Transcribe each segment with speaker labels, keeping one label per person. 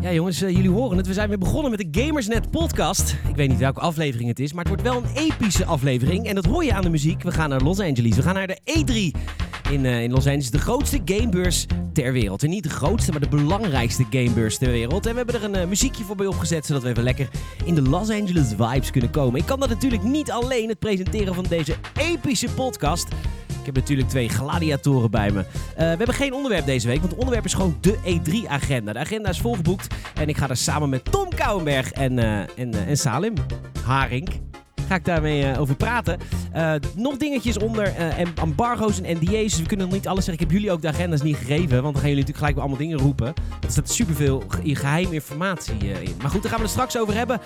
Speaker 1: Ja, jongens, eh, jullie horen het. We zijn weer begonnen met de Gamersnet podcast. Ik weet niet welke aflevering het is, maar het wordt wel een epische aflevering. En dat hoor je aan de muziek. We gaan naar Los Angeles. We gaan naar de E3 in, eh, in Los Angeles. De grootste gamebeurs ter wereld. En niet de grootste, maar de belangrijkste gamebeurs ter wereld. En we hebben er een eh, muziekje voor bij opgezet, zodat we even lekker in de Los Angeles vibes kunnen komen. Ik kan dat natuurlijk niet alleen, het presenteren van deze epische podcast. Ik heb natuurlijk twee gladiatoren bij me. Eh, we hebben geen onderwerp deze week, want het onderwerp is gewoon de E3-agenda. De agenda is volgeboekt en ik ga daar samen met Tom Kouwenberg en, eh, en, eh, en Salim Haring... Ga ik daarmee eh, over praten. Eh, nog dingetjes onder eh, en embargo's en NDA's. Dus we kunnen nog niet alles zeggen. Ik heb jullie ook de agenda's niet gegeven. Want dan gaan jullie natuurlijk gelijk weer allemaal dingen roepen. Er staat superveel ge- geheime informatie eh, in. Maar goed, daar gaan we het straks over hebben.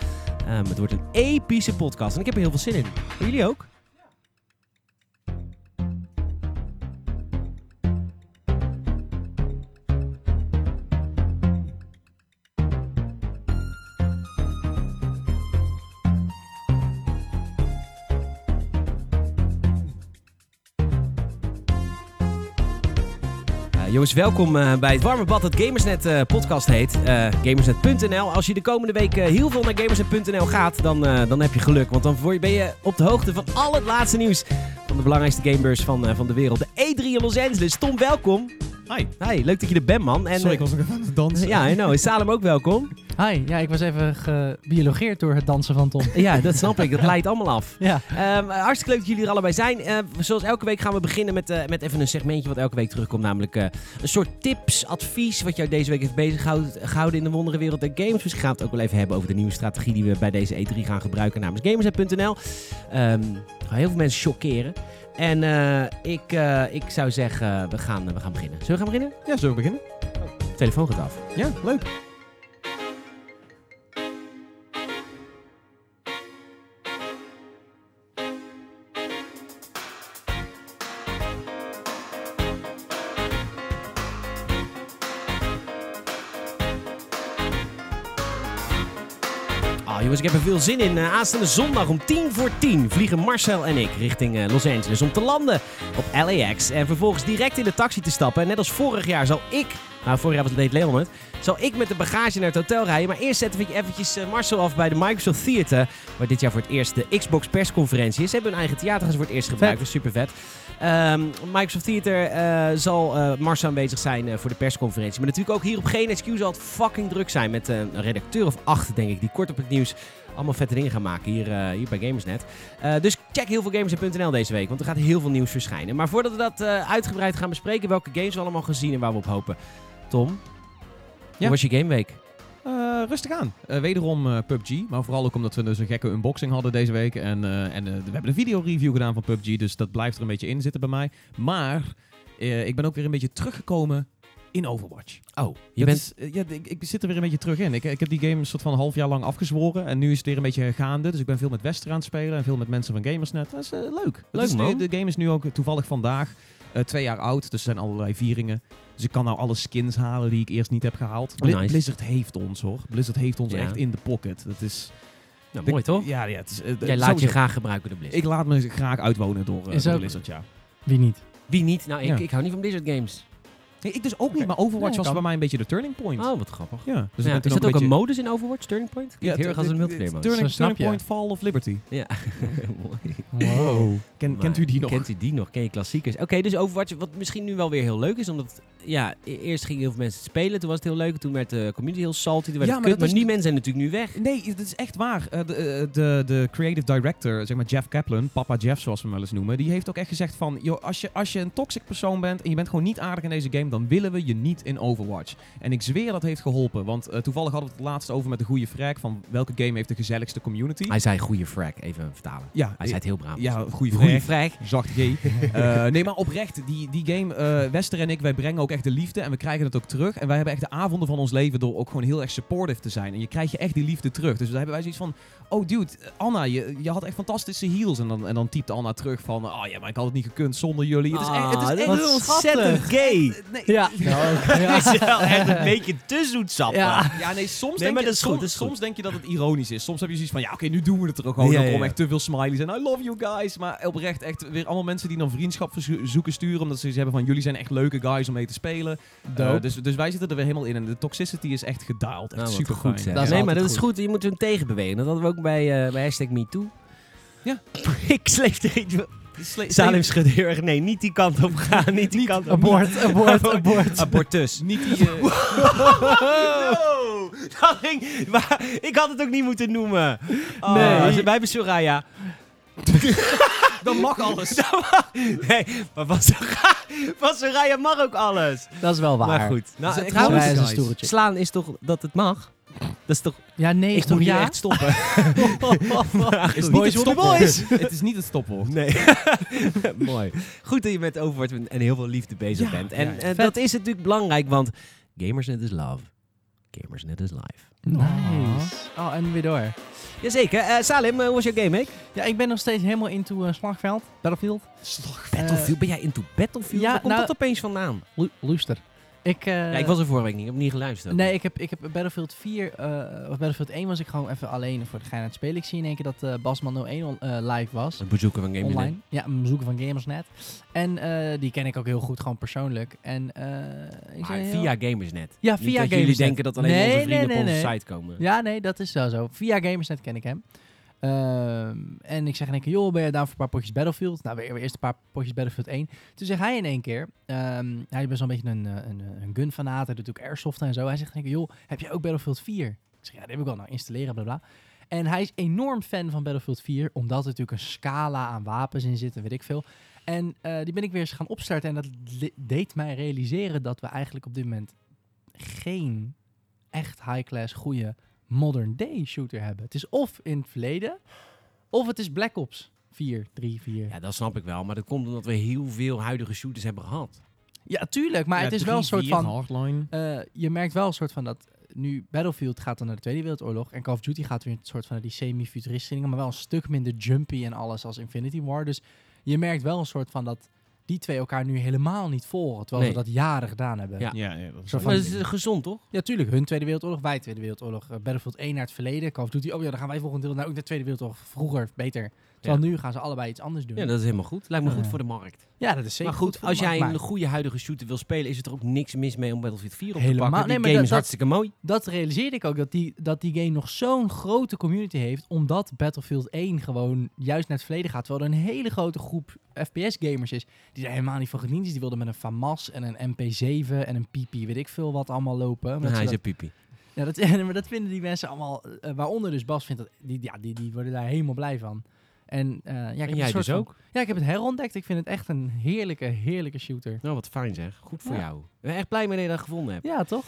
Speaker 1: Ehm, het wordt een epische podcast. En ik heb er heel veel zin in. En jullie ook? Eh, jongens, welkom eh, bij het warme bad dat Gamersnet eh, podcast heet. Eh, gamersnet.nl. Als je de komende week eh, heel veel naar gamersnet.nl gaat, dan, eh, dan heb je geluk. Want dan word je- ben je op de hoogte van al het laatste nieuws van de belangrijkste gamebeurs van, eh, van de wereld. De E3 in Los Angeles. Tom, welkom.
Speaker 2: Hi.
Speaker 1: Hi, leuk dat je er bent, man. En,
Speaker 2: Sorry,
Speaker 1: eh,
Speaker 2: ik was nog even aan het dansen.
Speaker 1: ja, I know. Is Salem ook welkom?
Speaker 3: Hi, ja, ik was even gebiologeerd door het dansen van Tom.
Speaker 1: Ja, dat snap ik. Dat leidt allemaal af.
Speaker 3: Ja,
Speaker 1: Ehm, hartstikke leuk dat jullie er allebei zijn. Eh, zoals elke week gaan we beginnen met, eh, met even een segmentje wat elke week terugkomt. Namelijk eh, een soort tips, advies wat jou deze week heeft bezig gehouden in de wonderenwereld der games. Dus we gaan het ook wel even hebben over de nieuwe strategie die we bij deze E3 gaan gebruiken namens Gamersnet.nl. Ehm, ga heel veel mensen chockeren. En eh, ik, eh, ik zou zeggen, we, gaan, eh, we gaan beginnen. Zullen we gaan beginnen?
Speaker 2: Ja, zullen we beginnen?
Speaker 1: De telefoon gaat af.
Speaker 2: Ja, leuk.
Speaker 1: Ah, jongens, ik heb er veel zin in. Eh, aanstaande zondag om tien voor tien vliegen Marcel en ik richting eh, Los Angeles om te landen op LAX. En vervolgens direct in de taxi te stappen. En net als vorig jaar zal ik, nou vorig jaar was het deed Leon het, zal ik met de bagage naar het hotel rijden. Maar eerst zetten we eventjes eh, Marcel af bij de Microsoft Theater. Waar dit jaar voor het eerst de Xbox persconferentie is. Ze hebben hun eigen theater gaan ze voor het eerst gebruikt. dus Dat is super vet. Ehm, Microsoft Theater eh, zal eh Mars aanwezig zijn eh, voor de persconferentie. Maar natuurlijk ook hier op geen excuus zal het fucking druk zijn. Met eh, een redacteur of acht, denk ik, die kort op het nieuws allemaal vette dingen gaan maken hier, eh, hier bij Gamersnet. Eh, dus check heel veel gamers.nl deze week, want er gaat heel veel nieuws verschijnen. Maar voordat we dat eh, uitgebreid gaan bespreken, welke games we allemaal gaan zien en waar we op hopen. Tom,
Speaker 2: Ja?
Speaker 1: hoe was je gameweek?
Speaker 2: Eh, rustig aan. Eh, wederom eh, PUBG, maar vooral ook omdat we dus een gekke unboxing hadden deze week. En, eh, en eh, we hebben een videoreview gedaan van PUBG, dus dat blijft er een beetje in zitten bij mij. Maar eh, ik ben ook weer een beetje teruggekomen in Overwatch.
Speaker 1: Oh, je
Speaker 2: Dat
Speaker 1: bent...
Speaker 2: is, eh, ja, ik, ik zit er weer een beetje terug in. Ik, ik heb die game een soort van een half jaar lang afgezworen. En nu is het weer een beetje gaande. Dus ik ben veel met Wester aan het spelen. En veel met mensen van Gamersnet. Dat is eh, leuk. Dat
Speaker 1: Leuk,
Speaker 2: is nu-
Speaker 1: man.
Speaker 2: de game is nu ook toevallig vandaag eh, twee jaar oud. Dus er zijn allerlei vieringen. Dus ik kan nou alle skins halen die ik eerst niet heb gehaald. Bli-
Speaker 1: Oh, nice.
Speaker 2: Blizzard heeft ons hoor. Blizzard heeft ons
Speaker 1: Ja.
Speaker 2: echt in de pocket. Dat is...
Speaker 1: Nou, mooi toch?
Speaker 2: Ja, ja. Het is, eh, eh,
Speaker 1: Jij laat
Speaker 2: sowieso.
Speaker 1: je graag gebruiken de Blizzard.
Speaker 2: Ik laat me graag uitwonen door, eh,
Speaker 3: Is
Speaker 2: door
Speaker 3: ook-
Speaker 2: Blizzard, ja.
Speaker 3: wie niet?
Speaker 1: Wie niet? Nou, ik,
Speaker 2: Ja.
Speaker 1: ik hou niet van Blizzard games.
Speaker 2: Nee, ik dus ook niet.
Speaker 3: Oké.
Speaker 2: Maar Overwatch
Speaker 3: Nee,
Speaker 2: was
Speaker 3: kan.
Speaker 2: bij mij een beetje de turning point.
Speaker 1: Oh, wat grappig.
Speaker 2: Ja, dus
Speaker 1: Ja,
Speaker 2: ik ben toen
Speaker 1: is dat ook een,
Speaker 2: beetje-
Speaker 1: modus in Overwatch, Turning Point? Ja, heel erg als een
Speaker 2: het-
Speaker 1: multiplayer
Speaker 2: het-
Speaker 1: modus.
Speaker 2: Turning,
Speaker 3: Zo snap
Speaker 2: turning
Speaker 3: je.
Speaker 2: Point Fall of Liberty.
Speaker 1: Ja, mooi.
Speaker 2: Wow. Ken, kent u die nog?
Speaker 1: Kent u die nog? Ken je klassiekers? Oké, dus Overwatch, wat misschien nu wel weer heel leuk is, omdat het- ja, e- eerst gingen heel veel mensen het spelen, toen was het heel leuk, toen werd de community heel salty, toen werd
Speaker 2: Ja,
Speaker 1: het
Speaker 2: maar
Speaker 1: kut, maar
Speaker 2: dat is-
Speaker 1: die mensen zijn natuurlijk nu weg.
Speaker 2: Nee, dat is echt waar. Eh, de, eh, de, de creative director, zeg maar Jeff Kaplan, papa Jeff zoals we hem wel eens noemen, die heeft ook echt gezegd van, joh, als je, als je een toxic persoon bent en je bent gewoon niet aardig in deze game, dan willen we je niet in Overwatch. En ik zweer dat heeft geholpen, want eh, toevallig hadden we het laatst over met de goede vraag van welke game heeft de gezelligste community.
Speaker 1: Hij zei goede frag, even vertalen.
Speaker 2: ja,
Speaker 1: Hij zei het heel braaf.
Speaker 2: ja, goede vraag.
Speaker 1: goede frag.
Speaker 2: Zacht G. Eh, nee, maar oprecht, die, die game, eh, Wester en ik, wij brengen ook echt de liefde en we krijgen dat ook terug. En wij hebben echt de avonden van ons leven door ook gewoon heel erg supportive te zijn. En je krijgt je echt die liefde terug. Dus daar hebben wij zoiets van, oh dude, Anna, je, je had echt fantastische heals. En dan, en dan typt Anna terug van, oh ja, maar ik had het niet gekund zonder jullie. Het is echt, het is
Speaker 1: Ah,
Speaker 2: echt
Speaker 1: dat is
Speaker 2: heel
Speaker 1: ontzettend
Speaker 2: schattig.
Speaker 1: gay.
Speaker 2: Nee, nee.
Speaker 3: Ja.
Speaker 1: Het is wel echt een beetje te zoetsappig.
Speaker 3: Ja.
Speaker 2: Ja, nee, soms,
Speaker 1: maar
Speaker 2: denk, je,
Speaker 1: dat is goed,
Speaker 2: soms,
Speaker 1: dat is goed.
Speaker 2: soms denk je dat het ironisch is. Soms heb je zoiets van, ja, oké, nu doen we het er gewoon.
Speaker 1: Ja,
Speaker 2: dan
Speaker 1: ja,
Speaker 2: komen
Speaker 1: ja.
Speaker 2: echt te veel smileys en I love you guys. Maar oprecht echt weer allemaal mensen die dan vriendschap verzo- zoeken sturen. Omdat ze iets hebben van, jullie zijn echt leuke guys om mee te spelen.
Speaker 3: Dope.
Speaker 2: Eh, dus, dus wij zitten er weer helemaal in. En de toxicity is echt gedaald. Echt
Speaker 1: Nou,
Speaker 2: super
Speaker 1: goed. nee,
Speaker 3: Dat is
Speaker 2: goed.
Speaker 1: maar
Speaker 3: altijd
Speaker 1: dat is goed. Je moet hem tegenbewegen. Dat hadden we ook bij, eh bij hashtag MeToo.
Speaker 2: Ja.
Speaker 1: ik sleep tegen... Salim schudt heel erg. Nee, niet die kant op gaan. Niet die kant op
Speaker 3: Abort, abort, abort.
Speaker 1: Abortus.
Speaker 2: Niet die... eh,
Speaker 1: No! Dat ging... Maar ik had het ook niet moeten noemen. Oh,
Speaker 2: ah,
Speaker 3: Nee.
Speaker 1: ze- Wij hebben Soraya.
Speaker 2: dan mag alles.
Speaker 1: Nee, maar van Soraya, van Soraya mag ook alles.
Speaker 3: Dat is wel waar.
Speaker 1: Maar goed. Nou,
Speaker 2: Dat is echt
Speaker 1: trouwens,
Speaker 3: Soraya is een
Speaker 2: guys.
Speaker 3: stoertje.
Speaker 1: slaan is toch dat het mag? Dat is toch...
Speaker 3: Ja, nee is
Speaker 1: ik moet
Speaker 3: toch
Speaker 1: hier
Speaker 3: ja?
Speaker 1: echt stoppen.
Speaker 2: Het
Speaker 1: Boys
Speaker 2: is niet het
Speaker 1: will be
Speaker 2: stopwoord.
Speaker 1: boys.
Speaker 2: Het is niet het stopwoord.
Speaker 1: Nee. Mooi. Goed dat je met overwoord bent en heel veel liefde bezig
Speaker 2: Ja,
Speaker 1: bent. En,
Speaker 2: ja, ja.
Speaker 1: en dat is natuurlijk belangrijk, want gamersnet is love. Gamersnet is life.
Speaker 3: Nice. Oh, en weer door.
Speaker 1: Jazeker. Eh, Salim, eh, hoe was jouw game, week?
Speaker 3: Ja, ik ben nog steeds helemaal into eh, Slagveld, Battlefield.
Speaker 1: Battlefield. ben jij into Battlefield?
Speaker 3: ja,
Speaker 1: Waar komt
Speaker 3: nou-
Speaker 1: dat opeens vandaan?
Speaker 3: Lu- Luister. Ik, eh,
Speaker 1: eh, ja, ik was er vorige week niet. Ik heb niet geluisterd.
Speaker 3: Nee, ik heb, ik heb Battlefield 4, eh, of Battlefield 1 was ik gewoon even alleen voor de gein aan het spelen. Ik zie in één keer dat eh, Basman 01 on- eh, live was.
Speaker 1: Het bezoeken van Gamersnet.
Speaker 3: online. Ja, een bezoeker van Gamersnet. En eh, die ken ik ook heel goed, gewoon persoonlijk. En eh, ik
Speaker 1: Maar
Speaker 3: zei,
Speaker 1: Ah, via Gamersnet.
Speaker 3: Ja,
Speaker 1: niet
Speaker 3: via
Speaker 1: dat jullie
Speaker 3: Gamersnet.
Speaker 1: denken dat alleen
Speaker 3: Nee,
Speaker 1: onze
Speaker 3: nee,
Speaker 1: vrienden op
Speaker 3: nee,
Speaker 1: onze
Speaker 3: nee.
Speaker 1: site komen.
Speaker 3: Ja, nee, dat is wel zo. Via Gamersnet ken ik hem. Ehm, en ik zeg in één keer, joh, ben je daar voor een paar potjes Battlefield? Nou, weer, weer eerst een paar potjes Battlefield 1. Toen zegt hij in één keer, ehm, hij is best wel een beetje een, eh, een, eh, een gunfanaat, hij doet ook airsoft en zo. Hij zegt in één keer, joh, heb jij ook Battlefield 4? Ik zeg, ja, dat heb ik al, nou, installeren, bla bla. En hij is enorm fan van Battlefield 4, omdat er natuurlijk een scala aan wapens in zit en weet ik veel. En eh, die ben ik weer eens gaan opstarten en dat le- deed mij realiseren dat we eigenlijk op dit moment geen echt high-class goede modern day shooter hebben. Het is of in het verleden, of het is Black Ops 4, 3, 4. Ja,
Speaker 1: Ja, dat snap ik wel. Maar dat komt omdat we heel veel huidige shooters hebben gehad.
Speaker 3: tuurlijk, maar
Speaker 2: Ja,
Speaker 3: het is
Speaker 2: drie,
Speaker 3: wel een soort
Speaker 2: vier,
Speaker 3: van...
Speaker 2: Hardline.
Speaker 3: eh, je merkt wel een soort van dat nu Battlefield gaat dan naar de Tweede Wereldoorlog en Call of Duty gaat weer een soort van naar die semi-futuristische dingen, maar wel een stuk minder jumpy en alles als Infinity War. Dus je merkt wel een soort van dat die twee elkaar nu helemaal niet volgen, terwijl
Speaker 1: Nee.
Speaker 3: we dat jaren gedaan hebben.
Speaker 1: Ja.
Speaker 2: Ja, ja, dat is
Speaker 3: Zo
Speaker 2: wel
Speaker 1: Maar
Speaker 2: een
Speaker 1: dat is
Speaker 2: ding.
Speaker 1: eh, gezond, toch?
Speaker 3: Ja, tuurlijk. Hun Tweede Wereldoorlog, wij Tweede Wereldoorlog. Eh, Battlefield 1 naar het verleden. Call of Duty, oh ja, dan gaan wij volgend deel naar ook de Tweede Wereldoorlog. Vroeger, beter. Terwijl nu gaan ze allebei iets anders doen.
Speaker 1: Ja, dat is helemaal goed. Lijkt me
Speaker 3: Ja.
Speaker 1: goed voor de markt.
Speaker 3: Ja, dat is zeker
Speaker 1: maar goed,
Speaker 3: voor
Speaker 1: als
Speaker 3: de markt,
Speaker 1: jij een
Speaker 3: maar
Speaker 1: goede huidige shooter wil spelen, is het er ook niks mis mee om Battlefield 4 op te
Speaker 3: Helemaal-
Speaker 1: pakken. Die
Speaker 3: nee, maar
Speaker 1: game
Speaker 3: dat-
Speaker 1: is
Speaker 3: dat-
Speaker 1: hartstikke mooi.
Speaker 3: Dat realiseerde ik ook, dat die, dat die game nog zo'n grote community heeft. Omdat Battlefield 1 gewoon juist naar het verleden gaat. Terwijl er een hele grote groep FPS-gamers is. Die daar helemaal niet van gediend is. Die wilden met een FAMAS en een MP7 en een PP, weet ik veel wat, allemaal lopen. Omdat
Speaker 1: Ja,
Speaker 3: ze
Speaker 1: hij
Speaker 3: dat-
Speaker 1: is een piepie.
Speaker 3: Ja, dat, maar dat vinden die mensen allemaal, eh, waaronder dus Bas vindt dat, die, ja, die, die worden daar helemaal blij van. En, eh, ja, ik heb
Speaker 1: En
Speaker 3: een
Speaker 1: jij
Speaker 3: soort
Speaker 1: dus
Speaker 3: van-
Speaker 1: ook?
Speaker 3: ja, ik heb het herontdekt. Ik vind het echt een heerlijke, heerlijke shooter.
Speaker 1: Nou, wat fijn zeg. Goed voor
Speaker 3: Ja.
Speaker 1: jou. Ik ben echt blij mee dat je dat gevonden hebt.
Speaker 3: Ja, toch?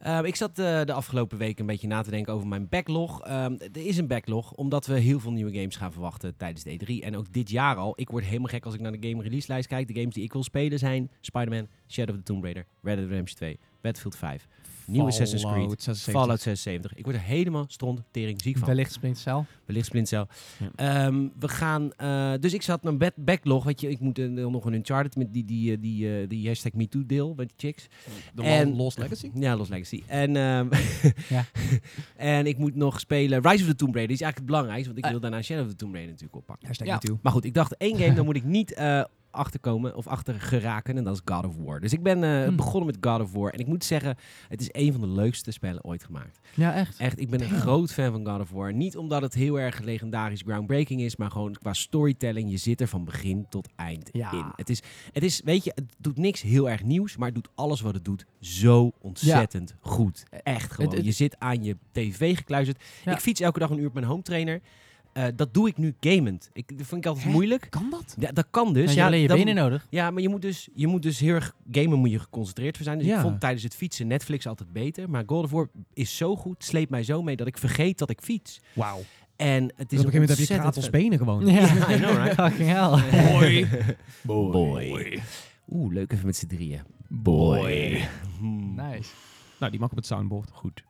Speaker 1: Ehm, ik zat eh, de afgelopen week een beetje na te denken over mijn backlog. Ehm, er is een backlog, omdat we heel veel nieuwe games gaan verwachten tijdens de E3. En ook dit jaar al. Ik word helemaal gek als ik naar de game release lijst kijk. De games die ik wil spelen zijn Spider-Man, Shadow of the Tomb Raider, Red Dead Redemption 2, Battlefield 5, Nieuwe Assassin's Creed,
Speaker 2: Fallout 76.
Speaker 1: Fallout 76. Ik word er helemaal stront tering ziek van.
Speaker 3: Wellicht Splinter Cell.
Speaker 1: Wellicht Splinter Cell. Ehm, we gaan, eh, dus ik zat mijn bed- backlog, weet je, ik moet eh, nog een Uncharted met die, die, eh, die, eh, die hashtag MeToo deel met de chicks.
Speaker 2: De
Speaker 1: En-
Speaker 2: Lo- Lost Legacy?
Speaker 1: Ja, Lost Legacy. En, ehm,
Speaker 3: Ja.
Speaker 1: en ik moet nog spelen Rise of the Tomb Raider, die is eigenlijk het belangrijkste, want ik
Speaker 3: Ah.
Speaker 1: wil daarna Shadow of the Tomb Raider natuurlijk oppakken.
Speaker 2: Eh. Hashtag
Speaker 3: Ja.
Speaker 2: me too.
Speaker 1: Maar goed, ik dacht één game, dan moet ik niet eh achterkomen of achter geraken en dat is God of War. Dus ik ben eh,
Speaker 3: Hmm.
Speaker 1: begonnen met God of War en ik moet zeggen, het is een van de leukste spellen ooit gemaakt.
Speaker 3: Ja, echt.
Speaker 1: Echt, ik ben een groot fan van God of War. Niet omdat het heel erg legendarisch groundbreaking is, maar gewoon qua storytelling. Je zit er van begin tot eind
Speaker 3: Ja.
Speaker 1: in. Het is, het is, weet je, het doet niks heel erg nieuws, maar het doet alles wat het doet zo ontzettend goed. Echt gewoon.
Speaker 3: Eh, het-
Speaker 1: je zit aan je tv gekluisterd.
Speaker 3: Ja.
Speaker 1: Ik fiets elke dag een uur op mijn home trainer. Eh, dat doe ik nu gamend. Ik, dat vind ik altijd
Speaker 2: Hè?
Speaker 1: moeilijk.
Speaker 2: Kan dat?
Speaker 1: Ja, dat kan dus.
Speaker 3: Dus
Speaker 1: ja,
Speaker 3: ja, alleen je
Speaker 1: dat-
Speaker 3: benen nodig.
Speaker 1: ja, maar je moet, dus, je moet dus heel erg... Gamen moet je geconcentreerd voor zijn. Dus ik
Speaker 2: Ja.
Speaker 1: vond tijdens het fietsen Netflix altijd beter. Maar God of War is zo goed, sleept mij zo mee... dat ik vergeet dat ik fiets.
Speaker 2: Wauw.
Speaker 1: En het is
Speaker 2: Dus op een gegeven moment heb je
Speaker 1: ontzettend
Speaker 2: kratels
Speaker 1: vet-
Speaker 2: benen gewoon.
Speaker 1: Ja, I know, right?
Speaker 3: Fucking hell.
Speaker 2: Boy.
Speaker 1: Boy. Oeh, leuk even met z'n drieën. Boy. Hmm.
Speaker 3: Nice.
Speaker 2: Nou, die mag op het soundboard. Goed.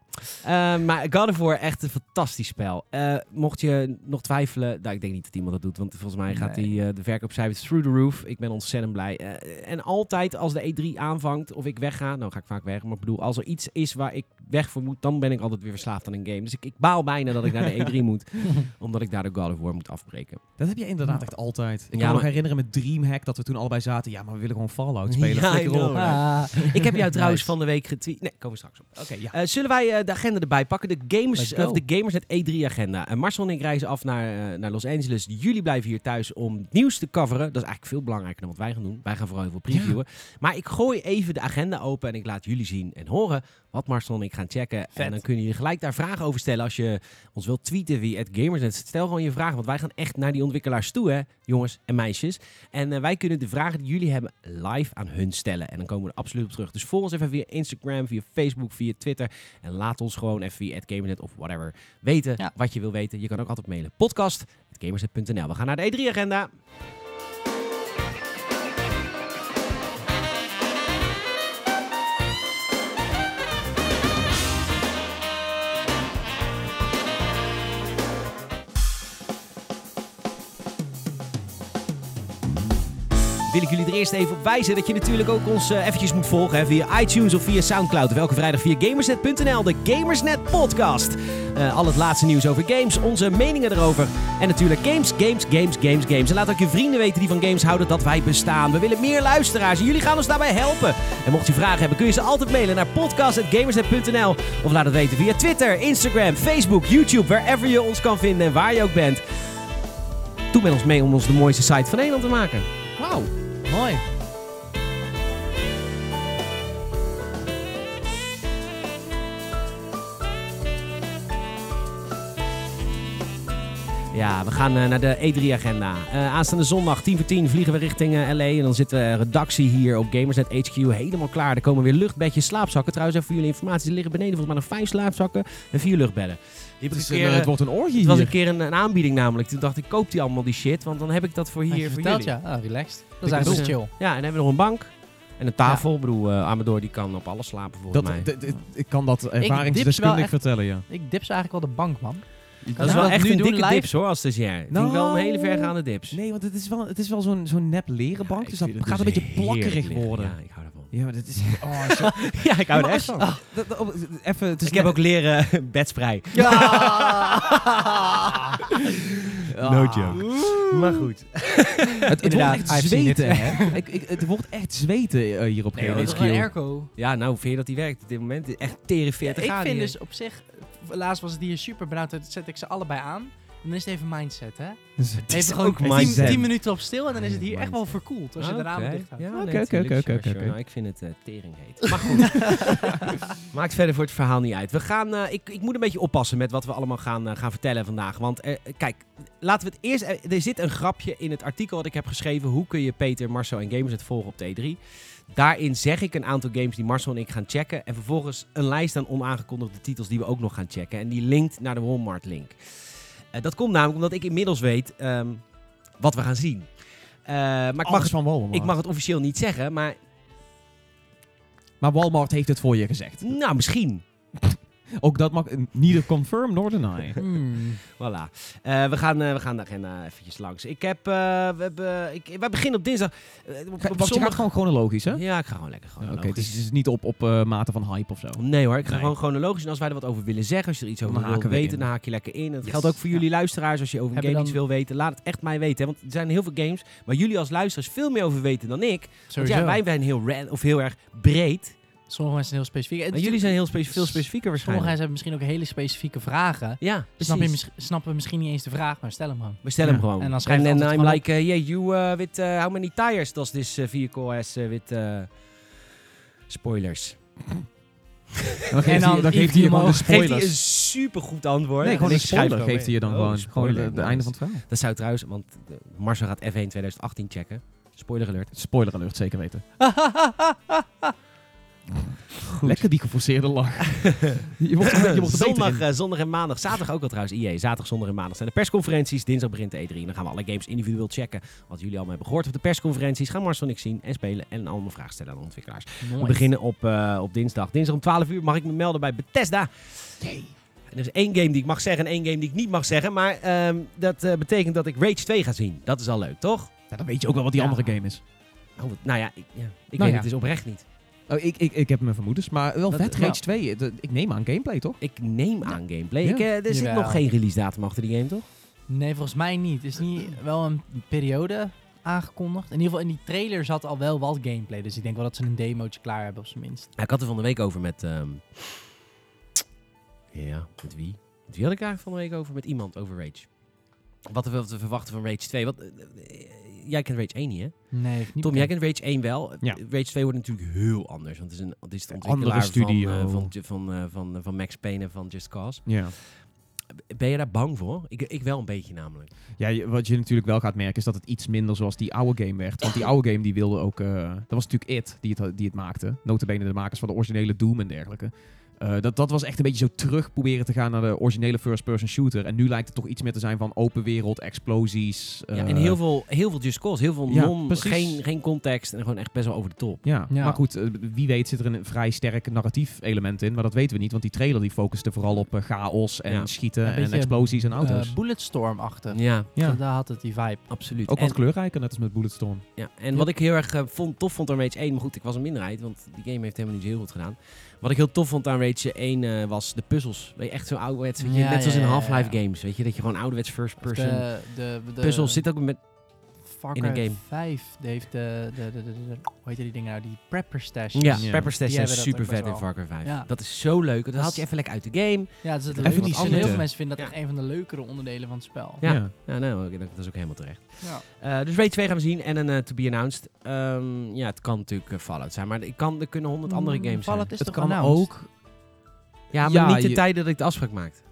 Speaker 1: Eh, maar God of War, echt een fantastisch spel. Eh, mocht je nog twijfelen, nou, ik denk niet dat iemand dat doet, want volgens mij gaat
Speaker 3: Nee.
Speaker 1: die, eh, de verkoopcijfers through the roof. Ik ben ontzettend blij. Eh, en altijd als de E3 aanvangt of ik wegga, nou ga ik vaak weg, maar ik bedoel, als er iets is waar ik weg voor moet, dan ben ik altijd weer verslaafd aan een game. Dus ik, ik baal bijna dat ik naar de E3 moet, omdat ik daardoor God of War moet afbreken.
Speaker 2: Dat heb je inderdaad echt altijd. Ik kan
Speaker 1: Ja,
Speaker 2: me nog
Speaker 1: maar-
Speaker 2: herinneren met Dreamhack dat we toen allebei zaten. Ja, maar we willen gewoon Fallout spelen.
Speaker 1: Ja,
Speaker 2: Flikker
Speaker 1: I
Speaker 2: op.
Speaker 1: know.
Speaker 3: Ah,
Speaker 1: Ik heb jou trouwens
Speaker 3: Nice.
Speaker 1: van de week getweet. Nee, komen we straks op.
Speaker 2: Oké, ja.
Speaker 1: Eh, zullen wij eh, de agenda erbij pakken? De Gamers, eh,
Speaker 3: Let's go.
Speaker 1: of de gamers E het E3-agenda. En Eh, Marcel en ik reizen af naar, eh, naar Los Angeles. Jullie blijven hier thuis om het nieuws te coveren. Dat is eigenlijk veel belangrijker dan wat wij gaan doen. Wij gaan vooral heel veel previewen. Maar ik gooi even de agenda open en ik laat jullie zien en horen wat Marcel en ik gaan checken. En dan kunnen jullie gelijk daar vragen over stellen als je ons wilt tweeten wie het Gamersnet. zit. Stel gewoon je vragen, want wij gaan echt naar die ontwikkelaars toe, hè, jongens en meisjes. En eh, wij kunnen de vragen die jullie hebben live aan hun stellen. En dan komen we er absoluut op terug. Dus volg ons even via Instagram, via Facebook, via Twitter. En laat ons gewoon even via het Gamersnet of whatever weten
Speaker 3: Ja.
Speaker 1: wat je wil weten. Je kan ook altijd mailen. Podcast, gamersnet.nl. We gaan naar de E E3-agenda. wil ik jullie er eerst even op wijzen dat je natuurlijk ook ons eh, eventjes moet volgen hè, via iTunes of via Soundcloud. Of elke vrijdag via gamersnet.nl, de Gamersnet podcast. Eh, al het laatste nieuws over games, onze meningen erover. En natuurlijk games, games, games, games, games. En laat ook je vrienden weten die van games houden dat wij bestaan. We willen meer luisteraars en jullie gaan ons daarbij helpen. En mocht je vragen hebben, kun je ze altijd mailen naar podcast.gamersnet.nl. Of laat het weten via Twitter, Instagram, Facebook, YouTube, wherever je ons kan vinden en waar je ook bent. Doe met ons mee om ons de mooiste site van Nederland te maken.
Speaker 3: Wauw, mooi.
Speaker 1: Ja, we gaan eh, naar de E3-agenda. aanstaande zondag, 10 voor 10, vliegen we richting eh, LA. En dan zit de redactie hier op Gamersnet HQ helemaal klaar. Er komen weer luchtbedjes, slaapzakken. Trouwens, even voor jullie informatie. Er liggen beneden volgens mij nog vijf slaapzakken en vier luchtbedden. Die heb
Speaker 2: Het,
Speaker 1: ik
Speaker 2: is
Speaker 1: een
Speaker 2: een,
Speaker 1: keer,
Speaker 2: eh,
Speaker 1: eh,
Speaker 2: het wordt een orgie
Speaker 1: het was een
Speaker 2: hier.
Speaker 1: keer een, een aanbieding namelijk. Toen dacht ik, koop die allemaal die shit, want dan heb ik dat voor
Speaker 3: Had je
Speaker 1: hier voor
Speaker 3: verteld,
Speaker 1: jullie.
Speaker 3: ja. Ah, relaxed. Dat
Speaker 1: Ik
Speaker 3: is eigenlijk
Speaker 1: bedoel-
Speaker 3: chill.
Speaker 1: Ja, en dan hebben we nog een bank en een tafel. Ik bedoel, eh, Amador die kan op alles slapen volgens
Speaker 2: Dat,
Speaker 1: mij.
Speaker 2: d- d- ik kan dat
Speaker 3: wel
Speaker 2: ervaringsdeskundig
Speaker 3: echt-
Speaker 2: vertellen, ja.
Speaker 3: Ik dip ze eigenlijk wel de bank, man.
Speaker 1: Dat is
Speaker 3: Ja,
Speaker 1: wel
Speaker 3: dat
Speaker 1: echt
Speaker 3: nu
Speaker 1: een
Speaker 3: doen
Speaker 1: dikke
Speaker 3: live.
Speaker 1: dips hoor, als stagiair. Nou,
Speaker 2: Nou.
Speaker 1: vind ik wel een hele vergaande dips.
Speaker 2: Nee, want het is wel, het is wel zo'n zo'n nep leren bank,
Speaker 1: Ja, ik
Speaker 2: dus dat
Speaker 1: vind
Speaker 2: gaat
Speaker 1: het
Speaker 2: een
Speaker 1: dus
Speaker 2: beetje plakkerig
Speaker 1: heerlijk liggen.
Speaker 2: worden.
Speaker 1: Ja, ik hou ervan.
Speaker 2: Ja, maar dat is... Oh, zo-
Speaker 1: Ja, ik hou er
Speaker 2: Maar
Speaker 1: echt
Speaker 2: als-
Speaker 1: van.
Speaker 2: ah, dat- dat- op- Even, het is
Speaker 1: ik heb
Speaker 2: net-
Speaker 1: ook leren eh, bedsprei.
Speaker 3: Ja!
Speaker 2: Ah.
Speaker 1: No joke. Maar goed.
Speaker 2: Het, het wordt
Speaker 3: Inderdaad,
Speaker 2: echt
Speaker 3: I've seen
Speaker 2: zweten, hè? Ik, ik, het wordt echt zweten eh, hier op
Speaker 1: Nee, hoor,
Speaker 2: GNSQ.
Speaker 1: dat
Speaker 3: airco.
Speaker 1: Ja, nou, vind je dat die werkt op dit moment? Het is Echt tere 40
Speaker 3: ik
Speaker 1: graden
Speaker 3: vind
Speaker 1: hier.
Speaker 3: dus op zich... Laatst was het hier super benauwd. Dan zet ik ze allebei aan. Dan is het even mindset, hè?
Speaker 2: Dus
Speaker 1: Het is
Speaker 3: Even gewoon
Speaker 1: ook
Speaker 3: 10
Speaker 1: mindset.
Speaker 3: 10 minuten op stil en dan is het hier echt wel
Speaker 1: Mindset.
Speaker 3: verkoeld als je de
Speaker 1: Ah, Oké.
Speaker 3: ramen dicht houdt.
Speaker 1: Ja, nee,
Speaker 2: Oké,
Speaker 1: tuurlijk,
Speaker 2: oké, oké,
Speaker 1: sure,
Speaker 2: oké,
Speaker 1: sure.
Speaker 2: oké.
Speaker 1: Nou, ik vind het eh, tering heet. Maar goed. Maakt verder voor het verhaal niet uit. We gaan, eh, ik, ik moet een beetje oppassen met wat we allemaal gaan, eh, gaan vertellen vandaag. Want eh, kijk, laten we het eerst... eh, er zit een grapje in het artikel wat ik heb geschreven. Hoe kun je Peter, Marcel en Gamers het volgen op T3? Daarin zeg ik een aantal games die Marcel en ik gaan checken. En vervolgens een lijst aan onaangekondigde titels die we ook nog gaan checken. En die linkt naar de Walmart-link. Eh, dat komt namelijk omdat ik inmiddels weet ehm, wat we gaan zien. Eh, maar ik mag
Speaker 2: Alles van Walmart.
Speaker 1: ik mag het officieel niet zeggen, maar
Speaker 2: Maar Walmart heeft het voor je gezegd.
Speaker 1: nou, misschien.
Speaker 2: Ook dat mag neither confirm nor deny.
Speaker 3: Hmm.
Speaker 1: Voilà. Eh, we, gaan, eh, we gaan de agenda eventjes langs. Ik heb, eh, we hebben, ik, wij beginnen op dinsdag. Eh, op- op
Speaker 2: Ga- Wacht, je gaat
Speaker 1: zondag-
Speaker 2: gewoon chronologisch, hè?
Speaker 1: Ja, ik ga gewoon lekker
Speaker 2: Ja,
Speaker 1: gewoon.
Speaker 2: Oké, dus het is niet op, op eh, mate van hype of zo.
Speaker 1: Nee hoor, ik ga
Speaker 2: Nee.
Speaker 1: gewoon chronologisch. En als wij er wat over willen zeggen, als je er iets over
Speaker 2: Dan
Speaker 1: wil
Speaker 2: haken we
Speaker 1: weten,
Speaker 2: in.
Speaker 1: dan haak je lekker in. Dat
Speaker 2: Yes.
Speaker 1: geldt ook voor jullie luisteraars. Als je over een
Speaker 3: Hebben
Speaker 1: game
Speaker 3: dan-
Speaker 1: iets wil weten, laat het echt mij weten. hè. Want er zijn heel veel games waar jullie als luisteraars veel meer over weten dan ik. Want
Speaker 3: Sowieso.
Speaker 1: ja, wij zijn heel, ran- of heel erg breed.
Speaker 3: Sommige mensen zijn heel specifiek. En
Speaker 1: Maar jullie zijn heel specif- veel specifieker
Speaker 3: Sommige
Speaker 1: waarschijnlijk.
Speaker 3: mensen hebben misschien ook hele specifieke vragen.
Speaker 1: Ja,
Speaker 3: Snap je
Speaker 1: precies.
Speaker 3: mis- snappen misschien niet eens de vraag, maar stel hem gewoon.
Speaker 1: We stellen
Speaker 2: Ja.
Speaker 1: hem gewoon.
Speaker 3: En dan schrijf je
Speaker 1: And
Speaker 3: altijd
Speaker 1: I'm
Speaker 3: gewoon
Speaker 1: like, uh, yeah, you uh, with uh, how many tires does this uh, vehicle has uh, with... uh, spoilers.
Speaker 2: dan geeft
Speaker 3: dan
Speaker 2: hij, dan
Speaker 3: geeft
Speaker 2: geeft hij je
Speaker 3: hij
Speaker 2: gewoon de
Speaker 3: hem
Speaker 1: Geeft hij een
Speaker 2: spoilers.
Speaker 1: supergoed antwoord.
Speaker 2: Nee,
Speaker 1: En
Speaker 2: gewoon
Speaker 1: ik
Speaker 2: een
Speaker 1: schrijf
Speaker 2: spoiler
Speaker 1: gewoon
Speaker 2: geeft hij je dan
Speaker 1: mee. Oh,
Speaker 2: gewoon.
Speaker 1: een
Speaker 2: Gewoon
Speaker 1: spoiler.
Speaker 2: de- de
Speaker 1: Nice.
Speaker 2: einde van het verhaal.
Speaker 1: Dat zou trouwens, want eh, Marcel gaat F1 2018 checken. Spoiler alert.
Speaker 2: Spoiler alert, zeker weten.
Speaker 1: goed.
Speaker 2: Lekker die geforceerde lach. je wordt er, je wordt er beter
Speaker 1: zondag,
Speaker 2: in.
Speaker 1: eh, zondag en maandag. Zaterdag ook al trouwens. IE. Zaterdag, zondag en maandag zijn de persconferenties. Dinsdag begint de E3. En dan gaan we alle games individueel checken. Wat jullie allemaal hebben gehoord op de persconferenties. Gaan Marcel en ik zien en spelen. En allemaal vragen stellen aan de ontwikkelaars.
Speaker 3: Mooi.
Speaker 1: We beginnen op, eh, op dinsdag. Dinsdag om 12 uur mag ik me melden bij Bethesda. En er is één game die ik mag zeggen en één game die ik niet mag zeggen. Maar ehm, dat eh, betekent dat ik Rage 2 ga zien. Dat is al leuk, toch?
Speaker 2: Ja, dan weet je ook wel wat die
Speaker 3: Ja.
Speaker 2: andere game is.
Speaker 1: Oh, wat- nou ja, ik, ja, ik
Speaker 2: Nou
Speaker 1: weet
Speaker 2: ja.
Speaker 1: het dus oprecht niet.
Speaker 2: Oh, ik, ik, ik heb mijn vermoedens, maar wel
Speaker 3: Dat-
Speaker 2: vet.
Speaker 3: ja.
Speaker 2: Rage 2, eh, de- ik neem aan gameplay, toch?
Speaker 1: Ik neem aan gameplay.
Speaker 2: Ja.
Speaker 1: Ik, eh, er zit
Speaker 3: Jawel.
Speaker 1: nog geen release datum achter die game, toch?
Speaker 3: Nee, volgens mij niet. Is niet wel een periode aangekondigd. In ieder geval in die trailer zat al wel wat gameplay. Dus ik denk wel dat ze een demootje klaar hebben op zijn minst.
Speaker 1: Nou, ik had er van de week over met... ehm, Ja, met wie? Met wie had ik eigenlijk van de week over? Met iemand over Rage. Wat we, wat we verwachten van Rage 2. Wat, eh, eh, jij kent Rage 1 niet, hè?
Speaker 3: Nee, heeft niet
Speaker 1: Tom, jij
Speaker 3: bekend.
Speaker 1: kent Rage 1 wel.
Speaker 2: Ja.
Speaker 1: Rage 2 wordt natuurlijk heel anders. Want het is, een, het is de
Speaker 2: Andere
Speaker 1: ontwikkelaar
Speaker 2: studio.
Speaker 1: Van, eh, van, Ju- van, eh, van, eh, van Max Payne en van Just Cause.
Speaker 2: Ja.
Speaker 1: Ben je daar bang voor? Ik, ik wel een beetje namelijk.
Speaker 2: Ja, je- wat je natuurlijk wel gaat merken is dat het iets minder zoals die oude game werd. Want die oude game die wilde ook... eh, dat was natuurlijk It die het, die het maakte. Notabene de makers van de originele Doom en dergelijke. Eh, dat, dat was echt een beetje zo terug proberen te gaan naar de originele first-person shooter. En nu lijkt het toch iets meer te zijn van open wereld, explosies.
Speaker 1: ja,
Speaker 2: eh,
Speaker 1: en heel veel, heel veel Just Cause. Heel veel
Speaker 2: Ja,
Speaker 1: non,
Speaker 2: precies.
Speaker 1: geen, geen context. En gewoon echt best wel over de top.
Speaker 2: Ja,
Speaker 3: Ja.
Speaker 2: maar goed, eh, wie weet zit er een vrij sterk narratief element in. Maar dat weten we niet, want die trailer die focuste vooral op eh, chaos en
Speaker 1: Ja.
Speaker 2: schieten
Speaker 3: Een
Speaker 2: en
Speaker 3: beetje,
Speaker 2: explosies en
Speaker 3: Eh,
Speaker 2: auto's.
Speaker 3: Bulletstorm-achtig.
Speaker 1: Ja,
Speaker 2: ja.
Speaker 3: Daar had het die vibe.
Speaker 1: absoluut.
Speaker 2: Ook
Speaker 1: en,
Speaker 2: wat kleurrijker, net als met Bulletstorm.
Speaker 1: ja, en wat ik heel erg eh, vond, tof vond aan Rage 1... Maar goed, ik was een minderheid. Want die game heeft helemaal niet zo heel goed gedaan. Wat ik heel tof vond aan Rage 1 eh, was de puzzels. Weet je, echt zo ouderwets. Weet je,
Speaker 3: Ja,
Speaker 1: net zoals
Speaker 3: ja,
Speaker 1: in
Speaker 3: ja,
Speaker 1: Half-Life
Speaker 3: ja.
Speaker 1: games. Weet je, dat je gewoon ouderwets first
Speaker 3: Of
Speaker 1: person...
Speaker 3: De, de, de,
Speaker 1: puzzels zit ook met...
Speaker 3: Far
Speaker 1: in een
Speaker 3: Cry
Speaker 1: game.
Speaker 3: 5 die heeft de, de, de, de, de- de- hoe heet die dingen nou? Die prepper stash.
Speaker 1: Ja,
Speaker 2: Ja.
Speaker 1: Pepper Stash
Speaker 3: Die
Speaker 1: zijn
Speaker 3: hebben dat
Speaker 1: super
Speaker 3: ook best
Speaker 1: vet in
Speaker 3: wel.
Speaker 1: Far Cry 5.
Speaker 3: Ja.
Speaker 1: Dat is zo leuk. Dat
Speaker 3: Dat
Speaker 1: haalt je
Speaker 3: is-
Speaker 1: even lekker uit de game.
Speaker 3: ja dat is het
Speaker 1: Even
Speaker 3: leuke.
Speaker 2: die
Speaker 3: want Heel
Speaker 2: snitten.
Speaker 3: veel mensen vinden dat
Speaker 1: Ja.
Speaker 3: echt een van de leukere onderdelen van het spel.
Speaker 1: Ja.
Speaker 2: ja.
Speaker 1: Ja, nou, oké, dat dat is ook helemaal terecht.
Speaker 3: Ja.
Speaker 1: Eh, dus Rage 2 gaan we zien en een eh, To Be Announced. Ehm, ja, het kan natuurlijk eh, Fallout zijn, maar ik kan, er kunnen honderd andere
Speaker 3: Mm,
Speaker 1: games
Speaker 3: Fallout
Speaker 1: zijn.
Speaker 3: is
Speaker 2: Het
Speaker 3: toch
Speaker 2: kan
Speaker 3: announced?
Speaker 2: ook
Speaker 1: Ja, maar
Speaker 2: Ja,
Speaker 1: niet de
Speaker 2: je-
Speaker 1: tijden dat ik de afspraak maakte.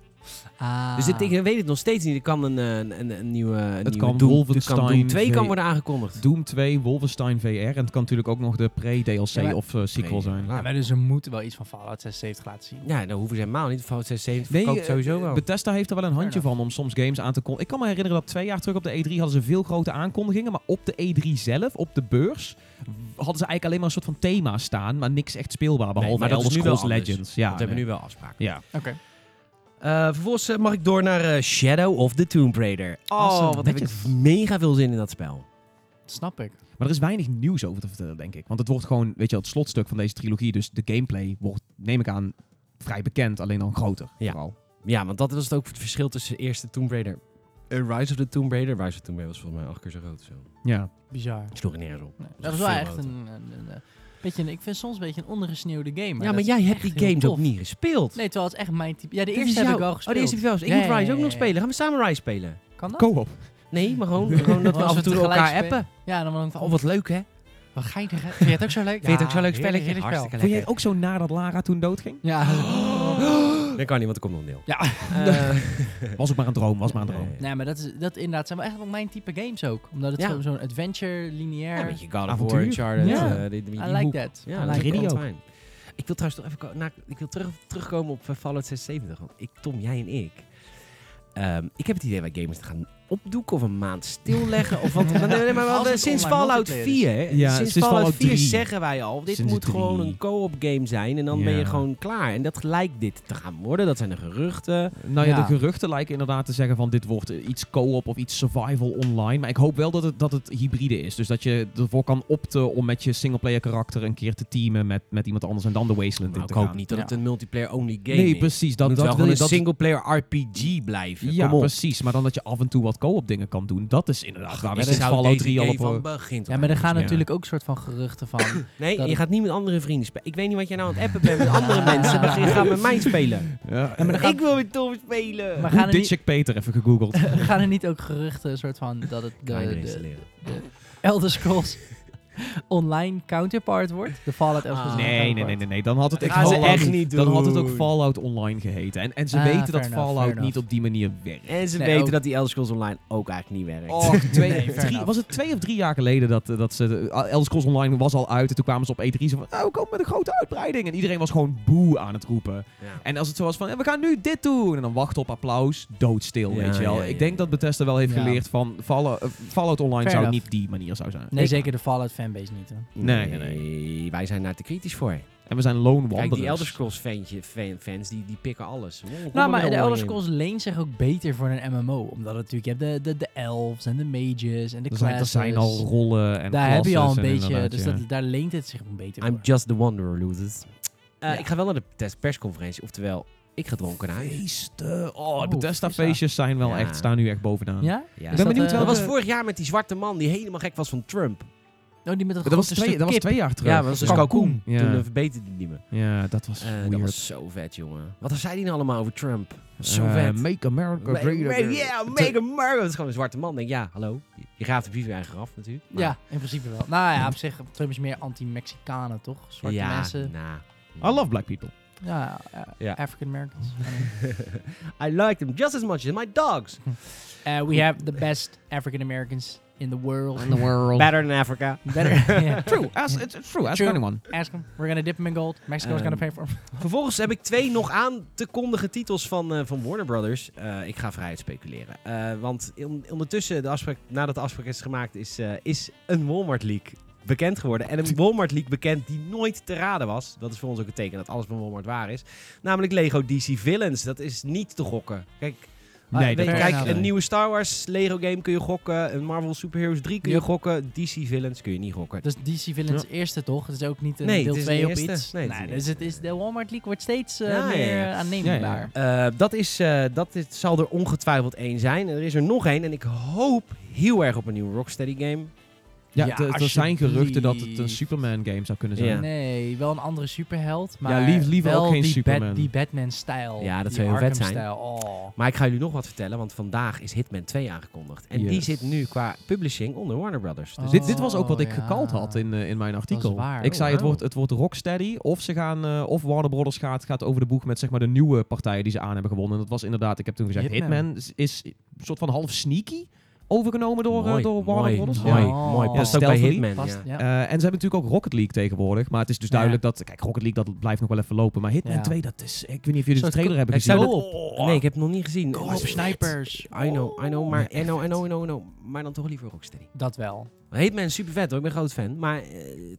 Speaker 3: Ah.
Speaker 1: Dus dit, ik weet het nog steeds niet. Er kan een, eh, een, een, een nieuwe, een nieuwe
Speaker 2: kan
Speaker 1: Doom, er
Speaker 2: Wolfenstein
Speaker 1: kan Doom 2 kan
Speaker 2: twee-
Speaker 1: worden aangekondigd.
Speaker 2: Doom 2, Wolfenstein VR. En het kan natuurlijk ook nog de pre-DLC
Speaker 3: Ja, maar-
Speaker 2: of eh, sequel zijn.
Speaker 3: Ja, maar dus er moet wel iets van Fallout 76 laten zien.
Speaker 1: Ja, nou hoeven ze helemaal niet. Fallout 76
Speaker 2: Nee,
Speaker 1: verkoopt
Speaker 2: eh,
Speaker 1: sowieso wel.
Speaker 2: Bethesda heeft er wel een handje
Speaker 3: Fair
Speaker 2: van om soms games aan te kondigen. Ik kan me herinneren dat twee jaar terug op de E3 hadden ze veel grote aankondigingen. Maar op de E3 zelf, op de beurs, w- hadden ze eigenlijk alleen maar een soort van thema staan. Maar niks echt speelbaar, behalve
Speaker 1: maar dat is
Speaker 2: Elder
Speaker 1: nu wel
Speaker 2: Scrolls
Speaker 1: anders.
Speaker 2: Legends. Ja,
Speaker 1: Want we hebben
Speaker 2: nee.
Speaker 1: nu wel afspraken.
Speaker 2: ja.
Speaker 3: Oké.
Speaker 1: Eh, vervolgens eh, mag ik door naar eh, Shadow of the Tomb Raider. Oh,
Speaker 3: Awesome.
Speaker 1: wat heb ik
Speaker 2: Netjes.
Speaker 1: mega veel zin in dat spel.
Speaker 3: Snap ik.
Speaker 2: Maar er is weinig nieuws over te vertellen, denk ik. Want het wordt gewoon, weet je wel, het slotstuk van deze trilogie. Dus de gameplay wordt, neem ik aan, vrij bekend. Alleen dan groter,
Speaker 1: Ja.
Speaker 2: vooral.
Speaker 1: Ja, want dat was het ook het verschil tussen de eerste Tomb Raider. en Rise of the Tomb Raider. Rise of the Tomb Raider was volgens mij acht keer zo groot. Zo.
Speaker 2: Ja.
Speaker 3: Bizar.
Speaker 1: Ik sloeg er nergens op.
Speaker 3: Nee,
Speaker 1: Dat
Speaker 3: dat
Speaker 1: is
Speaker 3: is wel
Speaker 1: veel
Speaker 3: echt
Speaker 1: groter.
Speaker 3: een, een, een, eh, beetje, een- ik vind soms een beetje een ondergesneeuwde game.
Speaker 1: ja,
Speaker 3: dat
Speaker 1: maar
Speaker 3: is
Speaker 1: jij hebt
Speaker 3: echt
Speaker 1: die
Speaker 3: heel
Speaker 1: games ook
Speaker 3: tof.
Speaker 1: niet gespeeld.
Speaker 3: Nee, terwijl het is echt mijn type. Ja, de
Speaker 1: Dit
Speaker 3: eerste
Speaker 1: is
Speaker 3: heb
Speaker 1: jouw-
Speaker 3: ik wel
Speaker 1: Oh,
Speaker 3: gespeeld.
Speaker 1: de eerste heb je wel eens. Ik
Speaker 3: Ja,
Speaker 1: moet
Speaker 3: ja,
Speaker 1: Rise
Speaker 3: ja,
Speaker 1: ook nog
Speaker 3: ja.
Speaker 1: spelen. Gaan we samen Rise spelen?
Speaker 3: Kan dat?
Speaker 2: Co-op.
Speaker 1: Nee, maar gewoon, gewoon dat we
Speaker 3: Als
Speaker 1: af en toe
Speaker 3: tegelijk
Speaker 1: elkaar
Speaker 3: spelen.
Speaker 1: appen.
Speaker 3: Ja, dan dan van,
Speaker 1: Oh, wat leuk hè?
Speaker 3: wat geinig. hè? Vind je het ook zo leuk?
Speaker 1: Vind je het ook zo'n leuk
Speaker 3: heerlijk,
Speaker 1: spelletje?
Speaker 3: heerlijk spel.
Speaker 1: Hartstikke
Speaker 2: Vond jij
Speaker 1: lekker.
Speaker 2: ook zo na dat Lara toen doodging?
Speaker 3: Ja.
Speaker 1: Dat kan niet, want er komt nog een deel.
Speaker 3: Ja. Eh,
Speaker 2: Was ook maar een droom, was maar een droom.
Speaker 3: Nee, maar dat, is, dat inderdaad zijn wel echt wel mijn type games ook. Omdat het
Speaker 1: Ja.
Speaker 3: zo- zo'n adventure, lineair...
Speaker 1: Ja, met je God of War,
Speaker 2: Avontuur.
Speaker 1: Uncharted,
Speaker 3: Ja.
Speaker 1: eh, die- die- die
Speaker 3: I like
Speaker 1: hoek.
Speaker 3: that.
Speaker 1: Ja,
Speaker 3: I
Speaker 1: dat
Speaker 3: like
Speaker 2: Giddy
Speaker 1: is
Speaker 2: ook.
Speaker 1: fijn. Ik wil trouwens nog even ko- na, ik wil terug, terugkomen op eh, Fallout 76. Want ik, Tom, jij en ik. ehm, ik heb het idee wij gamers te gaan opdoeken of een maand stilleggen. of wat, maar, nee, maar,
Speaker 3: Als
Speaker 1: want, eh,
Speaker 3: het
Speaker 1: sinds
Speaker 3: online
Speaker 1: Fallout
Speaker 3: multiplayer
Speaker 1: 4, hè,
Speaker 2: Ja,
Speaker 1: sinds
Speaker 2: sinds
Speaker 1: Fallout
Speaker 2: Fallout
Speaker 1: 4
Speaker 2: 3.
Speaker 1: zeggen wij al, dit
Speaker 2: Sinds
Speaker 1: moet
Speaker 2: 3.
Speaker 1: gewoon een co-op game zijn en dan ben je
Speaker 2: Ja.
Speaker 1: gewoon klaar. En dat lijkt dit te gaan worden, dat zijn de geruchten.
Speaker 2: Nou ja,
Speaker 3: Ja.
Speaker 2: de geruchten lijken inderdaad te zeggen van dit wordt eh, iets co-op of iets survival online. Maar ik hoop wel dat het, dat het hybride is. Dus dat je ervoor kan opten om met je singleplayer karakter een keer te teamen met, met iemand anders en dan de Wasteland
Speaker 1: Maar
Speaker 2: in
Speaker 1: Nou, ik
Speaker 2: te
Speaker 1: hoop
Speaker 2: gaan.
Speaker 1: niet dat het
Speaker 3: Ja.
Speaker 1: een multiplayer-only game
Speaker 2: Nee,
Speaker 1: is. Het
Speaker 2: precies. Dat,
Speaker 1: moet wel
Speaker 2: dat wil
Speaker 1: gewoon
Speaker 2: je
Speaker 1: een
Speaker 2: dat,
Speaker 1: single-player RPG blijven.
Speaker 2: Ja,
Speaker 1: Kom op.
Speaker 2: precies. Maar dan dat je af en toe wat co-op dingen kan doen. Dat is inderdaad waar we
Speaker 1: Ik
Speaker 2: sinds
Speaker 1: zou
Speaker 2: Fallout
Speaker 1: deze
Speaker 2: 3 al
Speaker 1: game
Speaker 2: op...
Speaker 1: van
Speaker 2: eh,
Speaker 1: begin tot
Speaker 3: Ja, maar er gaan
Speaker 2: Ja.
Speaker 3: natuurlijk ook soort van geruchten van.
Speaker 1: Nee,
Speaker 3: Dat-
Speaker 1: je gaat niet met andere vrienden spelen. Ik weet niet wat jij nou aan het appen bent met andere mensen, maar je gaat met mij spelen.
Speaker 2: Ja,
Speaker 3: maar dan gaat-
Speaker 1: Ik wil met Tom spelen.
Speaker 3: Maar
Speaker 2: Hoe
Speaker 3: gaan er, niet,
Speaker 2: ditch ik Peter even gegoogeld.
Speaker 3: gaan er niet ook geruchten soort van dat het de,
Speaker 1: Grindr
Speaker 3: de,
Speaker 1: installeren.
Speaker 3: de Elder Scrolls online counterpart wordt. De Fallout Elseworlds
Speaker 1: Ah.
Speaker 3: online
Speaker 2: Nee, nee, nee,
Speaker 3: counterpart.
Speaker 2: nee, nee. Dan had het
Speaker 1: Dat
Speaker 2: echt
Speaker 1: gaan ze
Speaker 2: Fallout-
Speaker 1: echt niet
Speaker 2: Dan had het ook
Speaker 1: doen.
Speaker 2: Fallout Online geheten. En, en ze
Speaker 3: Ah,
Speaker 2: weten
Speaker 3: fair
Speaker 2: dat
Speaker 3: enough, fair
Speaker 2: Fallout
Speaker 3: enough.
Speaker 2: niet op die manier werkt.
Speaker 1: En ze
Speaker 3: Nee,
Speaker 1: weten
Speaker 3: ook-
Speaker 1: dat die Elder Scrolls Online ook eigenlijk niet werkt.
Speaker 3: Oh,
Speaker 2: Och, twee,
Speaker 3: Nee, fair
Speaker 2: drie-
Speaker 3: enough.
Speaker 2: was het twee of drie jaar geleden dat, eh, dat ze... de- ah, Elder Scrolls Online was al uit en toen kwamen ze op E3 zo van... Nou, we komen met een grote uitbreiding. En iedereen was gewoon boe aan het roepen.
Speaker 1: Ja.
Speaker 2: En als het zo was van... eh, We gaan nu dit doen. En dan wachten op applaus. Doodstil,
Speaker 1: Ja,
Speaker 2: weet je wel.
Speaker 1: ja, ja,
Speaker 2: ik denk
Speaker 1: ja.
Speaker 2: dat Bethesda wel heeft
Speaker 3: Ja.
Speaker 2: geleerd van... Fallout, eh, Fallout Online
Speaker 3: Fair
Speaker 2: zou
Speaker 3: enough.
Speaker 2: niet die manier zou zijn.
Speaker 3: Nee, zeker de Fallout fanbase niet. Hè.
Speaker 2: Nee, nee,
Speaker 1: Wij zijn daar te kritisch voor.
Speaker 2: En we zijn lone wanderers.
Speaker 1: Kijk, die Elder Scrolls ventje- fan- fans, die, die pikken alles. Kom er
Speaker 3: Nou,
Speaker 1: wel
Speaker 3: maar de
Speaker 1: online
Speaker 3: Elder
Speaker 1: in.
Speaker 3: Scrolls leent zich ook beter voor een MMO. Omdat het natuurlijk, je hebt de, de, de elves en de mages en de
Speaker 2: Er zijn, er
Speaker 3: classes.
Speaker 2: zijn al rollen en
Speaker 3: Daar heb je al een
Speaker 2: classes en
Speaker 3: beetje,
Speaker 2: inderdaad,
Speaker 3: dus
Speaker 2: ja.
Speaker 3: dat, daar leent het zich beter
Speaker 1: I'm
Speaker 3: voor.
Speaker 1: just the wanderer, losers. Eh,
Speaker 3: Ja.
Speaker 1: Ik ga wel naar de test- persconferentie, oftewel, ik ga dronken naar huis.
Speaker 2: Feesten. Oh,
Speaker 3: Oeh,
Speaker 2: Bethesda
Speaker 3: Feesta.
Speaker 2: feestjes zijn wel
Speaker 1: Ja.
Speaker 2: echt, staan nu echt bovenaan.
Speaker 3: Ja?
Speaker 1: Ja.
Speaker 2: Ik
Speaker 3: Is
Speaker 2: ben
Speaker 1: Dat,
Speaker 3: dat,
Speaker 2: benieuwd
Speaker 3: eh,
Speaker 2: welke...
Speaker 1: was vorig jaar met die zwarte man die helemaal gek was van Trump.
Speaker 3: Oh, die met dat,
Speaker 2: dat, was
Speaker 3: grote
Speaker 2: twee,
Speaker 3: stuk
Speaker 2: dat was
Speaker 3: kip.
Speaker 2: twee jaar terug.
Speaker 1: Ja, dat was dus
Speaker 3: Cancun.
Speaker 1: Kalkoen.
Speaker 2: Ja.
Speaker 1: Toen eh, verbeterde hij me.
Speaker 2: Ja, dat was
Speaker 1: Eh,
Speaker 2: weird.
Speaker 1: dat was zo vet, jongen. Wat zei hij nou allemaal over Trump? Dat was zo
Speaker 2: Eh,
Speaker 1: vet.
Speaker 2: Make America
Speaker 1: Ma-
Speaker 2: Great
Speaker 1: ma-
Speaker 2: Again.
Speaker 1: Ja,
Speaker 2: Te-
Speaker 1: mega Marvel. Dat is gewoon een zwarte man. Denk, ja, hallo. Je graaft de brief in je eigen graf natuurlijk. Maar-
Speaker 3: Ja, in principe wel. Nou ja, op zich, Trump is meer anti-Mexicanen, toch? Zwarte
Speaker 1: ja,
Speaker 3: mensen.
Speaker 1: nah.
Speaker 2: I love black people.
Speaker 3: Ja, eh,
Speaker 1: Ja.
Speaker 3: African Americans.
Speaker 1: I like them just as much as my dogs.
Speaker 3: Uh, we have the best African Americans in the world.
Speaker 2: the world.
Speaker 1: Better than Africa.
Speaker 3: Better. yeah.
Speaker 2: True. As, it's it's true. Ask
Speaker 3: True.
Speaker 2: anyone.
Speaker 3: Ask them. We're gonna dip them in gold. Mexico's
Speaker 1: Ehm,
Speaker 3: gonna pay for them.
Speaker 1: Vervolgens heb ik twee nog aan te kondigen titels van, eh, van Warner Brothers. Eh, ik ga vrijheid speculeren. Eh, want on- ondertussen, de afspraak, nadat de afspraak is gemaakt, is, eh, is een Walmart leak bekend geworden. En een Walmart leak bekend die nooit te raden was. Dat is voor ons ook een teken dat alles van Walmart waar is. Namelijk Lego DC Villains. Dat is niet te gokken. Kijk, Ah, weet je,
Speaker 3: dat-
Speaker 1: kijk,
Speaker 3: fair
Speaker 1: een
Speaker 3: enough.
Speaker 1: nieuwe Star Wars Lego game kun je gokken. Een Marvel Super Heroes 3 kun je
Speaker 3: Yep.
Speaker 1: gokken. DC Villains kun je niet gokken.
Speaker 3: Dus DC Villains eerste toch? Dat is ook niet een
Speaker 1: Nee,
Speaker 3: deel
Speaker 1: het is
Speaker 3: 2
Speaker 1: de
Speaker 3: op
Speaker 1: eerste.
Speaker 3: iets.
Speaker 1: Nee, het is
Speaker 3: Nee,
Speaker 1: de
Speaker 3: dus het is, de Walmart League wordt steeds eh,
Speaker 1: Ja, ja,
Speaker 3: meer
Speaker 1: ja.
Speaker 3: eh, aanneembaar.
Speaker 2: Ja, ja.
Speaker 1: Eh, dat, is, eh, dat is, zal er ongetwijfeld één zijn. En er is er nog één. En ik hoop heel erg op een nieuwe Rocksteady game.
Speaker 2: Ja,
Speaker 3: Ja,
Speaker 2: te- er zijn geruchten dat het een
Speaker 3: alsjeblieft.
Speaker 2: Superman game zou kunnen
Speaker 1: Ja.
Speaker 2: zijn.
Speaker 3: Nee, wel een andere superheld. Maar
Speaker 2: lief- liever
Speaker 3: wel
Speaker 2: ook geen
Speaker 3: die
Speaker 2: Superman.
Speaker 3: Bat, die Batman-stijl.
Speaker 1: Ja, dat
Speaker 3: die
Speaker 1: zou heel vet
Speaker 3: Arkham-stijl. Oh.
Speaker 1: Maar ik ga jullie nog wat vertellen. Want vandaag is Hitman 2 aangekondigd. En die
Speaker 2: Yes.
Speaker 1: zit nu qua publishing onder Warner Brothers. Dus
Speaker 3: Oh.
Speaker 2: Dit, dit was ook wat ik
Speaker 3: ja.
Speaker 2: gekald had in, eh, in mijn artikel.
Speaker 3: waar.
Speaker 2: Ik
Speaker 3: Oh,
Speaker 2: zei, het,
Speaker 1: wauw.
Speaker 2: wordt, het wordt Rocksteady. Of, ze gaan, eh, of Warner Brothers gaat, gaat over de boeg met zeg maar, de nieuwe partijen die ze aan hebben gewonnen. En dat was inderdaad, ik heb toen gezegd,
Speaker 3: Hitman.
Speaker 2: Hitman, is, is een soort van half sneaky overgenomen door, eh,
Speaker 1: Mooi,
Speaker 2: door Warner
Speaker 1: mooi,
Speaker 2: Brothers.
Speaker 1: Mooi,
Speaker 2: Ja.
Speaker 3: Oh.
Speaker 1: mooi.
Speaker 3: Ja,
Speaker 1: Past ook
Speaker 2: stel
Speaker 1: bij
Speaker 2: voor die.
Speaker 1: Hitman.
Speaker 3: Past,
Speaker 1: ja.
Speaker 3: ja.
Speaker 2: Eh, en ze hebben natuurlijk ook Rocket League tegenwoordig. Maar het is dus
Speaker 3: Ja.
Speaker 2: duidelijk dat... Kijk, Rocket League, dat blijft nog wel even lopen. Maar Hitman
Speaker 3: Ja.
Speaker 2: 2, dat is... Ik weet niet of jullie de
Speaker 3: Soort
Speaker 2: trailer hebben
Speaker 1: Ik
Speaker 2: gezien.
Speaker 1: zou
Speaker 3: Go
Speaker 1: dat-
Speaker 2: Oh.
Speaker 1: Nee, ik heb het nog niet gezien.
Speaker 2: Go
Speaker 1: Oh,
Speaker 2: op,
Speaker 3: Snipers.
Speaker 1: I know, I know, maar,
Speaker 2: Ja,
Speaker 1: I know, I
Speaker 2: echt.
Speaker 1: know, I know, I know. Maar dan toch liever Rocksteady.
Speaker 3: Dat wel.
Speaker 1: Hitman is super vet hoor, ik ben groot fan. Maar eh,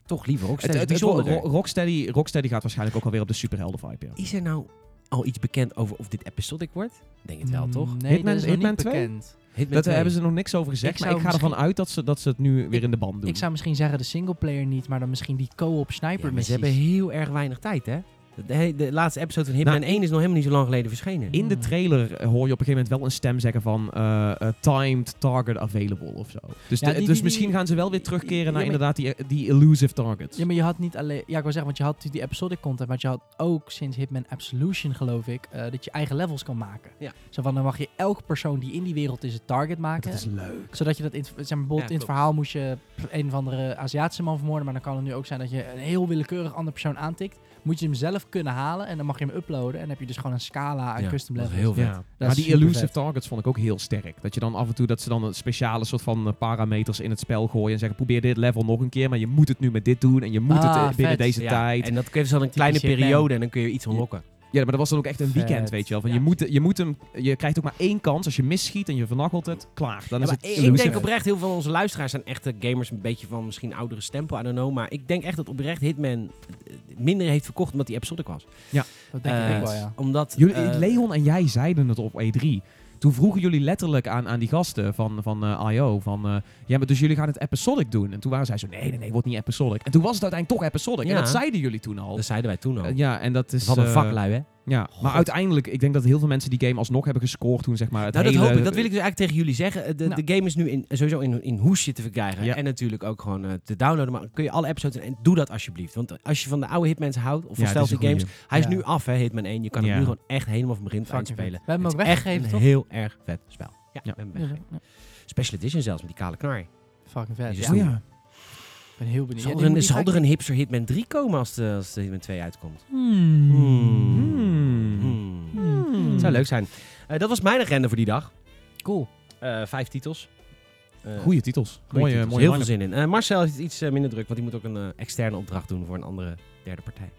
Speaker 1: toch liever
Speaker 2: Het,
Speaker 1: Rocksteady.
Speaker 2: het,
Speaker 1: is
Speaker 2: het wordt-
Speaker 1: bijzonderder.
Speaker 2: Ro- Rocksteady, Rocksteady gaat waarschijnlijk ook alweer op de superhelden vibe, ja.
Speaker 1: Is er nou al iets bekend over of dit episodic wordt? Denk het
Speaker 2: Hmm.
Speaker 1: wel,
Speaker 3: Mm,
Speaker 1: toch?
Speaker 3: Nee,
Speaker 2: Hitman-
Speaker 3: dat is nog
Speaker 2: Hitman
Speaker 3: niet
Speaker 2: 2?
Speaker 3: bekend.
Speaker 1: Hitman
Speaker 2: Daar
Speaker 1: 2.
Speaker 2: eh, hebben ze nog niks over gezegd.
Speaker 3: Ik
Speaker 2: maar ik
Speaker 3: zou
Speaker 2: ga ervan uit dat ze, dat ze het nu weer in de band doen.
Speaker 3: Ik zou misschien zeggen de singleplayer niet, maar dan misschien die co-op sniper
Speaker 1: Ja, maar ze
Speaker 3: missies.
Speaker 1: hebben heel erg weinig tijd, hè? De, de- de laatste episode van Hitman
Speaker 2: Nou,
Speaker 1: 1 is nog helemaal niet zo lang geleden verschenen.
Speaker 2: In
Speaker 3: Mm.
Speaker 2: de trailer eh, hoor je op een gegeven moment wel een stem zeggen van eh, eh, timed target available of zo. Dus,
Speaker 3: Ja,
Speaker 2: de-
Speaker 3: die- die-
Speaker 2: dus
Speaker 3: die-
Speaker 2: misschien gaan ze wel weer
Speaker 3: Ja,
Speaker 2: terugkeren naar
Speaker 3: maar-
Speaker 2: inderdaad die, eh, die elusive targets.
Speaker 3: Ja, maar je had niet alleen... Ja, ik wil zeggen, want je had natuurlijk die episodic content, maar je had ook sinds Hitman Absolution, geloof ik, eh, dat je eigen levels kan maken.
Speaker 1: Ja.
Speaker 3: Zo van, dan mag je elk persoon die in die wereld is het target maken.
Speaker 2: dat is leuk.
Speaker 3: Zodat je dat, in, het- zeg maar, bijvoorbeeld
Speaker 1: Ja,
Speaker 3: in
Speaker 1: klopt.
Speaker 3: het verhaal moest je pff, een of andere Aziatische man vermoorden, maar dan kan het nu ook zijn dat je een heel willekeurig andere persoon aantikt. Moet je hem zelf kunnen halen en dan mag je hem uploaden en dan heb je dus gewoon een scala aan
Speaker 1: Ja,
Speaker 3: custom
Speaker 1: dat is
Speaker 3: levels.
Speaker 1: heel vet.
Speaker 2: Ja.
Speaker 3: is
Speaker 2: Maar die
Speaker 3: supervet.
Speaker 2: elusive targets vond ik ook heel sterk. Dat je dan af en toe dat ze dan een speciale soort van eh, parameters in het spel gooien en zeggen probeer dit level nog een keer, maar je moet het nu met dit doen en je moet het
Speaker 3: Ah,
Speaker 2: eh, binnen
Speaker 3: vet.
Speaker 2: deze
Speaker 1: Ja,
Speaker 2: tijd.
Speaker 1: En dat geeft ze dan een kleine
Speaker 3: Hitman.
Speaker 1: periode en dan kun je iets unlocken.
Speaker 2: Ja, maar dat was dan ook echt een weekend,
Speaker 3: Vet.
Speaker 2: weet je wel. Van
Speaker 1: Ja.
Speaker 2: je, moet, je, moet hem, je krijgt ook maar één kans. Als je misschiet en je vernachelt het, klaar. Dan
Speaker 1: Ja,
Speaker 2: is
Speaker 1: maar
Speaker 2: het
Speaker 1: ik- ik
Speaker 2: elusive.
Speaker 1: denk oprecht, heel veel van onze luisteraars zijn echte gamers, een beetje van misschien oudere stempel, I don't know. Maar ik denk echt dat oprecht Hitman eh, minder heeft verkocht omdat die episodic was.
Speaker 3: Dat denk
Speaker 1: Eh,
Speaker 3: ik ook wel, ja.
Speaker 1: Omdat...
Speaker 2: Jullie,
Speaker 1: eh,
Speaker 2: Leon en jij zeiden het op E3. Toen vroegen jullie letterlijk aan, aan die gasten van, van eh, IO van... eh, ja, maar dus jullie gaan het episodic doen. En toen waren zij zo, nee, nee, nee, wordt niet episodic. En toen was het uiteindelijk toch episodic.
Speaker 1: Ja.
Speaker 2: En dat zeiden jullie toen al.
Speaker 1: Dat zeiden wij toen al.
Speaker 2: Eh, ja, en dat is...
Speaker 1: Wat een
Speaker 2: eh,
Speaker 1: vaklui, hè?
Speaker 2: ja, maar uiteindelijk, ik denk dat heel veel mensen die game alsnog hebben gescoord toen, zeg maar. Het
Speaker 1: Nou,
Speaker 2: hele,
Speaker 1: dat hoop ik. Dat wil ik dus eigenlijk tegen jullie zeggen. De,
Speaker 2: Nou.
Speaker 1: de game is nu in, sowieso in, in hoesje te verkrijgen.
Speaker 2: Ja.
Speaker 1: En natuurlijk ook gewoon eh, te downloaden. Maar kun je alle episodes... En doe dat alsjeblieft. Want als je van de oude Hitmans houdt, of van
Speaker 2: Ja, het is
Speaker 1: stealthy
Speaker 2: een
Speaker 1: games...
Speaker 2: goeie.
Speaker 1: Hij is
Speaker 3: Ja.
Speaker 1: nu af, hè, Hitman 1. Je kan hem
Speaker 2: Ja.
Speaker 1: nu gewoon echt helemaal van begin tot eind
Speaker 3: Fucking vet.
Speaker 1: spelen.
Speaker 3: We hebben
Speaker 1: Het
Speaker 3: hem ook
Speaker 1: is echt
Speaker 3: weggegeven,
Speaker 1: een
Speaker 3: toch?
Speaker 1: heel erg vet spel. Ja,
Speaker 2: Ja.
Speaker 1: we hebben hem weggegeven. Special Edition zelfs, met die kale knar.
Speaker 3: Fucking
Speaker 1: Die
Speaker 3: vet.
Speaker 1: is
Speaker 3: Ja.
Speaker 2: Oh ja.
Speaker 3: Ik ben heel benieuwd.
Speaker 1: Zal
Speaker 3: Ja,
Speaker 1: er,
Speaker 3: die
Speaker 1: een,
Speaker 3: moet- die
Speaker 1: zal
Speaker 3: ga
Speaker 1: er
Speaker 3: ik-
Speaker 1: een hipster Hitman 3 komen als de, als de Hitman 2 uitkomt?
Speaker 3: Hmm.
Speaker 2: Hmm.
Speaker 1: Hmm.
Speaker 2: Hmm.
Speaker 1: Zou leuk zijn. Eh, dat was mijn agenda voor die dag.
Speaker 3: Cool.
Speaker 1: Eh, vijf titels. Eh,
Speaker 2: Goeie titels.
Speaker 1: goeie
Speaker 2: mooie,
Speaker 1: titels.
Speaker 2: mooie
Speaker 1: Heel veel
Speaker 2: line-up.
Speaker 1: zin in. Eh, Marcel heeft iets eh, minder druk, want die moet ook een eh, externe opdracht doen voor een andere derde partij.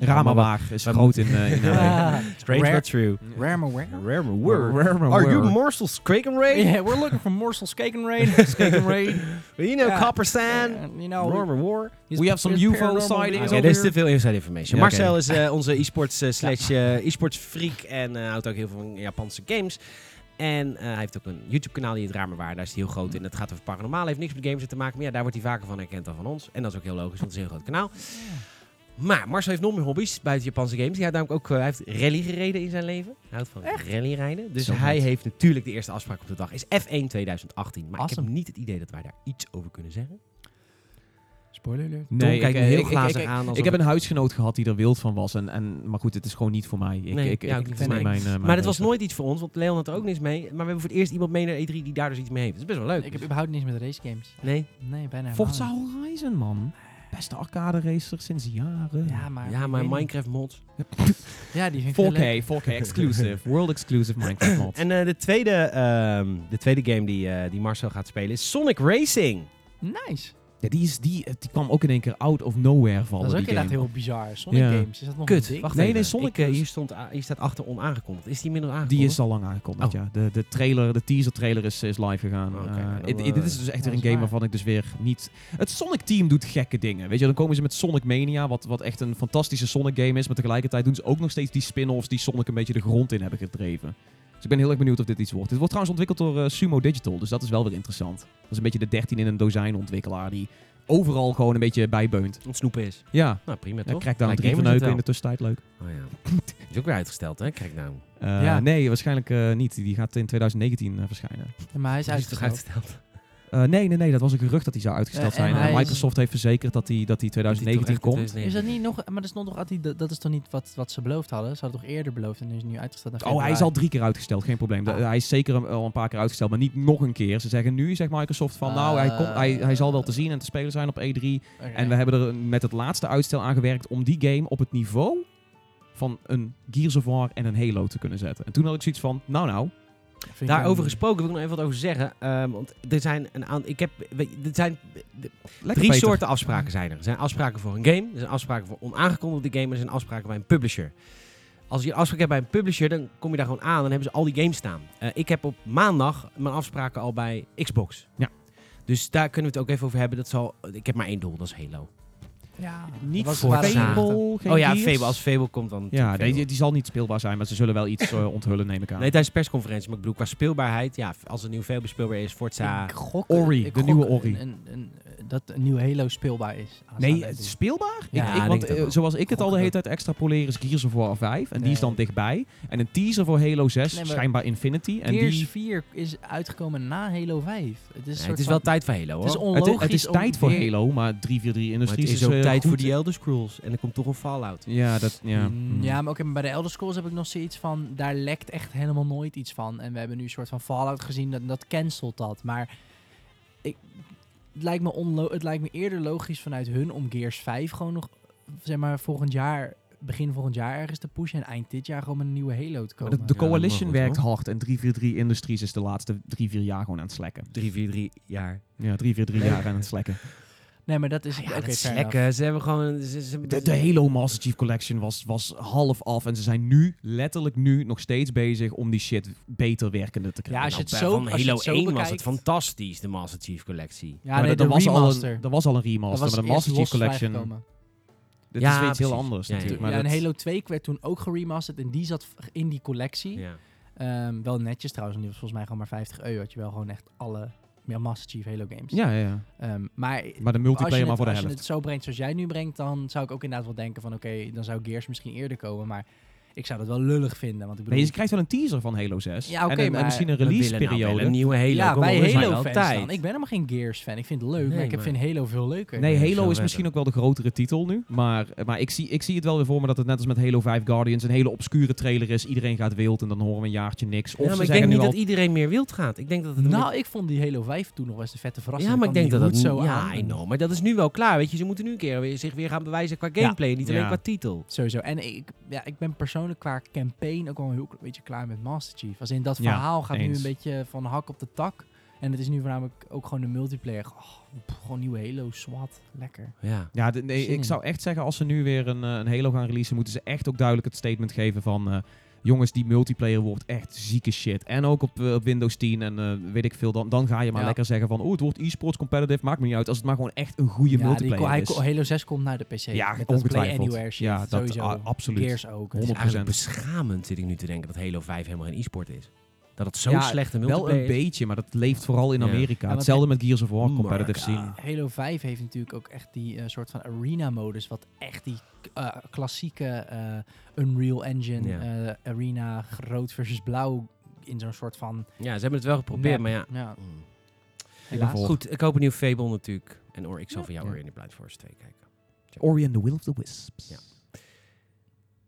Speaker 2: Ramawaag is
Speaker 1: Wij
Speaker 2: groot in, eh, in LA.
Speaker 1: Strange
Speaker 3: Rare-
Speaker 1: but true.
Speaker 3: Rare maar rare.
Speaker 1: Rare word.
Speaker 2: Ramawaag.
Speaker 1: Are you Marcel's Kraken Raid?
Speaker 3: Yeah, we're looking for Morsel's Cake and Rain. Cake and Rain.
Speaker 1: You know
Speaker 3: Ja.
Speaker 1: Copper Sand?
Speaker 3: And, you know,
Speaker 1: Rare War?
Speaker 3: he's-
Speaker 2: We have some
Speaker 3: he's
Speaker 2: UFO
Speaker 3: paranormal
Speaker 2: sightings
Speaker 1: Oké,
Speaker 3: being.
Speaker 2: over
Speaker 1: dit is
Speaker 2: here.
Speaker 1: te veel inside information.
Speaker 2: Ja, oké.
Speaker 1: Marcel is eh, onze e-sports eh, slash eh, e-sports freak en eh, houdt ook heel veel van Japanse games. En eh, hij heeft ook een YouTube kanaal die het raar maar waar. Daar is hij heel groot in. Het gaat over paranormaal. Heeft niks met games te maken. Maar ja, daar wordt hij vaker van herkend dan van ons. En dat is ook heel logisch, want het is een heel groot kanaal. Maar Marcel heeft nog meer hobby's buiten Japanse games. Hij, houdt namelijk ook, eh, hij heeft rally gereden in zijn leven. Hij houdt van rallyrijden. Dus
Speaker 2: Zo
Speaker 1: hij
Speaker 2: vet.
Speaker 1: heeft natuurlijk de eerste afspraak op de dag. Is F1 2018. Maar ik
Speaker 3: Awesome.
Speaker 1: heb niet het idee dat wij daar iets over kunnen zeggen.
Speaker 3: Spoiler alert.
Speaker 1: Tom kijkt me
Speaker 2: eh,
Speaker 1: heel
Speaker 2: ik- ik-
Speaker 1: glazig
Speaker 2: ik-
Speaker 1: aan.
Speaker 2: Ik
Speaker 1: alsof
Speaker 2: heb een huisgenoot gehad die er wild van was. En, en, maar goed, het is gewoon niet voor mij. Ik,
Speaker 1: Nee,
Speaker 2: ik,
Speaker 1: ja, ook niet
Speaker 2: ik, het is
Speaker 1: voor
Speaker 2: niet
Speaker 1: mij.
Speaker 2: mijn, eh,
Speaker 1: Maar
Speaker 2: mijn
Speaker 1: dat was
Speaker 2: meester.
Speaker 1: nooit iets voor ons, want Leon had er ook niks mee. Maar we hebben voor het eerst iemand mee naar E3 die daar dus iets mee heeft. Dat is best wel leuk. Dus-
Speaker 3: Ik heb überhaupt niets met race games.
Speaker 1: Nee?
Speaker 3: Nee, bijna
Speaker 2: Forza
Speaker 3: helemaal
Speaker 2: Horizon, man. Beste arcade racer sinds jaren.
Speaker 3: niet. Ja, maar,
Speaker 1: ja,
Speaker 3: ik
Speaker 1: maar
Speaker 3: weet
Speaker 1: Minecraft mod.
Speaker 3: niet. Ja, die vind ik heel leuk.
Speaker 2: 4K, 4K exclusive. World exclusive Minecraft mod.
Speaker 1: En eh, de, tweede, ehm, de tweede game die, eh, die Marcel gaat spelen is Sonic Racing.
Speaker 3: Nice.
Speaker 2: Ja, die, is, die, eh, die kwam ook in één keer out of nowhere vallen.
Speaker 3: Dat is ook
Speaker 2: die
Speaker 3: inderdaad
Speaker 2: game.
Speaker 3: heel bizar. Sonic
Speaker 2: Ja.
Speaker 3: games, is dat nog een
Speaker 1: Kut.
Speaker 3: ding?
Speaker 1: Wacht
Speaker 2: Nee,
Speaker 1: even.
Speaker 2: nee, Sonic
Speaker 1: Ik, eh,
Speaker 2: is-
Speaker 1: hier, stond, a- hier staat achter onaangekondigd. Is die inmiddels aangekondigd?
Speaker 2: Die is al lang aangekondigd,
Speaker 1: Oh.
Speaker 2: ja. De, de trailer, de teaser trailer is, is live gegaan.
Speaker 1: Oh, oké,
Speaker 2: Eh,
Speaker 1: nou, dan,
Speaker 2: it- it-
Speaker 1: eh,
Speaker 2: dit is dus echt
Speaker 3: ja,
Speaker 2: weer
Speaker 3: dat
Speaker 2: een
Speaker 3: is
Speaker 2: game
Speaker 3: waar.
Speaker 2: waarvan ik dus weer niet... Het Sonic team doet gekke dingen, weet je. Dan komen ze met Sonic Mania, wat, wat echt een fantastische Sonic game is. Maar tegelijkertijd doen ze ook nog steeds die spin-offs die Sonic een beetje de grond in hebben gedreven. Dus ik ben heel erg benieuwd of dit iets wordt. Dit wordt trouwens ontwikkeld door eh, Sumo Digital, dus dat is wel weer interessant. Dat is een beetje de 13 in een dozijn ontwikkelaar die overal gewoon een beetje bijbeunt.
Speaker 1: Aan het snoepen is.
Speaker 2: Ja,
Speaker 1: Nou, prima
Speaker 2: ja
Speaker 1: toch?
Speaker 2: krijg daar een
Speaker 1: Lijkt
Speaker 2: drie van
Speaker 1: gamers
Speaker 2: neuken in de
Speaker 1: het
Speaker 2: tussentijd, leuk.
Speaker 1: wel. Oh, ja. Is ook weer uitgesteld, hè? Kijk nou.
Speaker 2: Eh,
Speaker 3: Ja.
Speaker 2: Nee, waarschijnlijk eh, niet. Die gaat in 2019 verschijnen.
Speaker 3: Ja, Maar hij is
Speaker 1: Is toch
Speaker 3: uitgesteld.
Speaker 1: uitgesteld?
Speaker 2: Eh, nee, nee, nee, dat was een gerucht dat hij zou uitgesteld
Speaker 3: Eh, en
Speaker 2: zijn. En
Speaker 3: hij is-
Speaker 2: Microsoft heeft verzekerd dat hij dat die 2019
Speaker 1: Die toch
Speaker 2: komt.
Speaker 1: echt in
Speaker 3: Is dat niet nog... Maar dat is, nog, dat, dat is toch niet wat, wat ze beloofd hadden? Ze hadden toch eerder beloofd en nu is het nu uitgesteld naar
Speaker 2: Oh, hij is
Speaker 3: februari.
Speaker 2: al drie keer uitgesteld, geen probleem. Da-
Speaker 3: Ah.
Speaker 2: Hij is zeker een- al een paar keer uitgesteld, maar niet nog een keer. Ze zeggen nu, zegt Microsoft, van nou, hij, komt, hij, hij zal wel te zien en te spelen zijn op E3.
Speaker 3: Oké.
Speaker 2: En we hebben er met het laatste uitstel aan gewerkt om die game op het niveau van een Gears of War en een Halo te kunnen zetten. En toen had ik zoiets van, nou nou,
Speaker 3: Vind ik wel
Speaker 1: Daarover
Speaker 3: niet.
Speaker 1: gesproken wil ik nog even wat over zeggen. Ehm, want er zijn een aantal. Ik heb. weet je, Er zijn
Speaker 2: lekker
Speaker 1: Drie
Speaker 2: Peter.
Speaker 1: soorten afspraken zijn er. Er zijn afspraken voor een game, er zijn afspraken voor onaangekondigde game en er zijn afspraken bij een publisher. Als je een afspraak hebt bij een publisher, dan kom je daar gewoon aan en hebben ze al die games staan. Eh, ik heb op maandag mijn afspraken al bij Xbox.
Speaker 2: Ja.
Speaker 1: Dus daar kunnen we het ook even over hebben. Dat zal, ik heb maar één doel, dat is Halo.
Speaker 3: Ja.
Speaker 2: Niet
Speaker 3: Dat was
Speaker 2: voor
Speaker 3: het laatste.
Speaker 2: Fable, geen
Speaker 1: oh ja,
Speaker 2: Gears.
Speaker 1: Fable. Als Fable komt dan
Speaker 2: Ja,
Speaker 1: natuurlijk
Speaker 2: die,
Speaker 1: Fable.
Speaker 2: die zal niet speelbaar zijn, maar ze zullen wel iets eh, onthullen, neem ik aan.
Speaker 1: Nee, tijdens de persconferentie. Maar ik bedoel, qua speelbaarheid, ja, als een nieuw Fable speelbaar is, Forza...
Speaker 3: Ik gok,
Speaker 2: Ori,
Speaker 3: ik
Speaker 2: de
Speaker 3: gok
Speaker 2: nieuwe Ori.
Speaker 3: een- een- een- dat een nieuwe Halo speelbaar is.
Speaker 2: Nee, het is speelbaar?
Speaker 3: Ja,
Speaker 1: ik
Speaker 2: ik, ik,
Speaker 1: denk
Speaker 2: want
Speaker 1: het ook
Speaker 2: eh,
Speaker 1: wel.
Speaker 2: zoals ik het al de
Speaker 1: Gok
Speaker 2: hele
Speaker 1: het
Speaker 2: tijd extrapoleer is Gears of War 5. En die is dan
Speaker 3: Nee.
Speaker 2: dichtbij. En een teaser voor Halo 6,
Speaker 3: Nee, maar-
Speaker 2: schijnbaar Infinity. En
Speaker 3: En
Speaker 2: die,
Speaker 3: 4 is uitgekomen na Halo 5. Het is, een
Speaker 1: Nee,
Speaker 3: soort
Speaker 1: het is
Speaker 3: van-
Speaker 1: wel tijd voor Halo, hoor.
Speaker 3: het is
Speaker 2: het,
Speaker 3: onlogisch
Speaker 2: is- het is
Speaker 3: om
Speaker 2: tijd voor
Speaker 3: weer-
Speaker 2: Halo, maar 343
Speaker 1: maar
Speaker 2: Industries
Speaker 1: het is
Speaker 2: eh,
Speaker 1: ook tijd
Speaker 2: goed.
Speaker 1: voor die Elder Scrolls. En er komt toch een Fallout.
Speaker 2: Ja, dat... Ja,
Speaker 3: Mm, Ja, maar ook bij de Elder Scrolls heb ik nog zoiets van... Daar lekt echt helemaal nooit iets van. En we hebben nu een soort van Fallout gezien. Dat, dat cancelt dat. Maar ik, het, lijkt me onlo- het lijkt me eerder logisch vanuit hun om Gears 5 gewoon nog... Zeg maar volgend jaar... Begin volgend jaar ergens te pushen. En eind dit jaar gewoon met een nieuwe Halo te
Speaker 2: Maar
Speaker 3: komen.
Speaker 2: de, de
Speaker 1: Ja,
Speaker 2: Coalition
Speaker 1: dat mag
Speaker 2: werkt
Speaker 1: wel.
Speaker 2: hard en 343 Industries is de laatste drie, vier jaar gewoon aan het slekken.
Speaker 1: 343 jaar.
Speaker 2: Ja, 343 jaar aan het slekken.
Speaker 3: Nee, maar dat is...
Speaker 1: Dus Ah Ja,
Speaker 3: oké,
Speaker 1: dat is
Speaker 3: fair
Speaker 1: lekker.
Speaker 3: enough.
Speaker 1: Ze hebben gewoon... Ze, ze- Nou,
Speaker 2: De, de Halo Master Chief Collection was, was half af en ze zijn nu, letterlijk nu, nog steeds bezig om die shit beter werkende te krijgen.
Speaker 3: Ja, als je
Speaker 1: Nou,
Speaker 3: het zo-
Speaker 1: van
Speaker 3: als je
Speaker 1: Halo
Speaker 3: het zo
Speaker 1: 1 was
Speaker 3: bekijkt-
Speaker 1: het fantastisch, de Master Chief collectie.
Speaker 3: Ja,
Speaker 2: Maar
Speaker 3: nee,
Speaker 2: er-
Speaker 3: de
Speaker 2: er was
Speaker 3: remaster.
Speaker 2: Al een, er was al een remaster,
Speaker 3: Dat was
Speaker 2: maar de
Speaker 3: eerst
Speaker 2: Master Chief
Speaker 3: los
Speaker 2: Collection,
Speaker 3: vrijgekomen.
Speaker 2: dat
Speaker 1: Ja,
Speaker 2: is iets heel
Speaker 1: precies.
Speaker 2: anders
Speaker 1: Ja, ja.
Speaker 2: natuurlijk.
Speaker 3: ja,
Speaker 2: maar
Speaker 3: en
Speaker 2: dat-
Speaker 3: Halo 2 werd toen ook geremasterd en die zat v- in die collectie.
Speaker 1: Ja.
Speaker 3: Ehm, wel netjes trouwens, want die was volgens mij gewoon maar 50 euro. Had je wel gewoon echt alle ja, Master Chief Halo games.
Speaker 2: ja, ja, ja.
Speaker 3: Ehm, maar
Speaker 2: Maar de
Speaker 3: als, je
Speaker 2: multiplayer maar
Speaker 3: het,
Speaker 2: voor de
Speaker 3: als je
Speaker 2: helft.
Speaker 3: het zo brengt zoals jij nu brengt, dan zou ik ook inderdaad wel denken van oké, dan zou Gears misschien eerder komen. Maar Ik zou dat wel lullig vinden. Want ik bedoel,
Speaker 2: Nee, je krijgt wel een teaser van Halo 6.
Speaker 3: Ja, oké,
Speaker 2: en, een- en
Speaker 3: maar
Speaker 2: misschien een
Speaker 1: We willen nou wel
Speaker 2: release-periode.
Speaker 1: een nieuwe Halo.
Speaker 3: ja,
Speaker 1: Kom op, we
Speaker 3: wij
Speaker 1: zijn
Speaker 3: Halo
Speaker 1: wel
Speaker 3: fans
Speaker 1: tijd.
Speaker 3: dan. Ik ben helemaal geen Gears fan. Ik vind het leuk,
Speaker 1: Nee,
Speaker 3: maar ik heb
Speaker 1: maar-
Speaker 3: vind Halo veel leuker.
Speaker 2: Nee,
Speaker 1: Nee, zo
Speaker 2: Halo is
Speaker 1: hebben.
Speaker 2: misschien ook wel de grotere titel nu. Maar, maar ik, zie, ik zie het wel weer voor me dat het net als met Halo 5 Guardians een hele obscure trailer is. Iedereen gaat wild en dan horen we een jaartje niks. Of
Speaker 1: Ja,
Speaker 2: ze
Speaker 1: maar ik
Speaker 2: zeggen
Speaker 1: denk
Speaker 2: nu
Speaker 1: niet
Speaker 2: al...
Speaker 1: dat iedereen meer wild gaat. Ik denk dat het een
Speaker 3: Nou, ik vond die Halo 5 toen nog wel eens de vette verrassing.
Speaker 1: Ja, maar ik
Speaker 3: kwam
Speaker 1: denk dat dat
Speaker 3: die hoed
Speaker 1: zo
Speaker 3: zo
Speaker 1: ja,
Speaker 3: aan.
Speaker 1: I know. Maar dat is nu wel klaar, weet je. Ze moeten nu een keer weer, zich weer gaan bewijzen qua gameplay, niet alleen
Speaker 2: Ja.
Speaker 1: qua titel.
Speaker 3: Sowieso. En ik, ja, ik ben persoonlijk qua campaign ook wel heel een beetje klaar met Master Chief. Als in dat
Speaker 2: Ja,
Speaker 3: verhaal gaat nu
Speaker 2: eens.
Speaker 3: een beetje van hak op de tak. En het is nu voornamelijk ook gewoon de multiplayer. Oh, pff, gewoon nieuwe Halo, SWAT. Lekker.
Speaker 1: Ja.
Speaker 2: Ja, de- nee,
Speaker 3: Zin in.
Speaker 2: ik zou echt zeggen als ze nu weer een, eh, een Halo gaan releasen, moeten ze echt ook duidelijk het statement geven van... eh, Jongens, die multiplayer wordt echt zieke shit. En ook op, eh, op Windows 10 en eh, weet ik veel. Dan, dan ga je maar
Speaker 3: Ja.
Speaker 2: lekker zeggen van... Oh, het wordt e-sports competitive. Maakt me niet uit. Als het maar gewoon echt een goede
Speaker 3: ja, die,
Speaker 2: multiplayer
Speaker 3: hij-
Speaker 2: is.
Speaker 3: Halo 6 komt naar de PC.
Speaker 2: ja,
Speaker 3: met dat Play
Speaker 2: ongetwijfeld.
Speaker 3: Anywhere shit.
Speaker 2: ja, dat
Speaker 3: sowieso.
Speaker 2: ah, absoluut.
Speaker 3: Gears ook.
Speaker 1: Het is
Speaker 2: 100%.
Speaker 1: eigenlijk beschamend, zit ik nu te denken, dat Halo 5 helemaal geen e-sport is. Dat het zo
Speaker 2: Ja,
Speaker 1: slecht een
Speaker 2: Wel een
Speaker 1: multiplayer is.
Speaker 2: beetje, maar dat leeft vooral in
Speaker 1: Ja.
Speaker 2: Amerika.
Speaker 3: Ja, want-
Speaker 2: Hetzelfde met Gears of War
Speaker 1: Maar, ah,
Speaker 2: competitive scene.
Speaker 3: Halo 5 heeft natuurlijk ook echt die eh, soort van arena-modus. Wat echt die eh, klassieke eh, Unreal Engine
Speaker 1: Ja.
Speaker 3: eh, arena, rood versus blauw. In zo'n soort van.
Speaker 1: Ja, ze hebben het wel geprobeerd, maar ja.
Speaker 3: ja
Speaker 1: Mm.
Speaker 3: helaas.
Speaker 2: voor.
Speaker 1: Goed, ik hoop een nieuw Fable natuurlijk. En Or, ik zal
Speaker 3: Ja.
Speaker 1: van jou
Speaker 2: Ja.
Speaker 1: weer in de Blind Force 2 kijken.
Speaker 2: Ori and the Will of the Wisps.
Speaker 1: Ja.
Speaker 2: Ja.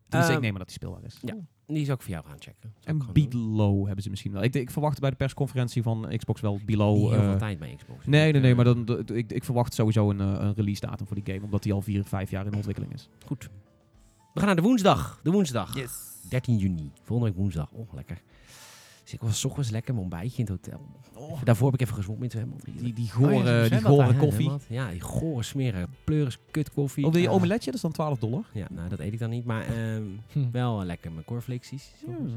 Speaker 2: Dus
Speaker 1: Ehm,
Speaker 2: ik neem aan dat die speelbaar is.
Speaker 1: ja. Die zou ik voor jou gaan checken. Zou ik
Speaker 2: En
Speaker 1: gewoon doen.
Speaker 2: Below hebben ze misschien wel. Ik, ik verwacht bij de persconferentie van Xbox wel
Speaker 1: Niet
Speaker 2: Below.
Speaker 1: heel
Speaker 2: eh,
Speaker 1: veel tijd bij Xbox.
Speaker 2: nee, nee, nee,
Speaker 1: Eh,
Speaker 2: maar dan, d- ik, ik verwacht sowieso een, eh, een release datum voor die game. Omdat die al vier, vijf jaar in ontwikkeling is.
Speaker 1: Goed. We gaan naar de woensdag. De woensdag.
Speaker 3: Yes.
Speaker 1: 13 juni. Volgende week woensdag. Oh, lekker. Dus ik was 's ochtends lekker mijn ontbijtje in het hotel. Daarvoor heb ik even gezwommen in het zwembad.
Speaker 2: Die, die
Speaker 3: Oh, ja, zo'n
Speaker 2: gore, die
Speaker 3: zwembad
Speaker 2: gore
Speaker 1: Ja,
Speaker 2: koffie.
Speaker 1: helemaal. Ja, die gore smerige pleuris kut koffie.
Speaker 2: Of wil je
Speaker 1: Ah.
Speaker 2: omeletje? Dat is dan 12 dollar.
Speaker 1: Ja, nou dat eet ik dan niet. Maar ehm, wel lekker mijn cornflakesies.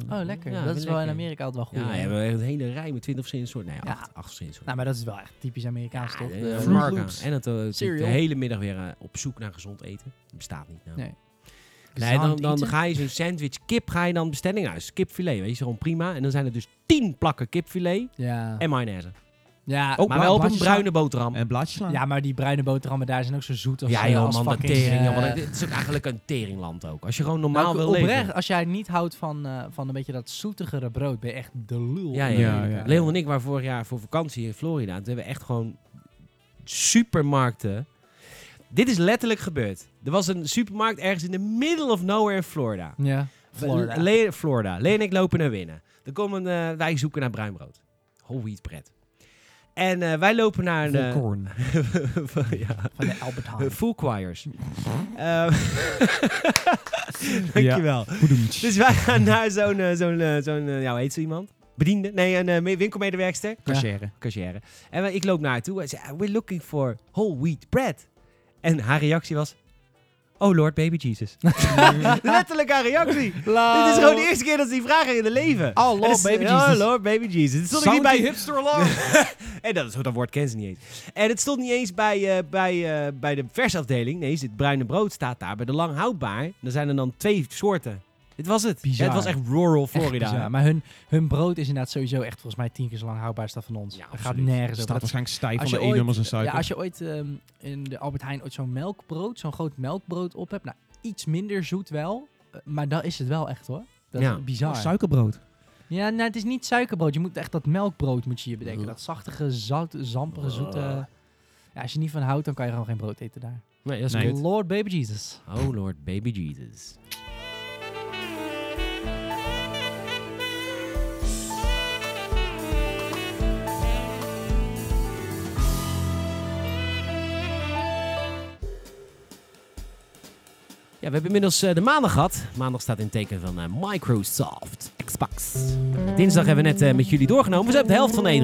Speaker 3: Oh, lekker.
Speaker 1: Hm. Ja, vind ik
Speaker 3: dat is wel in
Speaker 1: lekker.
Speaker 3: Amerika altijd wel
Speaker 1: Ja,
Speaker 3: goed.
Speaker 1: we hebben echt een hele rij met 20 verschillende soorten. Nee,
Speaker 3: Ja.
Speaker 1: acht, acht verschillende soorten.
Speaker 3: Nou, maar dat is wel echt typisch Amerikaans,
Speaker 1: Ah, Ja,
Speaker 3: toch?
Speaker 1: de-
Speaker 3: De
Speaker 1: de
Speaker 3: Fruit
Speaker 1: marken.
Speaker 3: Loops.
Speaker 1: En het, eh, het- de
Speaker 3: Cereal.
Speaker 1: hele middag weer eh, op zoek naar gezond eten. Dat bestaat niet. Nou.
Speaker 3: Nee.
Speaker 1: Nee, dan,
Speaker 3: Gezond
Speaker 1: dan
Speaker 3: eten.
Speaker 1: ga je zo'n sandwich kip ga je dan bestellen. Nou, dat is kipfilet, weet je, gewoon prima. En dan zijn er dus 10 plakken kipfilet
Speaker 3: Ja.
Speaker 1: en mayonaise.
Speaker 3: Ja,
Speaker 1: maar wel op een
Speaker 3: blaadjes
Speaker 1: bruine boterham.
Speaker 2: En blaadjes slaan.
Speaker 3: sla- Ja, maar die bruine boterhammen daar zijn ook zo zoet als
Speaker 1: Ja
Speaker 3: eh,
Speaker 1: joh,
Speaker 3: als
Speaker 1: man, dat
Speaker 3: fucking,
Speaker 1: tering.
Speaker 3: eh,
Speaker 1: joh, want het is ook eigenlijk een teringland ook. Als je gewoon normaal
Speaker 3: Nou,
Speaker 1: wil
Speaker 3: oprecht,
Speaker 1: leven.
Speaker 3: als jij niet houdt van, eh, van een beetje dat zoetigere brood, ben je echt de lul.
Speaker 1: Ja, ja,
Speaker 3: in
Speaker 2: ja,
Speaker 3: Amerika.
Speaker 2: ja.
Speaker 1: Leon en ik waren vorig jaar voor vakantie in Florida. Toen hebben we echt gewoon supermarkten. Dit is letterlijk gebeurd. Er was een supermarkt ergens in de middle of nowhere in Florida.
Speaker 3: Ja. Florida.
Speaker 1: Le- Le- Florida. Leen en ik lopen naar binnen. Dan komen eh, wij zoeken naar bruinbrood. Whole wheat bread. En eh, wij lopen naar
Speaker 2: Vol
Speaker 1: de...
Speaker 2: corn.
Speaker 1: ja,
Speaker 3: Van de Albert
Speaker 1: eh,
Speaker 3: Heijn.
Speaker 1: full choirs. Ehm, Dankjewel.
Speaker 2: Boedoemtsch.
Speaker 1: Dus wij gaan naar zo'n, eh, zo'n, eh, zo'n eh, ja, hoe heet zo iemand? Bediende? Nee, een eh, me- winkelmedewerkster.
Speaker 2: Cachère.
Speaker 1: Cashier. En wij- ik loop naar haar toe en zei, we're looking for whole wheat bread. En haar reactie was, oh lord baby Jesus. Letterlijk haar reactie. Dit is gewoon de eerste keer dat ze die vragen in haar leven.
Speaker 3: Oh,
Speaker 1: En
Speaker 3: Lord
Speaker 1: dat is-
Speaker 3: Baby
Speaker 1: Oh
Speaker 3: Jesus.
Speaker 1: lord baby Jesus. Het stond ook niet
Speaker 2: Sound die
Speaker 1: bij...
Speaker 2: hipster alarm.
Speaker 1: en dat, is, dat woord kennen ze niet eens. En het stond niet eens bij, eh, bij, eh, bij de versafdeling. Nee, dit bruine brood staat daar. Bij de lang houdbaar. Er zijn er dan twee soorten. Dit was het.
Speaker 3: Bizar.
Speaker 1: Ja, het was echt rural
Speaker 3: Echt
Speaker 1: Florida.
Speaker 3: bizar. Maar hun, hun brood is inderdaad sowieso echt volgens mij tien keer zo lang houdbaar als dat van ons.
Speaker 1: Ja,
Speaker 3: dat gaat
Speaker 1: absoluut.
Speaker 3: nergens
Speaker 2: staat
Speaker 3: over. Dat-
Speaker 2: waarschijnlijk stijf van
Speaker 3: als
Speaker 2: de
Speaker 3: je ooit-
Speaker 2: E-nummers en
Speaker 3: ja,
Speaker 2: suiker.
Speaker 3: als je ooit ehm, in de Albert Heijn ooit zo'n melkbrood, zo'n groot melkbrood op hebt, nou iets minder zoet wel, eh, maar dan is het wel echt hoor. Dat
Speaker 1: Ja.
Speaker 3: is bizar.
Speaker 2: Oh, Suikerbrood.
Speaker 3: ja, nou, het is niet suikerbrood. Je moet echt dat melkbrood moet je je bedenken. Dat zachtige, zout, zampere, zoete. Ja, als je niet van houdt, dan kan je gewoon geen brood eten daar.
Speaker 1: Nee, dat is
Speaker 2: Nee.
Speaker 1: kut.
Speaker 3: Lord baby Jesus.
Speaker 1: Oh lord baby Jesus. Ja, we hebben inmiddels eh, de maandag gehad. Maandag staat in het teken van eh, Microsoft Xbox. Dinsdag hebben we net eh, met jullie doorgenomen. We zijn op de helft van de E3.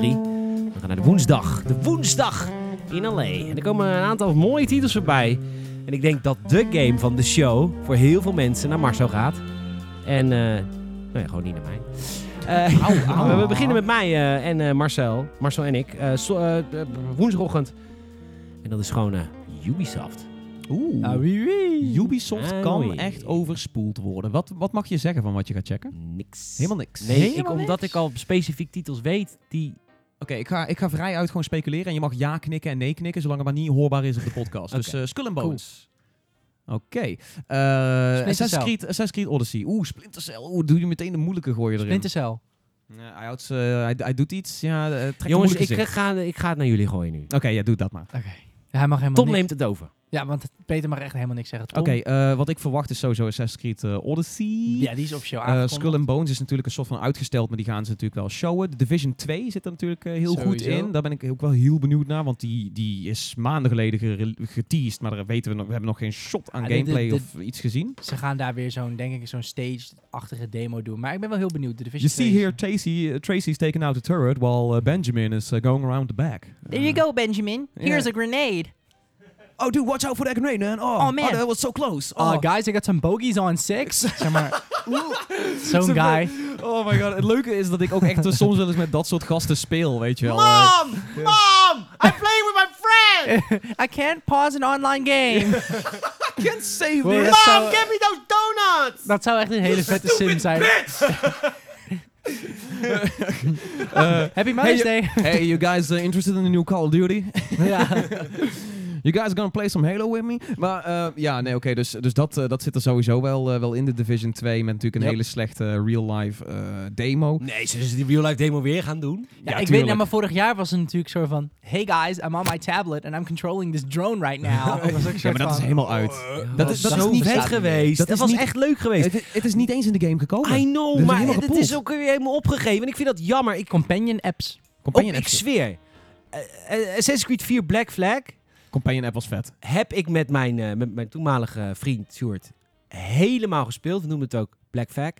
Speaker 1: We gaan naar de woensdag. De woensdag in LA. En er komen een aantal mooie titels voorbij. En ik denk dat de game van de show voor heel veel mensen naar Marcel gaat. En, eh nou ja, gewoon niet naar mij. Eh,
Speaker 3: au.
Speaker 1: We beginnen met mij eh, en eh, Marcel. Marcel en ik. Eh, so- eh, eh, woensdagochtend. En dat is gewoon eh, Ubisoft.
Speaker 2: Oeh.
Speaker 3: Ah, wie wie.
Speaker 2: Ubisoft
Speaker 1: Ah,
Speaker 2: kan
Speaker 1: oei.
Speaker 2: echt overspoeld worden. Wat, wat mag je zeggen van wat je gaat checken?
Speaker 1: Niks.
Speaker 2: Helemaal niks.
Speaker 1: Nee,
Speaker 3: Helemaal
Speaker 1: ik, omdat
Speaker 3: niks?
Speaker 1: ik al specifiek titels weet die...
Speaker 2: Oké, ik, ga, ik ga vrijuit gewoon speculeren. En je mag ja knikken en nee knikken, zolang het maar niet hoorbaar is op de podcast. Dus eh skull and
Speaker 3: Cool.
Speaker 2: bones. Oké. Eh Assassin's,
Speaker 3: Cell.
Speaker 2: Creed, Assassin's Creed Odyssey. Oeh, Splinter Cell. Oeh, doe je meteen de moeilijke gooien erin.
Speaker 3: Splinter Cell.
Speaker 2: Ja, hij, houdt, ze- hij, hij doet iets. Ja, eh, trek
Speaker 1: Jongens,
Speaker 2: de moeilijke
Speaker 1: ik
Speaker 2: zin.
Speaker 1: ga, ik ga het naar jullie gooien nu.
Speaker 2: Oké, ja, doe dat maar.
Speaker 3: Oké. Ja, hij mag helemaal
Speaker 1: Tom
Speaker 3: niks.
Speaker 1: neemt het over.
Speaker 3: Ja, want Peter mag echt helemaal niks zeggen.
Speaker 2: Oké,
Speaker 3: Tom,
Speaker 2: eh, wat ik verwacht is sowieso Assassin's Creed eh, Odyssey.
Speaker 3: Ja, die is officieel
Speaker 2: Eh,
Speaker 3: aangekondigd.
Speaker 2: Skull and Bones is natuurlijk een soort van uitgesteld, maar die gaan ze natuurlijk wel showen. De Division 2 zit er natuurlijk eh, heel goed
Speaker 3: Sowieso.
Speaker 2: in. Daar ben ik ook wel heel benieuwd naar, want die, die is maanden geleden gere- geteased, maar daar weten we nog, we hebben nog geen shot aan
Speaker 3: Ja, dit-
Speaker 2: gameplay
Speaker 3: dit-
Speaker 2: of iets gezien.
Speaker 3: Ze gaan daar weer zo'n, denk ik, zo'n stage-achtige demo doen. Maar ik ben wel heel benieuwd. De
Speaker 2: You
Speaker 3: Division
Speaker 2: see
Speaker 3: 2
Speaker 2: here Tracy, uh, Tracy's taking out the turret, while uh, Benjamin is uh, going around the back.
Speaker 4: There you go, Benjamin. Here's a grenade.
Speaker 2: Oh dude, watch out for that grenade, man.
Speaker 4: Oh, man. that
Speaker 2: was so close.
Speaker 3: Oh, guys, I got some bogeys on six. zeg maar, zo'n
Speaker 2: Zo'n
Speaker 3: guy.
Speaker 2: Oh my god, het leuke is dat ik ook echt eh, soms wel eens met dat soort gasten speel, weet je wel. Eh,
Speaker 4: Mom! I'm playing with my friend! I can't pause an online game.
Speaker 2: can't save
Speaker 3: Wow,
Speaker 2: this.
Speaker 3: dat, zou,
Speaker 4: me those donuts!
Speaker 3: dat zou echt een hele vette sim zijn. Happy Mother's Day.
Speaker 2: Eh, Hey, you guys eh, interested in the new Call of Duty?
Speaker 3: ja.
Speaker 2: You guys gonna play some Halo with me? Maar eh, ja, nee, oké, dus, dus dat, eh, dat zit er sowieso wel, eh, wel in de Division 2 met natuurlijk een
Speaker 3: Yep.
Speaker 2: hele slechte real-life eh, demo.
Speaker 1: Nee, ze is die real life demo weer gaan doen.
Speaker 3: Ja,
Speaker 2: Ja,
Speaker 3: ik weet,
Speaker 2: tuurlijk.
Speaker 3: nou, maar vorig jaar was het natuurlijk zo van... Hey guys, I'm on my tablet and I'm controlling this drone right now. Dat was ook een
Speaker 2: Ja,
Speaker 3: soort
Speaker 2: maar dat is
Speaker 3: van-
Speaker 2: helemaal uit.
Speaker 3: Eh,
Speaker 1: Dat
Speaker 2: is-
Speaker 1: is,
Speaker 2: dat
Speaker 1: dat
Speaker 2: is niet
Speaker 1: niet vet
Speaker 2: bestaat niet meer.
Speaker 1: geweest.
Speaker 2: Dat
Speaker 1: Dat,
Speaker 2: is
Speaker 1: was
Speaker 2: niet-
Speaker 1: echt leuk geweest.
Speaker 2: Het, het is niet eens in de game gekomen.
Speaker 1: I
Speaker 2: Dit is
Speaker 1: know, maar
Speaker 2: helemaal
Speaker 1: het
Speaker 2: kapot.
Speaker 1: is ook weer helemaal opgegeven. En ik vind dat jammer. Ik,
Speaker 3: Companion apps.
Speaker 1: ook,
Speaker 2: Companion,
Speaker 1: Oh, ik
Speaker 2: app,
Speaker 1: zweer. Eh, eh, Assassin's Creed 4 Black Flag
Speaker 2: Companion app was vet.
Speaker 1: heb ik met mijn, eh, met mijn toenmalige vriend Sjoerd helemaal gespeeld. We noemen het ook Black Flag.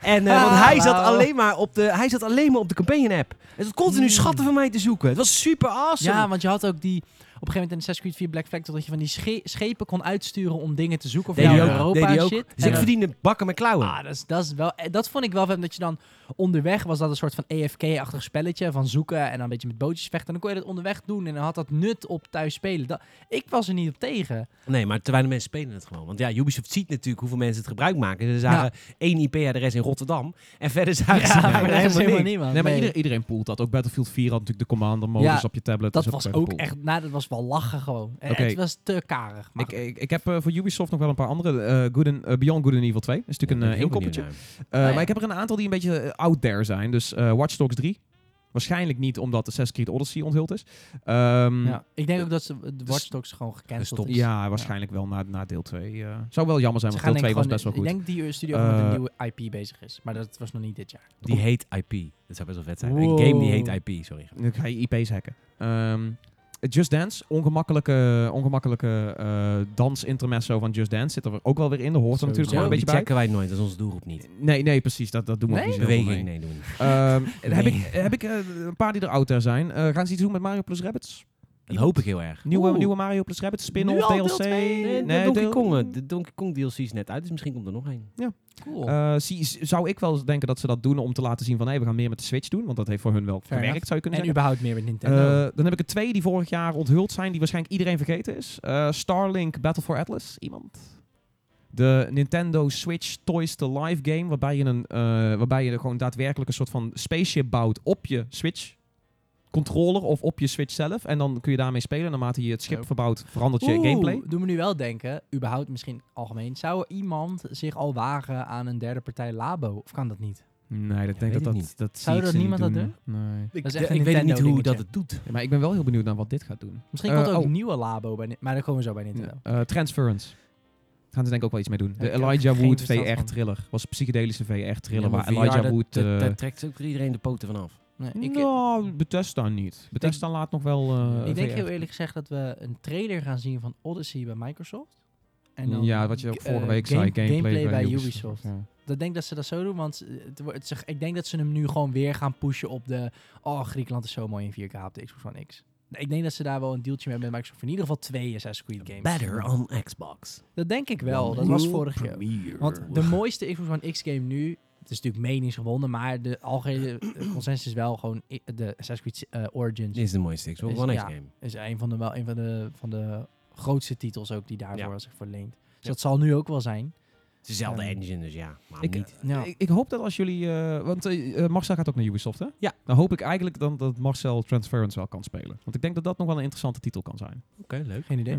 Speaker 1: En, eh, want
Speaker 3: Ah,
Speaker 1: hij zat,
Speaker 3: wauw.
Speaker 1: alleen maar op de, hij zat alleen maar op de Companion app. Hij zat continu
Speaker 3: Mm.
Speaker 1: schatten van mij te zoeken. Het was super awesome.
Speaker 3: Ja, want je had ook die... Op een gegeven moment in Assassin's Creed 4 Black Flag... dat je van die sche- schepen kon uitsturen om dingen te zoeken voor
Speaker 1: deed
Speaker 3: jou
Speaker 1: hij
Speaker 3: in
Speaker 1: ook. deed
Speaker 3: Europa
Speaker 1: hij ook.
Speaker 3: shit.
Speaker 1: Dus
Speaker 3: En
Speaker 1: ik
Speaker 3: dan-
Speaker 1: verdiende bakken met klauwen.
Speaker 3: Ah, dat, is, dat, is wel, eh, dat vond ik wel vet. Dat je dan onderweg was dat een soort van EFK-achtig spelletje. Van zoeken en dan een beetje met bootjes vechten. En dan kon je dat onderweg doen. En dan had dat nut op thuis spelen. Dat, ik was er niet op tegen.
Speaker 1: Nee, maar te weinig mensen spelen het gewoon. Want ja, Ubisoft ziet natuurlijk hoeveel mensen het gebruik maken. Ze zagen één IP-adres in Rotterdam. En verder zagen ze
Speaker 3: maar
Speaker 1: bijna
Speaker 3: dat is
Speaker 1: helemaal niks.
Speaker 3: helemaal niemand.
Speaker 2: Nee, maar
Speaker 3: Nee.
Speaker 2: ieder- iedereen poelt dat. Ook Battlefield 4 had natuurlijk de commander-modus
Speaker 3: Ja,
Speaker 2: op je tablet.
Speaker 3: Dat
Speaker 2: dus
Speaker 3: was
Speaker 2: werd
Speaker 3: ook
Speaker 2: gepoeld.
Speaker 3: echt, nou, dat was wel lachen gewoon. En
Speaker 2: Oké.
Speaker 3: Het was te karig. Maar
Speaker 2: Ik, ik, ik heb eh, voor Ubisoft nog wel een paar andere. eh, Good and, eh, Beyond Good and Evil 2. Dat is natuurlijk een
Speaker 1: heel
Speaker 2: één koppertje. Eh,
Speaker 3: Nou ja.
Speaker 2: Maar ik heb er een aantal die een beetje eh, out there zijn. Dus eh, Watch Dogs 3. Waarschijnlijk niet omdat Assassin's Creed Odyssey onthuld is. Ehm, dus
Speaker 3: ja. ik denk ook dat ze de Watch Dogs gewoon gecanceld
Speaker 1: Gestopt.
Speaker 3: is.
Speaker 2: Ja, waarschijnlijk wel na, na deel 2. eh. zou wel jammer zijn,
Speaker 3: Ze
Speaker 2: want
Speaker 3: gaan
Speaker 2: deel
Speaker 3: denk
Speaker 2: 2
Speaker 3: ik
Speaker 2: was
Speaker 3: gewoon,
Speaker 2: best wel goed.
Speaker 3: ik denk die eh, studio gewoon
Speaker 2: Eh,
Speaker 3: met een nieuwe IP bezig is. Maar dat was nog niet dit jaar.
Speaker 1: Die heet IP. Dat zou best wel vet zijn.
Speaker 3: Wow.
Speaker 1: Een game die heet IP, sorry.
Speaker 2: Dan ga je IP's hacken. Ehm, Just Dance, ongemakkelijke, ongemakkelijke eh dansintermezzo van Just Dance zit er ook wel weer in. Dat hoort er natuurlijk
Speaker 3: Sowieso.
Speaker 2: gewoon een
Speaker 1: die
Speaker 2: beetje bij.
Speaker 1: checken wij nooit. Dat is onze doelgroep niet.
Speaker 2: Nee, nee, precies. Dat, dat doen we ook
Speaker 3: Nee?
Speaker 2: niet zo heel veel
Speaker 1: Beweging,
Speaker 2: mee.
Speaker 1: nee, doen we niet.
Speaker 2: Ehm, Heb
Speaker 1: Nee.
Speaker 2: ik, heb ik eh, een paar die er out there zijn. Eh, gaan ze iets doen met Mario plus Rabbits?
Speaker 1: Dat hoop ik heel erg.
Speaker 2: Nieuwe,
Speaker 3: Oeh.
Speaker 2: nieuwe Mario plus Rabbits,
Speaker 3: Nu
Speaker 2: spin-off,
Speaker 3: al deel
Speaker 2: DLC?
Speaker 3: twee?
Speaker 1: Nee, de Donkey
Speaker 2: deel-
Speaker 1: Kong, eh, de Donkey Kong DLC is net uit, dus misschien komt er nog een.
Speaker 3: Cool.
Speaker 2: Eh, zie- z- zou ik wel eens denken dat ze dat doen om te laten zien van... hé, we gaan meer met de Switch doen, want dat heeft voor hun wel
Speaker 3: Fair
Speaker 2: gewerkt, zou je kunnen
Speaker 3: en
Speaker 2: zeggen.
Speaker 3: überhaupt meer met Nintendo.
Speaker 2: Eh, dan heb ik er twee die vorig jaar onthuld zijn, die waarschijnlijk iedereen vergeten is. Eh, Starlink Battle for Atlas, iemand? De Nintendo Switch Toys to Life game, waarbij je, een, eh, waarbij je gewoon daadwerkelijk een soort van spaceship bouwt op je Switch controller of op je Switch zelf. En dan kun je daarmee spelen. Naarmate je het schip
Speaker 3: Zo.
Speaker 2: verbouwt, verandert je
Speaker 3: Oeh,
Speaker 2: gameplay.
Speaker 3: Doe me nu wel denken, überhaupt misschien algemeen. Zou iemand zich al wagen aan een derde partij Labo? Of kan dat niet?
Speaker 2: Nee, dat
Speaker 1: Ja,
Speaker 2: denk ik
Speaker 1: weet
Speaker 2: dat
Speaker 1: ik
Speaker 2: dat,
Speaker 1: niet.
Speaker 2: dat zie
Speaker 3: Zou
Speaker 2: ik
Speaker 3: dat
Speaker 2: ze niet
Speaker 3: niemand dat
Speaker 2: Nee.
Speaker 1: Ik,
Speaker 3: is echt een
Speaker 1: ik weet niet
Speaker 3: Nintendo
Speaker 1: hoe dat
Speaker 3: dingetje.
Speaker 1: het doet.
Speaker 2: Ja, maar ik ben wel heel benieuwd naar wat dit gaat doen.
Speaker 3: Misschien
Speaker 2: Eh,
Speaker 3: komt er ook
Speaker 2: oh.
Speaker 3: nieuwe Labo bij Ni- Maar daar komen we zo bij Nintendo.
Speaker 2: Eh, transference. Gaan ze denk ik ook wel iets mee doen. De
Speaker 3: Ik heb
Speaker 2: Elijah
Speaker 3: geen
Speaker 2: Wood
Speaker 3: verstand van.
Speaker 2: VR-thriller. Was een psychedelische VR-thriller
Speaker 1: Ja, maar
Speaker 2: waar
Speaker 1: VR,
Speaker 2: Elijah
Speaker 1: dat-
Speaker 2: Wood...
Speaker 1: dat-
Speaker 2: eh,
Speaker 1: Daar trekt ook iedereen de poten vanaf.
Speaker 3: Nee, ik,
Speaker 2: nou, Bethesda niet. Bethesda laat nog wel eh,
Speaker 3: ik denk
Speaker 2: VR.
Speaker 3: heel eerlijk gezegd dat we een trailer gaan zien van Odyssey bij Microsoft. En
Speaker 2: Ja, wat je ook
Speaker 3: eh,
Speaker 2: vorige week zei.
Speaker 3: game-
Speaker 2: Gameplay,
Speaker 3: bij Ubisoft.
Speaker 2: ja.
Speaker 3: Dat denk dat ze dat zo doen, want eh, het wordt- het zeg- ik denk dat ze hem nu gewoon weer gaan pushen op de... Oh, Griekenland is zo mooi in 4K op de Xbox One X. Ik denk dat ze daar wel een deeltje mee hebben met Microsoft. In ieder geval twee Assassin's Creed games.
Speaker 1: Better on Xbox.
Speaker 3: Dat denk ik wel. Dat was vorig jaar. Want de mooiste Xbox One X-game nu... Het is natuurlijk meningsgebonden, maar de algehele eh, consensus is wel gewoon... i- De Assassin's Creed eh, Origins
Speaker 1: Dit is de mooiste Xbox
Speaker 3: Is-
Speaker 1: One X
Speaker 3: ja.
Speaker 1: game.
Speaker 3: is een van de, wel een van de, van de grootste titels ook die daarvoor
Speaker 1: Ja.
Speaker 3: zich verleent. Dus
Speaker 1: Ja.
Speaker 3: dat zal nu ook wel zijn.
Speaker 1: Het is dezelfde
Speaker 3: Ja.
Speaker 1: engine, dus ja. Maar
Speaker 2: Ik-
Speaker 1: niet.
Speaker 3: Ja.
Speaker 2: Ik, ik hoop dat als jullie... eh, want eh, eh, Marcel gaat ook naar Ubisoft, hè?
Speaker 1: Ja.
Speaker 2: Dan hoop ik eigenlijk dan dat Marcel Transference wel kan spelen. Want ik denk dat dat nog wel een interessante titel kan zijn.
Speaker 1: Oké, leuk.
Speaker 3: Geen idee.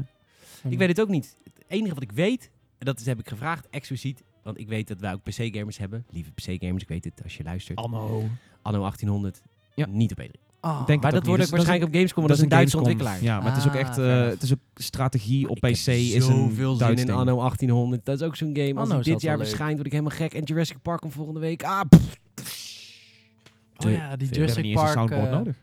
Speaker 2: Ja.
Speaker 1: Ik weet het ook niet. Het enige wat ik weet En dat is, heb ik gevraagd expliciet. Want ik weet dat wij ook PC-gamers hebben. Lieve PC-gamers, ik weet het als je luistert.
Speaker 3: Anno.
Speaker 1: Anno 1800.
Speaker 2: Ja.
Speaker 1: Niet op E3.
Speaker 3: Ah.
Speaker 2: Denk
Speaker 1: Maar
Speaker 2: het
Speaker 1: dat
Speaker 2: ook
Speaker 1: wordt
Speaker 2: niet.
Speaker 1: ook
Speaker 2: Dus
Speaker 1: waarschijnlijk op Gamescom. Dat is een Duitse
Speaker 2: Gamescom.
Speaker 1: ontwikkelaar.
Speaker 2: Ja, maar het is ook echt
Speaker 3: Ah,
Speaker 2: eh,
Speaker 3: fair.
Speaker 2: het is ook strategie op
Speaker 1: Ik heb
Speaker 2: PC. is een
Speaker 1: zoveel zin
Speaker 2: Duits
Speaker 1: in
Speaker 2: ding.
Speaker 1: Anno 1800. Dat is ook zo'n game. Als
Speaker 3: Anno
Speaker 1: die
Speaker 3: is
Speaker 1: dit
Speaker 3: altijd
Speaker 1: jaar
Speaker 3: wel leuk.
Speaker 1: verschijnt, word ik helemaal gek. En Jurassic Park komt volgende week. Ah, pff.
Speaker 3: Oh ja, die
Speaker 1: We
Speaker 2: We hebben
Speaker 3: Jurassic
Speaker 2: niet eens een
Speaker 3: Park.
Speaker 2: soundboard
Speaker 3: eh,
Speaker 2: nodig.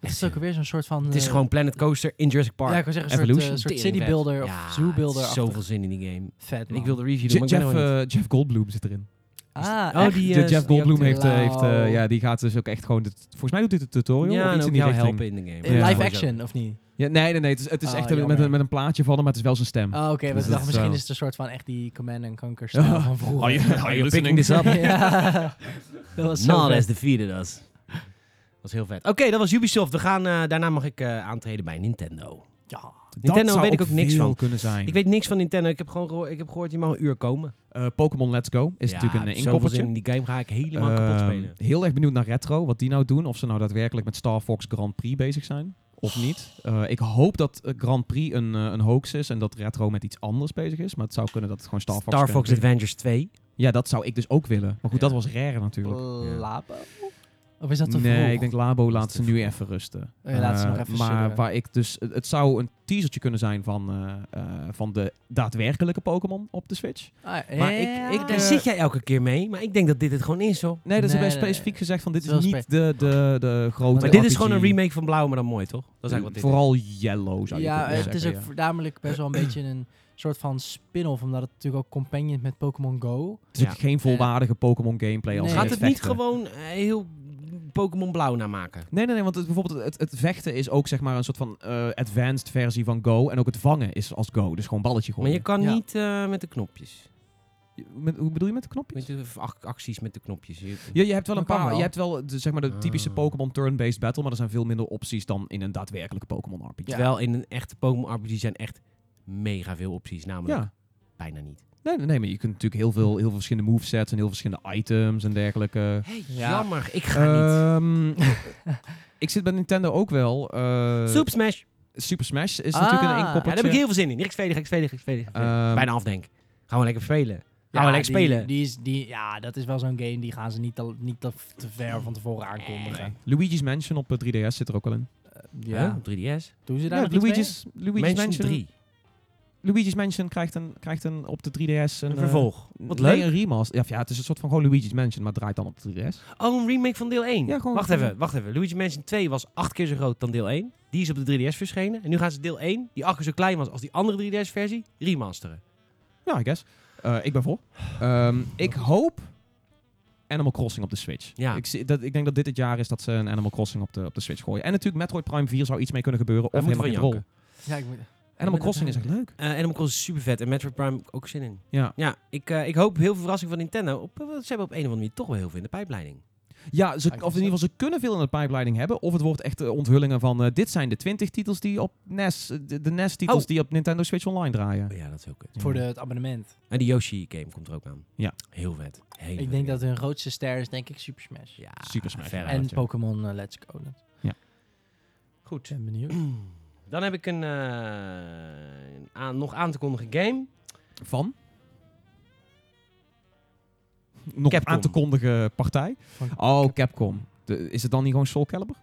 Speaker 3: Het is ook weer zo'n soort van...
Speaker 1: Het is
Speaker 3: eh,
Speaker 1: gewoon Planet Coaster in Jurassic Park.
Speaker 3: Ja, ik wil zeggen, een soort,
Speaker 2: Evolution.
Speaker 3: eh, soort
Speaker 1: Tering
Speaker 3: city builder
Speaker 1: vet.
Speaker 3: of
Speaker 1: Ja,
Speaker 3: zoo builder.
Speaker 1: Zoveel zin in die game.
Speaker 3: vet,
Speaker 1: En ik wil de review doen,
Speaker 2: Je-
Speaker 1: maar ik ben
Speaker 2: Jeff,
Speaker 1: er nog niet.
Speaker 2: eh, Jeff Goldblum zit erin.
Speaker 3: Ah,
Speaker 1: oh,
Speaker 3: echt?
Speaker 1: die,
Speaker 2: Je-
Speaker 1: eh,
Speaker 2: Jeff
Speaker 1: die
Speaker 2: Goldblum
Speaker 1: acteur.
Speaker 2: heeft, eh, heeft eh,
Speaker 3: Wauw.
Speaker 2: ja, die gaat dus ook echt gewoon. dit- volgens mij doet hij de tutorial
Speaker 1: Ja, nou,
Speaker 2: of
Speaker 1: en
Speaker 2: iets in
Speaker 1: ook
Speaker 2: die
Speaker 1: jou
Speaker 2: richting.
Speaker 1: helpen in de game.
Speaker 3: In
Speaker 2: Ja.
Speaker 3: live action, of niet?
Speaker 2: Ja, nee, nee, nee. Het is, het is
Speaker 3: Ah,
Speaker 2: echt een- met,
Speaker 3: jammer.
Speaker 2: een, met een plaatje van hem, maar het is wel zijn stem.
Speaker 1: Ah,
Speaker 3: Oh, oké. want
Speaker 2: Dus
Speaker 3: ik
Speaker 2: dat
Speaker 3: dacht,
Speaker 2: is
Speaker 3: misschien
Speaker 2: wel-
Speaker 3: is het een soort van echt die Command and Conquer stijl van vroeger.
Speaker 2: Oh, je- oh, je
Speaker 1: picking this up.
Speaker 3: ja. Dat was
Speaker 2: Nou,
Speaker 3: zo
Speaker 1: Nales
Speaker 3: vet.
Speaker 1: defeated us. Dat was heel vet. Oké, dat was Ubisoft. We gaan, eh, daarna mag ik eh, aantreden bij Nintendo.
Speaker 3: Ja.
Speaker 2: Dat
Speaker 1: Nintendo
Speaker 2: zou
Speaker 1: weet ik ook niks
Speaker 2: veel
Speaker 1: van.
Speaker 2: kunnen zijn.
Speaker 1: Ik weet niks van Nintendo. Ik heb gewoon gehoor- ik heb gehoord, je mag een uur komen.
Speaker 2: Eh, Pokémon Let's Go is
Speaker 1: Ja,
Speaker 2: natuurlijk een eh,
Speaker 1: zoveel
Speaker 2: inkoppertje.
Speaker 1: zin In die game ga ik helemaal
Speaker 2: Ehm,
Speaker 1: kapot spelen.
Speaker 2: heel erg benieuwd naar retro, wat die nou doen. Of ze nou daadwerkelijk met Star Fox Grand Prix bezig zijn. Of niet. Eh, ik hoop dat eh, Grand Prix een, eh, een hoax is en dat retro met iets anders bezig is. Maar het zou kunnen dat het gewoon Star Fox
Speaker 1: Star
Speaker 2: Grand
Speaker 1: Fox
Speaker 2: Prix-
Speaker 1: Adventures 2.
Speaker 2: Ja, dat zou ik dus ook willen. Maar goed,
Speaker 1: Ja.
Speaker 2: dat was rare natuurlijk.
Speaker 3: Labo? Of is Oh, dat te
Speaker 2: nee,
Speaker 3: vroeg?
Speaker 2: ik denk Labo laat
Speaker 1: te
Speaker 2: ze nu even rusten.
Speaker 3: Oh ja, laat ze
Speaker 2: Eh,
Speaker 3: nog even
Speaker 2: maar
Speaker 3: sudderen.
Speaker 2: waar ik dus, het, het zou een teasertje kunnen zijn van, eh, eh, van de daadwerkelijke Pokémon op de Switch.
Speaker 3: Ah,
Speaker 2: Maar
Speaker 3: ja.
Speaker 2: ik- ik
Speaker 1: Daar
Speaker 2: eh,
Speaker 1: zit jij elke keer mee, maar ik denk dat dit het gewoon is, hoor.
Speaker 2: Nee, dat is
Speaker 3: Nee,
Speaker 2: bij
Speaker 3: nee,
Speaker 2: specifiek
Speaker 3: nee.
Speaker 2: gezegd van dit is
Speaker 3: Wel spe-
Speaker 2: niet de, de, de grote
Speaker 1: Maar dit is gewoon
Speaker 2: RPG.
Speaker 1: een remake van Blauw, maar dan mooi, toch? Dat is eigenlijk wat dit
Speaker 2: Vooral yellow zou je
Speaker 3: ja,
Speaker 2: kunnen
Speaker 3: het is ook
Speaker 2: zeggen, ja.
Speaker 3: voornamelijk best wel een beetje een soort van spin-off. Omdat het natuurlijk ook companion is met Pokémon Go.
Speaker 2: Het is ook geen volwaardige Pokémon gameplay. Als
Speaker 3: Nee.
Speaker 1: is.
Speaker 2: in
Speaker 1: Gaat het niet
Speaker 2: vechten.
Speaker 1: gewoon eh, heel Pokémon Blauw namaken?
Speaker 2: Nee, nee, nee, want het, bijvoorbeeld het, het vechten is ook zeg maar een soort van eh, advanced versie van Go. En ook het vangen is als Go, dus gewoon balletje
Speaker 1: Maar
Speaker 2: gooien.
Speaker 1: je kan
Speaker 3: Ja.
Speaker 1: niet eh, met de knopjes.
Speaker 2: Met- hoe bedoel je met de knopjes?
Speaker 1: Met de ac- acties met de knopjes. Je-
Speaker 2: Ja, je hebt
Speaker 3: Dat
Speaker 2: wel een
Speaker 3: kan
Speaker 2: paar,
Speaker 3: wel.
Speaker 2: je hebt wel de, zeg maar de typische
Speaker 1: Ah.
Speaker 2: Pokémon turn-based battle, maar er zijn veel minder opties dan in een daadwerkelijke Pokémon RPG. Ja.
Speaker 1: Terwijl in een echte Pokémon RPG zijn echt mega veel opties. Namelijk bijna niet.
Speaker 2: Nee, nee, nee, maar je kunt natuurlijk heel veel, heel veel verschillende movesets en heel veel verschillende items en dergelijke.
Speaker 1: Hey,
Speaker 3: Ja.
Speaker 1: Jammer, ik ga niet.
Speaker 2: Ehm, ik zit bij Nintendo ook wel. eh,
Speaker 1: Soep Smash.
Speaker 2: Super Smash is
Speaker 3: Ah,
Speaker 2: natuurlijk
Speaker 3: ja,
Speaker 1: Ja,
Speaker 2: een
Speaker 1: daar
Speaker 2: inkoppertje.
Speaker 1: heb ik heel veel zin in. Riksvelig, Riksvelig, Riksvelig.
Speaker 2: Ehm,
Speaker 1: bijna afdenk. Gaan we lekker spelen. Gaan
Speaker 3: Ja,
Speaker 1: we lekker
Speaker 3: die-
Speaker 1: spelen.
Speaker 3: Die is, die, ja, dat is wel zo'n game. Die gaan ze niet te, niet te, te ver van tevoren aankondigen.
Speaker 2: Luigi's Mansion op eh, 3DS zit er ook wel in.
Speaker 1: Huh?
Speaker 3: Ja.
Speaker 1: Op 3DS.
Speaker 3: Doen ze daar
Speaker 2: Ja,
Speaker 3: nog iets mee?
Speaker 2: Luigi's, Luigi's,
Speaker 1: Mansion
Speaker 2: Mansion,
Speaker 1: 3.
Speaker 2: Luigi's Mansion krijgt, een, krijgt een, op de 3DS een...
Speaker 1: Een
Speaker 2: eh,
Speaker 1: vervolg. Wat
Speaker 2: nee,
Speaker 1: leuk.
Speaker 2: een remaster. Ja, of ja, het is een soort van gewoon Luigi's Mansion, maar draait dan op de 3DS.
Speaker 1: Oh, een remake van deel 1.
Speaker 2: Ja, gewoon-
Speaker 1: wacht even, wacht even. Luigi Mansion 2 was acht keer zo groot dan deel 1. Die is op de 3DS verschenen. En nu gaan ze deel 1, die acht keer zo klein was als die andere 3DS versie, remasteren.
Speaker 2: Ja, I guess. Eh, ik ben voor. Ehm, ik hoop Animal Crossing op de Switch.
Speaker 1: Ja.
Speaker 2: Ik, zie dat, ik denk dat dit het jaar is dat ze een Animal Crossing op de, op de Switch gooien. En natuurlijk Metroid Prime 4 zou iets mee kunnen gebeuren.
Speaker 1: Daar
Speaker 2: of
Speaker 1: moeten we
Speaker 2: helemaal
Speaker 1: van
Speaker 2: geen rol.
Speaker 1: janken.
Speaker 3: Ja, ik moet...
Speaker 2: Animal
Speaker 3: Daar
Speaker 2: Crossing is echt leuk.
Speaker 1: Eh Animal Crossing is super vet en Metroid Prime heb ik ook zin in.
Speaker 2: Ja.
Speaker 1: Ja, ik, eh, ik hoop heel veel verrassing van Nintendo. Op, eh, ze hebben op een of andere manier toch wel heel veel in de pijpleiding.
Speaker 2: Ja, ze,
Speaker 3: Ah, ik
Speaker 2: of in ieder geval, ze kunnen veel in de pijpleiding hebben. Of het wordt echt eh, onthullingen van... eh, dit zijn de 20 titels die op NES... eh, De, de NES-titels
Speaker 1: Oh.
Speaker 2: die op Nintendo Switch Online draaien.
Speaker 1: Oh ja, dat is ook kut.
Speaker 3: Voor de, het abonnement.
Speaker 1: En die Yoshi game komt er ook aan.
Speaker 2: Ja.
Speaker 1: Heel vet. Hele
Speaker 3: ik
Speaker 1: vette
Speaker 3: denk
Speaker 1: game.
Speaker 3: dat hun grootste ster is, denk ik, Super Smash.
Speaker 1: Ja,
Speaker 2: Super Smash.
Speaker 1: veruit,
Speaker 3: en
Speaker 2: ja.
Speaker 3: Pokémon eh, Let's Go. Dat- Ik
Speaker 1: Goed.
Speaker 3: ben benieuwd.
Speaker 2: Mm.
Speaker 1: Dan heb ik een, eh, een aan, nog aan te kondigen game.
Speaker 2: Van? Nog
Speaker 1: Capcom.
Speaker 2: aan te kondigen partij.
Speaker 3: Van
Speaker 2: Oh, Capcom. De- is het dan niet gewoon Soul Calibur?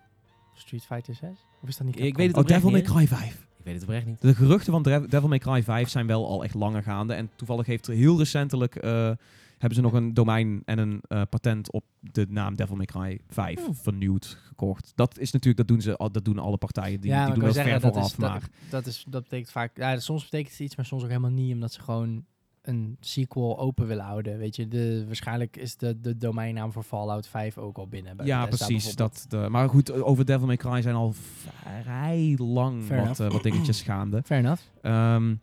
Speaker 3: Street Fighter 6? Of is dat niet
Speaker 1: Ik
Speaker 3: Capcom?
Speaker 1: weet het
Speaker 2: Oh, Devil May
Speaker 1: niet, hè?
Speaker 2: Cry 5.
Speaker 1: Ik weet het oprecht niet.
Speaker 2: De geruchten van Dre- Devil May Cry 5 zijn wel al echt langer gaande. En toevallig heeft er heel recentelijk... eh, hebben ze nog een domein en een eh, patent op de naam Devil May Cry 5
Speaker 3: Oh.
Speaker 2: vernieuwd gekocht. Dat is natuurlijk, dat doen ze, al- dat doen alle partijen. Die,
Speaker 3: ja,
Speaker 2: die
Speaker 3: maar
Speaker 2: doen
Speaker 3: ik
Speaker 2: dat
Speaker 3: wil
Speaker 2: ver
Speaker 3: zeggen, dat
Speaker 2: vooraf,
Speaker 3: is,
Speaker 2: maar...
Speaker 3: dat, dat is, dat betekent vaak... Ja, dus soms betekent het iets, maar soms ook helemaal niet. Omdat ze gewoon een sequel open willen houden. Weet je, de, waarschijnlijk is de, de domeinnaam voor Fallout 5 ook al binnen. bij
Speaker 2: Ja,
Speaker 3: Bethesda
Speaker 2: precies.
Speaker 3: bijvoorbeeld.
Speaker 2: Dat, eh, maar goed, eh, over Devil May Cry zijn al vrij lang
Speaker 3: Fair
Speaker 2: wat, eh, wat dingetjes gaande.
Speaker 3: Fair enough.
Speaker 2: Ehm,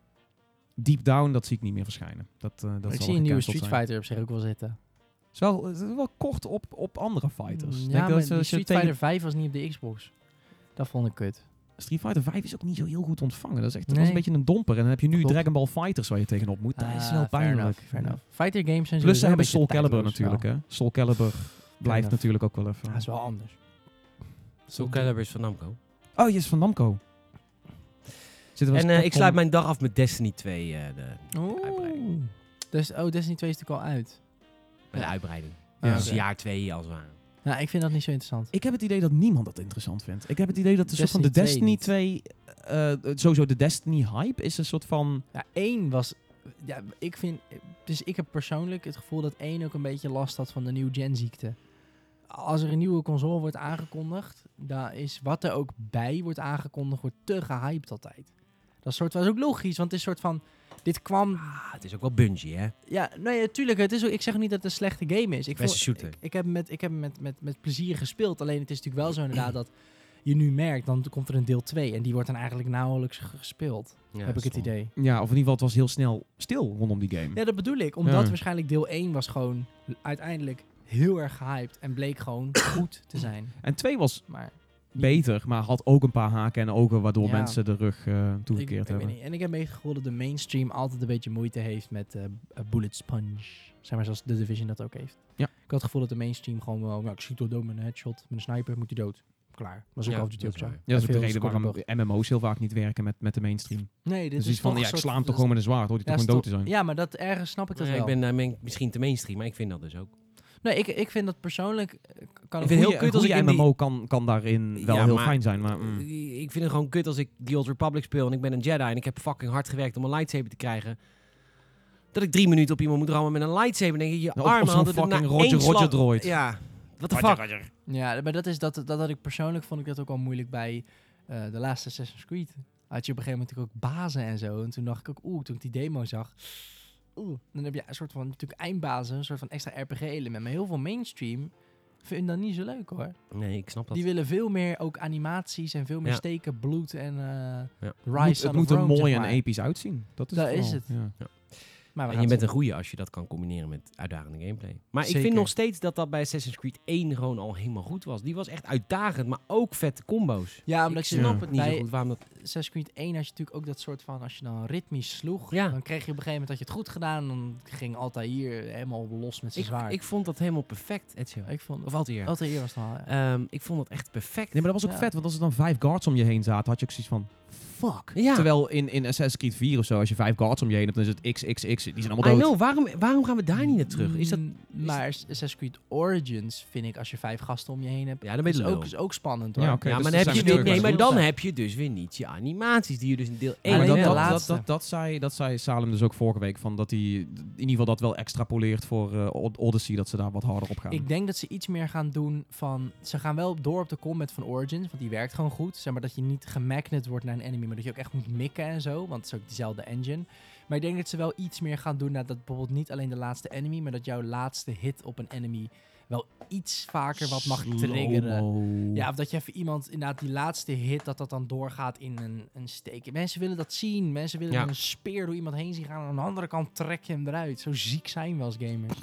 Speaker 2: deep Down, dat zie ik niet meer verschijnen. Dat, eh, dat
Speaker 3: ik
Speaker 2: zal
Speaker 3: zie
Speaker 2: wel
Speaker 3: een nieuwe
Speaker 2: gecanceld
Speaker 3: Street
Speaker 2: zijn.
Speaker 3: Fighter op zich ook wel zitten.
Speaker 2: Het is wel, het is wel kort op, op andere fighters.
Speaker 3: Mm,
Speaker 2: Ik
Speaker 3: Ja,
Speaker 2: denk
Speaker 3: maar
Speaker 2: dat,
Speaker 3: die
Speaker 2: eh, als je
Speaker 3: Street
Speaker 2: tegen-
Speaker 3: Fighter 5 was niet op de Xbox. Dat vond ik kut.
Speaker 2: Street Fighter 5 is ook niet zo heel goed ontvangen. Dat is echt dat
Speaker 3: Nee.
Speaker 2: was een beetje een domper. En dan heb je nu
Speaker 3: Klopt.
Speaker 2: Dragon Ball Fighters waar je tegenop moet. Dat
Speaker 3: Ah,
Speaker 2: is wel
Speaker 3: fair enough,
Speaker 2: pijnlijk.
Speaker 3: fair enough. Fighter games zijn sowieso
Speaker 2: Plus ze
Speaker 3: een
Speaker 2: hebben
Speaker 3: beetje
Speaker 2: Soul Calibur
Speaker 3: tijdloos
Speaker 2: natuurlijk.
Speaker 3: wel.
Speaker 2: Hè? Soul Calibur blijft
Speaker 3: enough.
Speaker 2: natuurlijk ook wel even.
Speaker 3: Ja, dat is wel anders.
Speaker 1: Soul Calibur is van Namco.
Speaker 2: Oh, je is van Namco. Zit er wel
Speaker 1: En eh,
Speaker 2: eens
Speaker 1: ik
Speaker 2: popcorn-
Speaker 1: sluit mijn dag af met Destiny 2, eh, de,
Speaker 3: Oeh.
Speaker 1: uitbreiding.
Speaker 3: Dus, oh, Destiny 2 is natuurlijk al uit.
Speaker 1: met de
Speaker 3: Ja.
Speaker 1: uitbreiding.
Speaker 2: Ja.
Speaker 1: Dus
Speaker 3: oké.
Speaker 1: jaar 2 als het ware.
Speaker 3: Nou, ik vind dat niet zo interessant.
Speaker 2: Ik heb het idee dat niemand dat interessant vindt. Ik heb het idee dat de soort van de
Speaker 3: Destiny
Speaker 2: Destiny 2... eh, eh, sowieso de Destiny hype is een soort van...
Speaker 3: Ja, één was... Ja, ik vind... Dus ik heb persoonlijk het gevoel dat één ook een beetje last had van de nieuw gen ziekte. Als er een nieuwe console wordt aangekondigd, dan is wat er ook bij wordt aangekondigd, wordt te gehyped altijd. Dat soort was ook logisch, want het is soort van... Dit kwam...
Speaker 1: Ah, het is ook wel Bungie, hè?
Speaker 3: Ja, nee, natuurlijk. Het is ook, ik zeg ook niet dat het een slechte game is. Ik
Speaker 1: Beste
Speaker 3: vond-
Speaker 1: shooter.
Speaker 3: Ik, ik heb hem met, ik heb hem met, met, met plezier gespeeld. Alleen het is natuurlijk wel zo inderdaad dat je nu merkt, dan komt er een deel 2. En die wordt dan eigenlijk nauwelijks ge- gespeeld,
Speaker 1: Ja,
Speaker 3: heb ik het
Speaker 1: stom.
Speaker 3: idee.
Speaker 2: Ja, of in ieder geval het was heel snel stil rondom die game.
Speaker 3: Ja, dat bedoel ik. Omdat
Speaker 2: Ja.
Speaker 3: waarschijnlijk deel 1 was gewoon uiteindelijk heel erg gehyped. En bleek gewoon goed te zijn.
Speaker 2: En 2 was
Speaker 3: Maar
Speaker 2: beter, maar had ook een paar haken en ogen waardoor
Speaker 3: Ja.
Speaker 2: mensen de rug eh,
Speaker 3: ik,
Speaker 2: toegekeerd
Speaker 3: ik weet
Speaker 2: hebben.
Speaker 3: niet. En ik heb meegevoeld dat de mainstream altijd een beetje moeite heeft met eh, b- eh, bullet sponge. Zeg maar zoals The Division dat ook heeft.
Speaker 2: Ja.
Speaker 3: Ik had het gevoel dat de mainstream gewoon wel... Nou, ik schiet door dood met een headshot. Met een sniper moet hij dood. Klaar. Was ook
Speaker 1: Ja,
Speaker 3: Call of Duty
Speaker 1: dat
Speaker 3: ook
Speaker 1: is
Speaker 3: zo.
Speaker 1: waar.
Speaker 2: Ja, dat is ook de
Speaker 3: Veel
Speaker 2: reden waarom
Speaker 3: scorebord.
Speaker 2: MMO's heel vaak niet werken met, met de mainstream.
Speaker 3: Nee, dit
Speaker 2: Dus
Speaker 3: is
Speaker 2: iets van,
Speaker 3: toch
Speaker 2: ja,
Speaker 3: een
Speaker 2: ik sla
Speaker 3: soort-
Speaker 2: hem toch gewoon met een zwaard, hoor die
Speaker 3: Ja,
Speaker 2: toch
Speaker 3: is
Speaker 2: gewoon dood te
Speaker 3: toch-
Speaker 2: zijn.
Speaker 3: Ja, maar dat ergens snap ik dat
Speaker 1: Nee,
Speaker 3: wel.
Speaker 1: ik ben daar men- misschien te mainstream, maar ik vind dat dus ook.
Speaker 3: Nee, ik, ik vind dat persoonlijk... eh, Kan
Speaker 1: Ik
Speaker 3: een
Speaker 1: vind het
Speaker 2: Goeie-
Speaker 1: heel kut als
Speaker 2: goeie
Speaker 1: ik in die-
Speaker 2: MMO kan, kan daarin wel
Speaker 1: Ja,
Speaker 2: heel
Speaker 1: maar-
Speaker 2: fijn zijn, maar... mm.
Speaker 1: Ik- Ik vind het gewoon kut als ik The Old Republic speel en ik ben een Jedi en ik heb fucking hard gewerkt om een lightsaber te krijgen. Dat ik drie minuten op iemand moet rammen met een lightsaber. Dan denk ik, je
Speaker 2: Ja, of- of
Speaker 1: armen
Speaker 2: zo'n
Speaker 1: hadden er
Speaker 2: fucking
Speaker 1: na
Speaker 2: Roger
Speaker 1: één slag-
Speaker 2: Roger droid.
Speaker 1: Ja, what the fuck.
Speaker 3: Ja, maar dat is dat, dat had ik persoonlijk vond ik dat ook al moeilijk bij eh, de laatste Assassin's Creed. Had je op een gegeven moment natuurlijk ook bazen en zo. En toen dacht ik ook, oeh, toen ik die demo zag. Oeh, dan heb je een soort van natuurlijk eindbazen, een soort van extra RPG-element. Maar heel veel mainstream vinden dat niet zo leuk hoor.
Speaker 1: Nee, ik snap dat.
Speaker 3: Die willen veel meer ook animaties en veel meer
Speaker 1: Ja.
Speaker 3: steken, bloed en eh
Speaker 2: Het
Speaker 3: Rise
Speaker 2: moet,
Speaker 3: Son
Speaker 2: het
Speaker 3: of
Speaker 2: moet er
Speaker 3: Rome, zeg
Speaker 2: mooi en
Speaker 3: maar.
Speaker 2: episch uitzien. Dat is
Speaker 3: Dat
Speaker 2: het.
Speaker 3: is
Speaker 2: vooral.
Speaker 3: het.
Speaker 2: Ja.
Speaker 3: Maar we
Speaker 1: En
Speaker 3: gaan
Speaker 1: je
Speaker 3: het
Speaker 1: bent
Speaker 3: zien.
Speaker 1: een goeie als je dat kan combineren met uitdagende gameplay. Maar ik
Speaker 3: Zeker.
Speaker 1: vind nog steeds dat dat bij Assassin's Creed 1 gewoon al helemaal goed was. Die was echt uitdagend, maar ook vette combo's.
Speaker 3: Ja,
Speaker 1: ik
Speaker 3: omdat je
Speaker 1: snap
Speaker 2: Ja.
Speaker 1: het niet zo
Speaker 3: bij-
Speaker 1: goed waarom dat...
Speaker 3: Assassin's Creed 1 had je natuurlijk ook dat soort van, als je dan ritmisch sloeg,
Speaker 1: Ja.
Speaker 3: dan kreeg je op een gegeven moment dat je het goed gedaan. Dan ging Altair helemaal los met zijn
Speaker 1: Ik,
Speaker 3: zwaard.
Speaker 1: ik vond dat helemaal perfect, Ezio.
Speaker 3: ik vond...
Speaker 1: Of Altair.
Speaker 3: Altair was het al, ja.
Speaker 1: Ehm, ik vond dat echt perfect.
Speaker 2: Nee, maar dat was ook
Speaker 3: Ja.
Speaker 2: vet, want als er dan vijf guards om je heen zaten, had je ook zoiets van... Fuck.
Speaker 1: Ja.
Speaker 2: Terwijl in, in Assassin's Creed 4 of zo, als je vijf guards om je heen hebt, dan is het XXX. Die zijn
Speaker 1: I
Speaker 2: allemaal dood.
Speaker 1: know, waarom, waarom gaan we daar niet naar terug? Is dat...
Speaker 3: Mm, maar Assassin's Creed Origins vind ik als je vijf gasten om je heen hebt.
Speaker 1: Ja, dan ben je
Speaker 3: is
Speaker 1: lul.
Speaker 3: ook, is ook spannend hoor.
Speaker 2: Ja, oké.
Speaker 1: ja,
Speaker 2: dus
Speaker 1: maar
Speaker 2: dat
Speaker 1: dan,
Speaker 2: zijn
Speaker 1: heb je dit,
Speaker 2: we terug.
Speaker 1: nee, maar
Speaker 3: Stilstaan.
Speaker 1: dan heb je dus weer niet je animaties die je dus in deel 1
Speaker 3: Ja,
Speaker 2: maar dat,
Speaker 3: de
Speaker 2: dat, dat,
Speaker 3: laatste.
Speaker 2: dat, dat, zei, dat zei Salem dus ook vorige week. Van dat hij in ieder geval dat wel extrapoleert voor eh, Od- Odyssey. Dat ze daar wat harder op gaan.
Speaker 3: Ik denk dat ze iets meer gaan doen van... Ze gaan wel door op de combat van Origins, want die werkt gewoon goed. Zeg maar dat je niet gemagnet wordt naar een enemy, maar dat je ook echt moet mikken en zo. Want het is ook dezelfde engine. Maar ik denk dat ze wel iets meer gaan doen naar dat bijvoorbeeld niet alleen de laatste enemy... maar dat jouw laatste hit op een enemy wel iets vaker wat mag triggeren.
Speaker 2: Slow-mo.
Speaker 3: Ja, of dat je even iemand, inderdaad, die laatste hit, dat dat dan doorgaat in een, een steek. Mensen willen dat zien. Mensen willen
Speaker 1: Ja.
Speaker 3: met een speer door iemand heen zien gaan. En aan de andere kant trek je hem eruit. Zo ziek zijn we als gamers.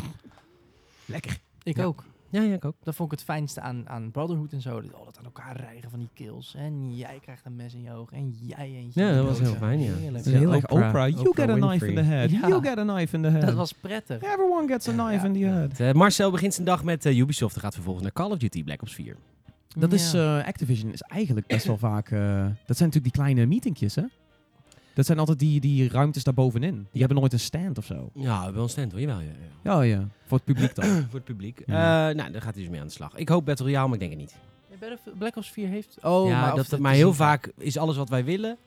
Speaker 2: Lekker.
Speaker 3: Ik
Speaker 1: Ja.
Speaker 3: ook.
Speaker 1: Ja, ja, ik ook.
Speaker 3: Dat vond ik het fijnste aan, aan Brotherhood en zo. Dat, oh, dat aan elkaar rijgen van die kills. En jij krijgt een mes in je oog. En jij eentje.
Speaker 1: Ja,
Speaker 3: in je
Speaker 1: dat was
Speaker 3: dood.
Speaker 1: heel fijn, ja.
Speaker 3: Heerlijk.
Speaker 1: Ja.
Speaker 2: Heel erg
Speaker 1: Oprah-
Speaker 2: Oprah. You
Speaker 1: Oprah
Speaker 2: get a knife in the
Speaker 1: Winfrey.
Speaker 2: head.
Speaker 3: Ja.
Speaker 2: You get a knife in the head.
Speaker 3: Dat was prettig.
Speaker 2: Everyone gets a knife
Speaker 3: Ja.
Speaker 2: in the head.
Speaker 1: Eh, Marcel begint zijn dag met eh, Ubisoft en gaat vervolgens naar Call of Duty Black Ops 4.
Speaker 2: Dat is,
Speaker 3: Ja.
Speaker 2: eh, Activision is eigenlijk best wel vaak... eh, dat zijn natuurlijk die kleine meetingjes, hè? Dat zijn altijd die, die ruimtes daarbovenin. Die hebben nooit een stand of zo.
Speaker 1: Ja, wel een stand hoor, jawel. Ja, ja.
Speaker 2: Ja, Oh, ja. Voor het publiek dan.
Speaker 1: Voor het publiek.
Speaker 2: Ja.
Speaker 1: Eh, nou, daar gaat hij dus mee aan de slag. Ik hoop Battle Royale, maar ik denk het niet.
Speaker 3: Ja, Battlefield- Black Ops 4 heeft... Oh,
Speaker 1: ja,
Speaker 3: maar, of
Speaker 1: dat,
Speaker 3: het
Speaker 1: maar
Speaker 3: te
Speaker 1: heel
Speaker 3: zien-
Speaker 1: vaak is alles wat wij willen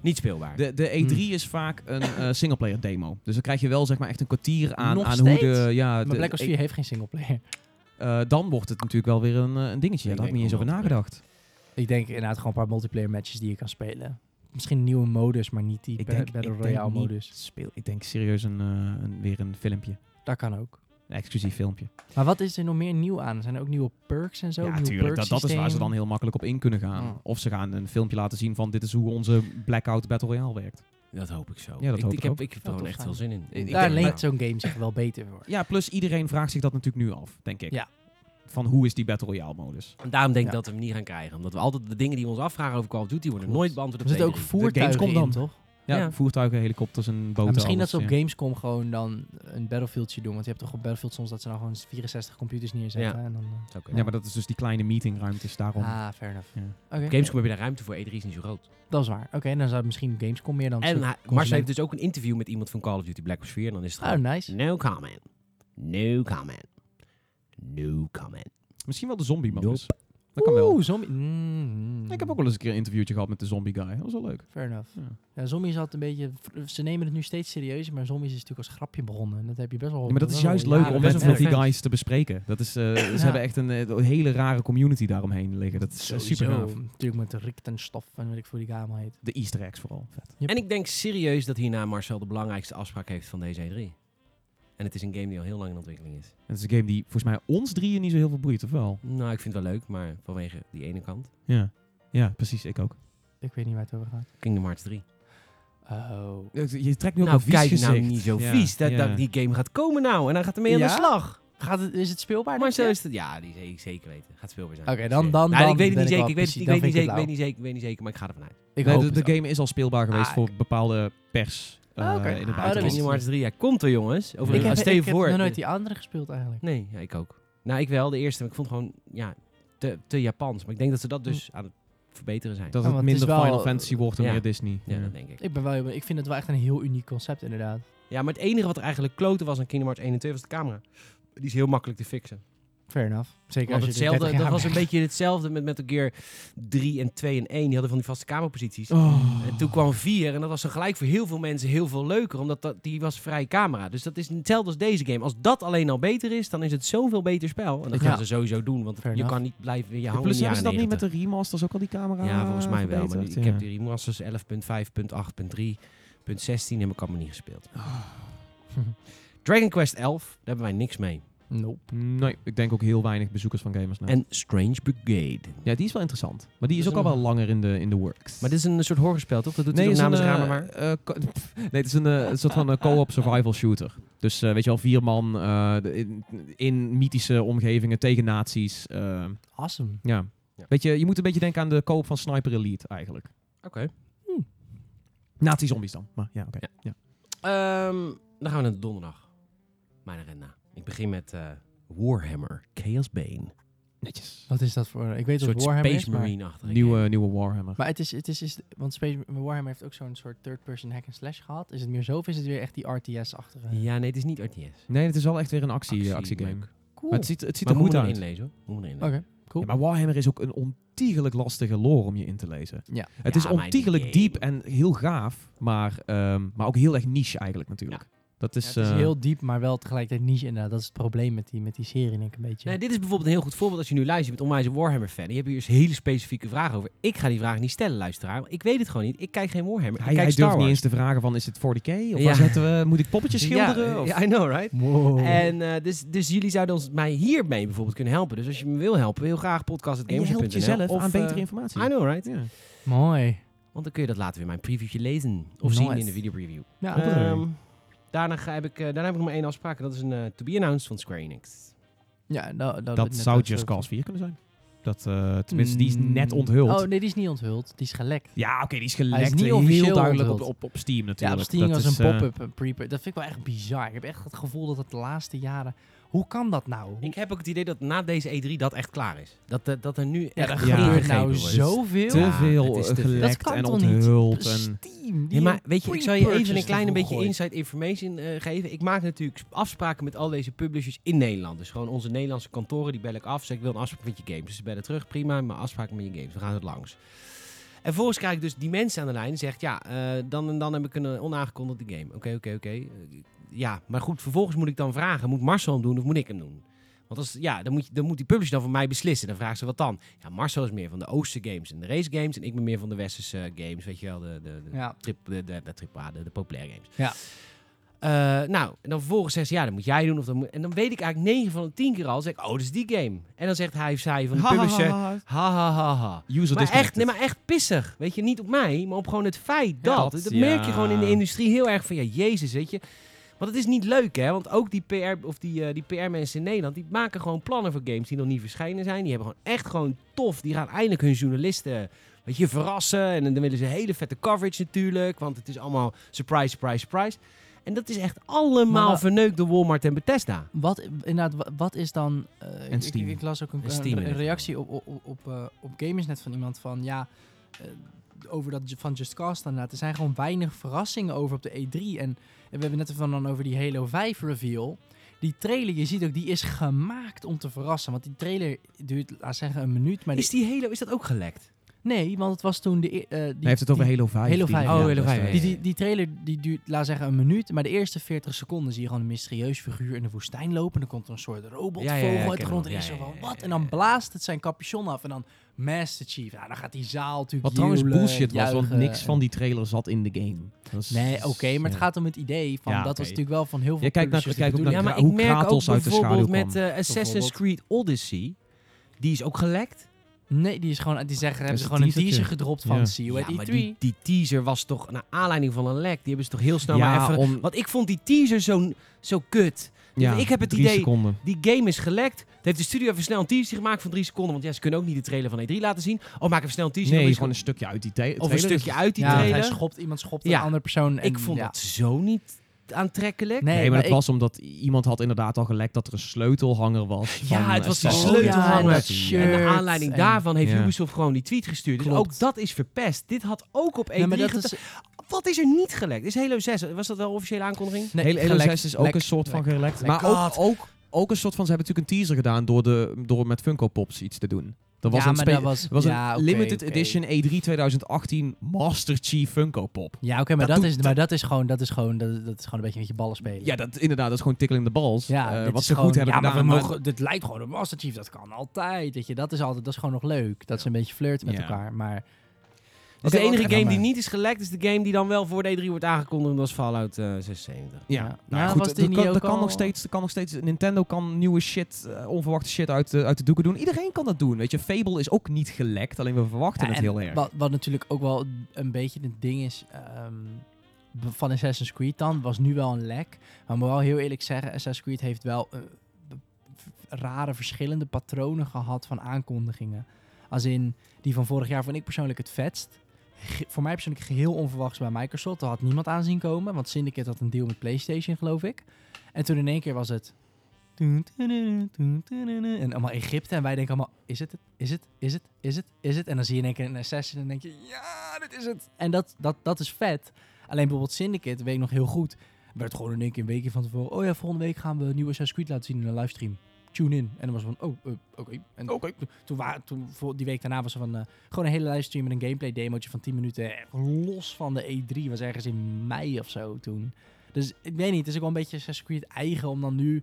Speaker 1: niet speelbaar.
Speaker 2: De, de E3
Speaker 3: Hmm.
Speaker 2: is vaak een eh, singleplayer demo. Dus dan krijg je wel zeg maar echt een kwartier aan,
Speaker 3: Nog
Speaker 2: aan hoe de...
Speaker 3: steeds?
Speaker 2: Ja,
Speaker 3: Maar
Speaker 2: de-
Speaker 3: Black Ops
Speaker 2: ik-
Speaker 3: 4 heeft geen singleplayer.
Speaker 2: eh, dan wordt het natuurlijk wel weer een, eh, een dingetje. Ja,
Speaker 1: Ik
Speaker 2: daar had ik
Speaker 1: denk
Speaker 2: niet eens over
Speaker 3: eh,
Speaker 1: wel
Speaker 2: nagedacht.
Speaker 3: Ik denk inderdaad gewoon een paar multiplayer matches die je kan spelen. Misschien een nieuwe modus, maar niet die
Speaker 2: Ik
Speaker 3: ba-
Speaker 2: denk,
Speaker 3: Battle
Speaker 2: ik
Speaker 3: Royale
Speaker 2: denk niet
Speaker 3: modus.
Speaker 2: speel. Ik denk serieus een, eh, een- weer een filmpje.
Speaker 3: Dat kan ook.
Speaker 2: Een exclusief filmpje.
Speaker 3: Maar wat is er nog meer nieuw aan? Zijn er ook nieuwe perks en zo?
Speaker 2: ja,
Speaker 3: Nieuw Oh.
Speaker 2: tuurlijk. Dat,
Speaker 3: perk
Speaker 2: dat is waar ze
Speaker 3: systeem?
Speaker 2: dan heel makkelijk op in kunnen gaan.
Speaker 3: Ja.
Speaker 2: Of ze gaan een filmpje laten zien van dit is hoe onze Blackout Battle Royale werkt.
Speaker 1: Dat hoop ik zo.
Speaker 2: Ja, dat
Speaker 1: ik,
Speaker 2: hoop
Speaker 1: ik
Speaker 2: ik
Speaker 1: heb,
Speaker 2: ook.
Speaker 1: Ik heb er
Speaker 3: Ja,
Speaker 1: gewoon
Speaker 3: tof
Speaker 1: echt
Speaker 3: zijn.
Speaker 1: veel zin in. Ik- ik
Speaker 3: Daar
Speaker 1: heb-
Speaker 3: leent zo'n game zich wel beter voor.
Speaker 2: Ja, plus iedereen vraagt zich dat natuurlijk nu af, denk ik.
Speaker 3: Ja.
Speaker 2: Van hoe is die Battle Royale modus?
Speaker 1: En daarom denk ik
Speaker 3: Ja.
Speaker 1: dat we hem niet gaan krijgen. Omdat we altijd de dingen die we ons afvragen over Call of Duty worden
Speaker 3: Klopt.
Speaker 1: nooit beantwoord
Speaker 3: Er
Speaker 1: op
Speaker 3: zitten ook
Speaker 1: E3.
Speaker 3: voertuigen
Speaker 2: Gamescom
Speaker 3: in,
Speaker 2: dan.
Speaker 3: toch?
Speaker 2: Ja,
Speaker 1: Ja.
Speaker 2: voertuigen, helikopters en boten.
Speaker 3: Maar misschien
Speaker 2: alles,
Speaker 3: dat ze op
Speaker 2: ja.
Speaker 3: Gamescom gewoon dan een battlefieldje doen. Want je hebt toch op Battlefield soms dat ze nou gewoon 64 computers neerzetten. En dan, eh,
Speaker 1: Is ook,
Speaker 2: Ja, maar dat is dus die kleine meetingruimtes daarom.
Speaker 3: ah, fair enough.
Speaker 2: Ja.
Speaker 3: Oké,
Speaker 1: Op Gamescom heb je daar ruimte voor, E3 is niet zo groot.
Speaker 3: dat is waar. Oké, dan zou misschien Gamescom meer dan...
Speaker 1: En hij-
Speaker 3: consument.
Speaker 1: Marcel heeft dus ook een interview met iemand van Call of Duty Black Ops 4 en dan is het
Speaker 3: Oh,
Speaker 1: gewoon...
Speaker 3: nice.
Speaker 1: No comment. No comment. No comment.
Speaker 2: Misschien wel de zombie modus.
Speaker 1: Nope.
Speaker 2: Dat kan wel.
Speaker 3: Oeh, zombie. Mm.
Speaker 2: Ik heb ook wel eens een keer een interviewtje gehad met de zombie guy. Dat was wel leuk.
Speaker 3: Fair enough.
Speaker 2: Ja.
Speaker 3: Ja. zombies had een beetje... Ze nemen het nu steeds serieus, maar zombies is natuurlijk als grapje begonnen. En dat heb je best wel...
Speaker 2: Ja, maar dat is
Speaker 3: wel
Speaker 2: juist
Speaker 3: jaren
Speaker 2: leuk om
Speaker 1: best
Speaker 2: met,
Speaker 1: wel
Speaker 2: met die
Speaker 1: fans.
Speaker 2: guys te bespreken. Dat is, eh, ze
Speaker 3: Ja.
Speaker 2: hebben echt een, eh, hele rare community daaromheen liggen. Dat is eh, super gaaf.
Speaker 3: Sowieso. Natuurlijk met Rick en Stof en weet ik hoe die game allemaal heet.
Speaker 2: De easter eggs vooral. Vet.
Speaker 3: Yep.
Speaker 1: En ik denk serieus dat hierna Marcel de belangrijkste afspraak heeft van deze E3. En het is een game die al heel lang in ontwikkeling is.
Speaker 2: En het is een game die volgens mij ons drieën niet zo heel veel boeit, of wel?
Speaker 1: Nou, ik vind het wel leuk, maar vanwege die ene kant.
Speaker 2: Ja, ja precies. Ik ook.
Speaker 3: Ik weet niet waar het over gaat.
Speaker 1: Kingdom Hearts 3.
Speaker 3: Oh.
Speaker 2: Je trekt nu ook
Speaker 1: nou,
Speaker 2: een vies
Speaker 1: kijk
Speaker 2: gezicht.
Speaker 1: nou niet zo
Speaker 2: Ja,
Speaker 1: vies. Dat,
Speaker 2: ja.
Speaker 1: dat die game gaat komen nou. En dan gaat ermee aan de
Speaker 3: Ja?
Speaker 1: slag.
Speaker 3: Gaat het, is het speelbaar?
Speaker 1: Maar
Speaker 3: denk
Speaker 1: zo
Speaker 3: je?
Speaker 1: is het. Ja, die zeker, zeker weten. Gaat speelbaar zijn.
Speaker 3: Oké, dan-
Speaker 1: Zeker.
Speaker 3: dan-
Speaker 1: Nou,
Speaker 3: dan
Speaker 1: ik weet het
Speaker 3: ben
Speaker 1: niet
Speaker 3: ik
Speaker 1: zeker.
Speaker 3: wel
Speaker 1: Ik weet het
Speaker 3: precies.
Speaker 1: niet- ik
Speaker 3: Dan
Speaker 1: weet het niet
Speaker 3: vind ik
Speaker 1: zeker. Ik
Speaker 3: het
Speaker 1: weet het niet zeker. Ik weet het niet zeker. Maar ik ga ervan uit.
Speaker 3: Ik
Speaker 2: Nee,
Speaker 3: hoop
Speaker 2: de,
Speaker 3: het
Speaker 2: de game is al speelbaar geweest
Speaker 3: Ah,
Speaker 2: voor bepaalde pers. eh,
Speaker 3: oké.
Speaker 2: in
Speaker 3: Ah,
Speaker 2: het
Speaker 3: dat
Speaker 1: Kingdom
Speaker 2: buitenland.
Speaker 3: wist ik
Speaker 1: Hearts 3. Ja, komt er jongens. Over
Speaker 3: Ik
Speaker 1: een
Speaker 3: heb,
Speaker 1: stel je
Speaker 3: ik heb
Speaker 1: voor.
Speaker 3: nog nooit die andere gespeeld eigenlijk.
Speaker 1: Nee, ja, ik ook. Nou, ik wel. De eerste. Maar ik vond gewoon ja, te, te Japans. Maar ik denk dat ze dat dus
Speaker 3: Hm.
Speaker 1: aan het verbeteren zijn.
Speaker 2: Dat
Speaker 3: Ja,
Speaker 2: het
Speaker 3: want het is
Speaker 2: minder
Speaker 3: wel-
Speaker 2: Final Fantasy wordt en
Speaker 1: Ja.
Speaker 2: meer Disney.
Speaker 1: ja,
Speaker 2: Ja.
Speaker 1: dat denk ik.
Speaker 3: Ik ben wel, heel benieuwd. ik vind het wel echt een heel uniek concept inderdaad.
Speaker 1: Ja, maar het enige wat er eigenlijk kloten was aan Kingdom Hearts 1 en 2 was de camera. Die is heel makkelijk te fixen.
Speaker 3: Fair enough. Zeker
Speaker 1: Want
Speaker 3: als je er
Speaker 1: hetzelfde,
Speaker 3: 30
Speaker 1: dat
Speaker 3: jaar
Speaker 1: was een
Speaker 3: bent.
Speaker 1: beetje hetzelfde met Metal Gear 3 en 2 en 1. Die hadden van die vaste kamerposities.
Speaker 2: Oh.
Speaker 1: En toen kwam 4 en dat was dan gelijk voor heel veel mensen heel veel leuker. Omdat dat, die was vrij camera. Dus dat is hetzelfde als deze game. Als dat alleen al beter is, dan is het zoveel beter spel. En dat
Speaker 3: Ja.
Speaker 1: gaan ze sowieso doen. Want
Speaker 3: Fair
Speaker 1: je
Speaker 3: enough.
Speaker 1: kan niet blijven je
Speaker 2: Ja,
Speaker 1: hangen
Speaker 2: plus
Speaker 1: in de
Speaker 2: hebben ze dat
Speaker 1: jaren
Speaker 2: niet met
Speaker 1: 90.
Speaker 2: de remasters ook al die camera eh,
Speaker 1: Ja, volgens mij wel. Maar die-
Speaker 2: Ah, verbeterd?
Speaker 1: ik
Speaker 2: Ja.
Speaker 1: heb die remasters 11.5.8.3, heb ik allemaal niet gespeeld.
Speaker 2: Oh.
Speaker 1: Dragon Quest 11, daar hebben wij niks mee.
Speaker 3: Nope.
Speaker 2: Nee, ik denk ook heel weinig bezoekers van gamers. Nou.
Speaker 1: En Strange Brigade.
Speaker 2: Ja, die is wel interessant. Maar die is
Speaker 3: Dat
Speaker 2: ook
Speaker 3: is
Speaker 2: al wel
Speaker 3: een-
Speaker 2: langer in de, in de works.
Speaker 1: Maar dit is een soort horrorspel, toch? Dat doet hij
Speaker 2: het
Speaker 1: toch
Speaker 2: is een,
Speaker 1: namens
Speaker 2: eh,
Speaker 1: Ramen maar?
Speaker 2: eh, ko- pff, nee, het is een, eh, een soort van eh, co-op survival shooter. Dus eh, weet je wel, vier man eh, de- in, in mythische omgevingen tegen nazi's. eh,
Speaker 3: Awesome.
Speaker 2: ja.
Speaker 1: Ja.
Speaker 2: Weet je, je moet een beetje denken aan de co-op van Sniper Elite eigenlijk.
Speaker 1: Oké.
Speaker 2: Nazi-zombies dan. Maar ja, oké.
Speaker 1: Ja.
Speaker 2: Ja.
Speaker 1: Ehm, dan gaan we naar de donderdag. Mijn agenda. Ik begin met eh, Warhammer, Chaos Bane.
Speaker 2: Netjes.
Speaker 3: Wat is dat voor... Ik
Speaker 1: Een
Speaker 3: weet
Speaker 1: soort
Speaker 3: wat Warhammer
Speaker 1: Space
Speaker 3: is, maar...
Speaker 1: Marine-achtige
Speaker 2: Nieuwe,
Speaker 1: game.
Speaker 2: nieuwe Warhammer.
Speaker 3: Maar het is, het is, is want Space Warhammer heeft ook zo'n soort third-person hack-and-slash gehad. Is het meer zo of is het weer echt die RTS-achtige?
Speaker 1: Ja, nee, het is niet RTS.
Speaker 2: Nee, het is wel echt weer een actie,
Speaker 1: Actie,
Speaker 2: eh, actiegame.
Speaker 1: leuk.
Speaker 3: cool.
Speaker 2: Maar het ziet, het ziet
Speaker 1: Maar
Speaker 2: er
Speaker 1: moet
Speaker 2: goed
Speaker 1: je
Speaker 2: uit.
Speaker 1: erin lezen, hoor. Moet je erin
Speaker 3: Oké,
Speaker 1: lezen.
Speaker 3: cool.
Speaker 2: Ja, maar Warhammer is ook een ontiegelijk lastige lore om je in te lezen.
Speaker 3: Ja.
Speaker 2: Het
Speaker 1: Ja,
Speaker 2: is
Speaker 1: maar die
Speaker 2: ontiegelijk
Speaker 1: game-
Speaker 2: diep en heel gaaf, maar, ehm, maar ook heel erg niche eigenlijk natuurlijk. Dat is,
Speaker 3: Ja, het is
Speaker 2: eh,
Speaker 3: heel diep, maar wel tegelijkertijd niche inderdaad. Dat is het probleem met die, met die serie, denk ik, een beetje.
Speaker 1: Nee, dit is bijvoorbeeld een heel goed voorbeeld als je nu luistert. Je bent onwijs een Warhammer-fan. Je hebt hier eens hele specifieke vragen over. Ik ga die vraag niet stellen, luisteraar. want Ik weet het gewoon niet. Ik kijk geen Warhammer.
Speaker 2: hij,
Speaker 1: ik kijk
Speaker 2: hij
Speaker 1: Star
Speaker 2: durft niet
Speaker 1: Wars.
Speaker 2: eens te vragen van is het 4K? Of
Speaker 1: Ja.
Speaker 2: waar zetten we, moet ik poppetjes schilderen?
Speaker 1: Ja,
Speaker 2: of-
Speaker 1: ja, I know, right?
Speaker 3: Wow.
Speaker 1: En eh, dus, dus jullie zouden ons, mij hiermee bijvoorbeeld kunnen helpen. Dus als je me wil helpen, heel graag
Speaker 2: en je
Speaker 1: podcast.gamers.nl.
Speaker 2: helpt jezelf
Speaker 1: of,
Speaker 2: aan
Speaker 1: eh,
Speaker 2: betere informatie.
Speaker 1: I know, right?
Speaker 2: Ja.
Speaker 3: Mooi.
Speaker 1: Want dan kun je dat later weer in mijn previewtje lezen. Of
Speaker 3: Nice.
Speaker 1: zien in de videopreview.
Speaker 3: Ja,
Speaker 2: Eh,
Speaker 1: Ehm, daarna, ga- heb ik, eh, daarna heb ik nog maar één afspraak. En dat is een eh, To Be Announced van Square Enix.
Speaker 3: ja, nou, dat,
Speaker 2: Dat
Speaker 3: net
Speaker 2: zou
Speaker 3: wat
Speaker 2: Just
Speaker 3: soort-
Speaker 2: Cause 4 kunnen zijn. Dat, eh, tenminste, die is net onthuld.
Speaker 3: Oh, nee, die is niet onthuld. Die is gelekt.
Speaker 2: Ja, oké, die is gelekt. eh,
Speaker 3: niet
Speaker 2: heel
Speaker 3: officieel
Speaker 2: duidelijk op,
Speaker 3: onthuld.
Speaker 2: op, op Steam
Speaker 3: Ja,
Speaker 2: natuurlijk.
Speaker 3: op Steam
Speaker 2: Dat
Speaker 3: was
Speaker 2: is,
Speaker 3: een
Speaker 2: eh,
Speaker 3: pop-up, een pre Dat vind ik wel echt bizar. Ik heb echt het gevoel dat het de laatste jaren... Hoe kan dat nou? Hoe-
Speaker 1: Ik heb ook het idee dat na deze E3 dat echt klaar is. Dat, eh, dat er nu
Speaker 3: Ja,
Speaker 1: echt
Speaker 3: er
Speaker 2: ja,
Speaker 3: gebeurt
Speaker 1: ingegrepen
Speaker 3: nou
Speaker 1: wordt.
Speaker 3: zoveel.
Speaker 2: te
Speaker 1: Ja,
Speaker 2: veel
Speaker 1: het is
Speaker 2: eh,
Speaker 1: te veel.
Speaker 3: dat
Speaker 2: gelekt
Speaker 3: kan
Speaker 2: en
Speaker 3: toch niet?
Speaker 2: onthuld. En,
Speaker 3: Dus Steam. die
Speaker 1: Ja, maar weet je, ik zal je even een
Speaker 3: pre-purchase
Speaker 1: klein
Speaker 3: ervoor
Speaker 1: beetje
Speaker 3: gooit.
Speaker 1: inside information eh, geven. Ik maak natuurlijk sp- afspraken met al deze publishers in Nederland. Dus gewoon onze Nederlandse kantoren, die bel ik af. Zeg, ik wil een afspraak met je games. Dus ze bellen terug, prima, maar afspraken met je games. We gaan het langs. En vervolgens krijg ik dus die mensen aan de lijn. die Zegt, ja, eh, dan en dan heb ik een eh, onaangekondigde game. Oké, oké, oké. Eh, Ja, maar goed, vervolgens moet ik dan vragen. Moet Marcel hem doen of moet ik hem doen? Want als, ja, dan, moet je, dan moet die publisher dan voor mij beslissen. Dan vraagt ze wat dan. Ja, Marcel is meer van de Oosterse games en de race games. En ik ben meer van de Westerse eh, games. Weet je wel, de, de, de,
Speaker 3: Ja.
Speaker 1: trip, de, de, de, trip, ah, de, de populaire games.
Speaker 3: Ja.
Speaker 1: Eh, nou, en dan vervolgens zegt ze, ja, dat moet jij doen. Of dat moet, en dan weet ik eigenlijk 9 van de 10 keer al, zeg ik, oh, dat is die game. En dan zegt hij of zij van de publisher, ha ha ha ha.
Speaker 2: User
Speaker 1: Maar echt, nee,
Speaker 2: disconnected.
Speaker 1: maar echt pissig. Weet je, niet op mij, maar op gewoon het feit
Speaker 2: Ja,
Speaker 1: dat.
Speaker 2: dat,
Speaker 1: Dat, merk
Speaker 2: ja.
Speaker 1: je gewoon in de industrie heel erg van, ja, jezus, weet je. Want het is niet leuk, hè. Want ook die PR, of die, eh, die PR mensen in Nederland, die maken gewoon plannen voor games die nog niet verschenen zijn. Die hebben gewoon echt gewoon tof. Die gaan eindelijk hun journalisten weet je, verrassen. En dan willen ze hele vette coverage natuurlijk, want het is allemaal surprise, surprise, surprise. En dat is echt allemaal
Speaker 3: Maar-
Speaker 1: verneukt door Walmart en Bethesda.
Speaker 3: Wat, inderdaad, wa- wat is dan... eh, ik-
Speaker 2: Steam.
Speaker 3: Ik, ik las ook een,
Speaker 1: En Steam,
Speaker 3: een re-
Speaker 1: ja.
Speaker 3: reactie op, op, op, eh, op Gamersnet van iemand van... Ja, eh, over dat ju- van Just Cause dan inderdaad. Er zijn gewoon weinig verrassingen over op de E3. En, en we hebben net even dan over die Halo 5 reveal. Die trailer, je ziet ook, die is gemaakt om te verrassen. Want die trailer duurt, laat zeggen, een minuut. Maar die-
Speaker 1: Is die Halo, is dat ook gelekt?
Speaker 3: nee, want het was toen de... e- eh, die,
Speaker 2: Hij heeft het over
Speaker 3: die-
Speaker 2: Halo 5.
Speaker 3: Halo
Speaker 2: die-
Speaker 3: 5,
Speaker 2: ja,
Speaker 1: oh, Halo
Speaker 2: dat is
Speaker 1: 5,
Speaker 2: waar.
Speaker 1: ja,
Speaker 3: die,
Speaker 1: ja.
Speaker 3: die, die trailer die duurt, laat zeggen, een minuut. Maar de eerste 40 seconden zie je gewoon een mysterieus figuur in de woestijn lopen. Dan komt er een soort robotvogel
Speaker 1: Ja, ja, ja, ik
Speaker 3: uit de
Speaker 1: ken
Speaker 3: grond. En
Speaker 1: hem.
Speaker 3: is
Speaker 1: Ja,
Speaker 3: zo
Speaker 1: ja,
Speaker 3: van,
Speaker 1: ja,
Speaker 3: wat?
Speaker 1: ja,
Speaker 3: En dan
Speaker 1: ja.
Speaker 3: blaast het zijn capuchon af. En dan Master Chief. Nou, dan gaat die zaal natuurlijk
Speaker 2: Wat trouwens
Speaker 3: jubelen,
Speaker 2: bullshit was, want
Speaker 3: juichen.
Speaker 2: niks van die trailer zat in de game. Dat is-
Speaker 3: Nee, oké, maar het
Speaker 2: ja.
Speaker 3: gaat om het idee van...
Speaker 2: Ja,
Speaker 3: dat
Speaker 2: oké.
Speaker 3: was natuurlijk wel van heel veel
Speaker 2: Je kijkt naar-
Speaker 3: publishers
Speaker 2: kijkt
Speaker 3: de
Speaker 2: ook
Speaker 1: Ja,
Speaker 3: bedoeling.
Speaker 2: naar
Speaker 1: maar ik
Speaker 2: hoe
Speaker 1: merk ook
Speaker 2: Kratos uit de
Speaker 1: bijvoorbeeld
Speaker 2: schaduw
Speaker 1: met eh, Assassin's Creed Odyssey. Die is ook gelekt.
Speaker 3: Nee, die is gewoon... Die zeggen, hebben
Speaker 2: is
Speaker 3: ze
Speaker 2: een
Speaker 3: gewoon een
Speaker 2: teasertje.
Speaker 3: teaser gedropt van...
Speaker 2: Ja.
Speaker 3: See you at E
Speaker 1: Ja, maar
Speaker 3: E3.
Speaker 1: die, die teaser was toch, naar aanleiding van een lek, die hebben ze toch heel snel maar
Speaker 2: ja,
Speaker 1: even...
Speaker 2: om,
Speaker 1: Want ik vond die teaser zo, zo kut.
Speaker 2: ja,
Speaker 1: ik heb het
Speaker 2: drie
Speaker 1: idee-
Speaker 2: seconden.
Speaker 1: Die game is gelekt. Dan heeft de studio even snel een teaser gemaakt van drie seconden. Want ja, ze kunnen ook niet de trailer van E3 laten zien. Oh, maak even snel een teaser. dan
Speaker 2: Nee,
Speaker 1: is-
Speaker 2: gewoon een stukje uit die ta- trailer.
Speaker 1: of een stukje uit die
Speaker 3: ja, hij
Speaker 1: trailer.
Speaker 3: schopt, iemand schopt
Speaker 1: Ja.
Speaker 3: een andere persoon. En,
Speaker 1: Ik vond
Speaker 3: ja.
Speaker 1: dat zo niet aantrekkelijk.
Speaker 3: Nee,
Speaker 2: Nee,
Speaker 3: maar
Speaker 2: maar dat
Speaker 3: ik-
Speaker 2: was omdat i- iemand had inderdaad al gelekt dat er een sleutelhanger was.
Speaker 1: Ja,
Speaker 2: van,
Speaker 1: het
Speaker 2: eh,
Speaker 1: was die
Speaker 2: Assassin's
Speaker 3: Oh,
Speaker 2: Creed.
Speaker 1: sleutelhanger.
Speaker 3: ja, dat
Speaker 2: Ja.
Speaker 1: En
Speaker 3: shirt
Speaker 1: naar aanleiding
Speaker 3: en-
Speaker 1: daarvan heeft
Speaker 2: Ja.
Speaker 1: Ubisoft gewoon die tweet gestuurd. Dus
Speaker 3: Klopt.
Speaker 1: ook dat is verpest. Dit had ook op E E3
Speaker 3: Nee, maar
Speaker 2: E
Speaker 3: dat
Speaker 1: gete-
Speaker 3: is,
Speaker 1: Wat is er niet gelekt? Is Halo 6, was dat wel officiële aankondiging?
Speaker 3: nee,
Speaker 2: Hele- Halo
Speaker 3: gelekt,
Speaker 2: 6 is ook
Speaker 3: lekt,
Speaker 2: een soort van
Speaker 3: lekt.
Speaker 2: gelekt.
Speaker 3: Lekt.
Speaker 2: Maar ook, ook, ook een soort van, ze hebben natuurlijk een teaser gedaan door, de, door met Funko Pops iets te doen. Er was
Speaker 3: ja,
Speaker 2: een,
Speaker 3: maar
Speaker 2: spe-
Speaker 3: dat was,
Speaker 2: er was
Speaker 3: ja,
Speaker 2: een
Speaker 3: oké,
Speaker 2: limited
Speaker 3: oké.
Speaker 2: edition E E3 2018 Master Chief Funko Pop.
Speaker 3: Ja, oké, maar,
Speaker 2: Dat
Speaker 3: dat
Speaker 2: doet-
Speaker 3: is, maar dat is gewoon, dat is gewoon, dat, dat is gewoon een beetje met je ballen spelen.
Speaker 2: Ja, dat, inderdaad, dat is gewoon tickling de bals.
Speaker 3: Ja,
Speaker 2: eh,
Speaker 3: dit
Speaker 2: wat
Speaker 3: is
Speaker 2: ze
Speaker 3: gewoon-
Speaker 2: goed hebben
Speaker 3: ja, maar
Speaker 2: gedaan.
Speaker 3: we mogen, dit lijkt gewoon op Master Chief, dat kan altijd. Weet je, dat is altijd, dat is gewoon nog leuk. Dat ze een beetje flirten met
Speaker 2: Ja.
Speaker 3: elkaar, maar...
Speaker 1: Dus
Speaker 3: Oké,
Speaker 1: de enige
Speaker 3: wat-
Speaker 1: game die
Speaker 3: maar-
Speaker 1: niet is gelekt is de game die dan wel voor de E3 wordt aangekondigd. en Dat is Fallout eh, 76.
Speaker 2: Ja,
Speaker 3: Ja.
Speaker 2: nou,
Speaker 3: Ja,
Speaker 2: goed,
Speaker 3: was
Speaker 2: dat,
Speaker 3: die niet
Speaker 2: kan, dat
Speaker 3: ook
Speaker 2: kan
Speaker 3: al-
Speaker 2: nog steeds, dat kan nog steeds. Nintendo kan nieuwe shit, eh, onverwachte shit uit, de- uit de doeken doen. Iedereen kan dat doen, weet je. Fable is ook niet gelekt, alleen we verwachten
Speaker 3: Ja,
Speaker 2: het
Speaker 3: en
Speaker 2: heel erg.
Speaker 3: Wat, wat natuurlijk ook wel een beetje het ding is ehm, b- van Assassin's Creed dan, was nu wel een lek. Maar ik moet wel heel eerlijk zeggen, Assassin's Creed heeft wel eh, b- v- rare verschillende patronen gehad van aankondigingen. Als in, die van vorig jaar vond ik persoonlijk het vetst. Ge- voor mij persoonlijk geheel onverwachts bij Microsoft. Dat had niemand aan zien komen, want Syndicate had een deal met PlayStation, geloof ik. En toen in één keer was het... En allemaal Egypte. En wij denken allemaal, is het het? Is het? Is het? Is het? Is het? En dan zie je in één keer een assassin en denk je, ja, dit is het. En dat, dat, dat is vet. Alleen bijvoorbeeld Syndicate, weet ik nog heel goed, werd gewoon in één keer een weekje van tevoren... Oh ja, volgende week gaan we een nieuwe Assassin's Creed laten zien in een livestream. Tune in. En dan was het van, oh, eh, oké. En toen, wa- toen voor die week daarna was er van, eh, gewoon een hele livestream met een gameplay demootje van 10 minuten. eh, Los van de E3, was ergens in mei of zo toen. Dus ik weet niet, het is ook wel een beetje Assassin's Creed eigen om dan nu...